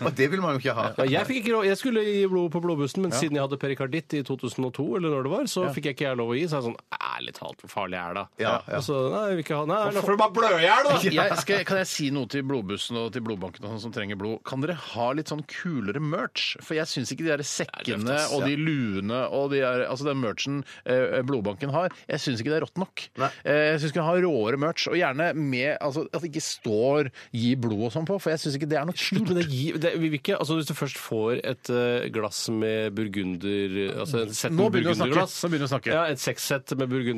E: Og det vil man jo ikke ha.
F: Ja, jeg, fikk ikke lov, jeg skulle gi blod på blodbussen, men siden jeg hadde perikarditt i 2002, eller når det var, så fikk jeg ikke jeg lov å gi. Så jeg er sånn Ærlig talt, hvor farlig er det?
E: Ja, ja.
F: Og så, nei, jeg vil ikke ha, nei, da får du bare blø i hjel, da!
I: Jeg, skal, kan jeg si noe til blodbussen og til blodbanken og sånn som trenger blod? Kan dere ha litt sånn kulere merch? For jeg syns ikke de der sekkene
F: ass,
I: og de luene og de der, altså den merchen eh, blodbanken har, jeg syns ikke det er rått nok.
E: Nei.
I: Eh, jeg syns vi kan ha råere merch, og gjerne med altså, at det ikke står 'gi blod' og sånn på, for jeg syns ikke det er noe
F: Slutt
I: kult.
F: med det, gi, det vi vil ikke, altså Hvis du først får et eh, glass med burgunder altså et sett med
I: Nå begynner du å snakke.
F: burgunderglass
I: Nå begynner du å snakke.
F: Ja, Et sexsett med burgunderglass.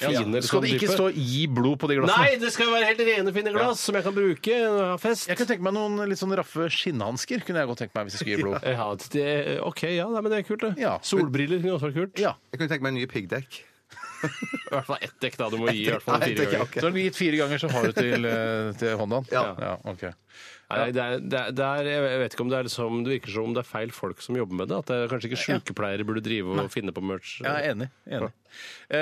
I: Ja,
F: Fine,
I: Skal det
F: sånn
I: ikke
F: type.
I: stå 'gi blod' på de glassene?
F: Nei, det skal jo være helt rene, fine glass som jeg kan bruke når jeg har fest.
I: Jeg kunne tenke meg noen litt sånn raffe skinnhansker. Kunne jeg godt tenke meg hvis jeg skulle gi blod.
F: Ja, det, OK, ja, nei, men det er kult, det.
I: Ja.
F: Solbriller kunne også vært kult.
I: Ja.
E: Jeg kunne tenke meg nye piggdekk.
F: I hvert fall ett dekk, da. Du må gi i hvert fall
E: Nei,
F: fire
E: det
F: ganger.
E: kan jeg ikke.
I: Så har du gitt fire ganger, så har du til, eh, til Hondaen?
E: Ja.
I: ok.
F: Nei, det er, det er, det er, jeg vet ikke om det er liksom, det virker som om det er feil folk som jobber med det. At det er kanskje ikke sykepleiere burde drive og finne på merch.
I: Jeg er enig. enig. Eh,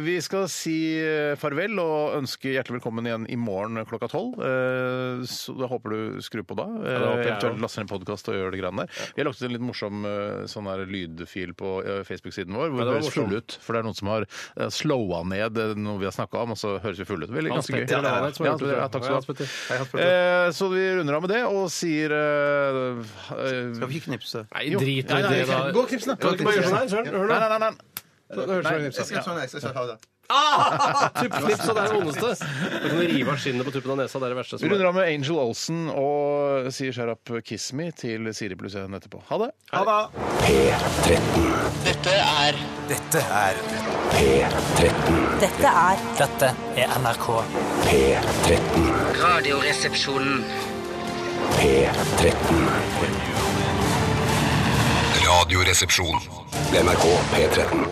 I: vi skal si eh, farvel og ønske hjertelig velkommen igjen i morgen klokka tolv. Eh, så da håper du skrur på da. Eh,
F: det håper jeg
I: eventuelt
F: også.
I: laster ned podkast og gjør det greiene der. Vi har lagt ut en litt morsom eh, sånn her lydfil på eh, Facebook-siden vår hvor
F: Ja, det
I: vi
F: var
I: høres
F: morsom.
I: fulle ut. For det er noen som har eh, slowa ned eh, noe vi har snakka om, og så høres vi fulle ut. Veldig
F: Hans
I: ganske gøy.
F: Petter, eller hva det er som har
I: Ja,
F: gjort det, tror jeg.
I: ja,
F: Ja,
I: takk skal
F: Hans
I: du
F: Petter.
I: ha.
E: Hei, Hans Petter.
I: Eh, så vi runder av med det og sier eh, eh,
E: Skal vi ikke knipse?
F: Nei,
I: jo.
F: drit nå
I: Nei,
F: i
I: nei,
F: det, da.
I: Gå og knips, da!
F: Kan du ikke bare gjøre sånn her? Søren? Hør
I: eh, Nei,
F: nå.
I: nei, nei. nei.
F: Hører du
E: Jeg skal
F: sånn?
E: sånn, jeg skal sånn ha det.
F: Tuppknips, og det er det vondeste. Du kan rive av skinnet på tuppen av nesa. Det er det verste
I: Vi
F: som
I: runder
F: er.
I: av med Angel Olsen og sier skjær opp Kiss Me til Siri pluss 1 etterpå. Ha det!
E: Ha det!
C: Dette er
K: Dette er
C: Dette er
K: Dette er NRK.
C: Radioresepsjonen.
A: Radioresepsjon. NRK P13.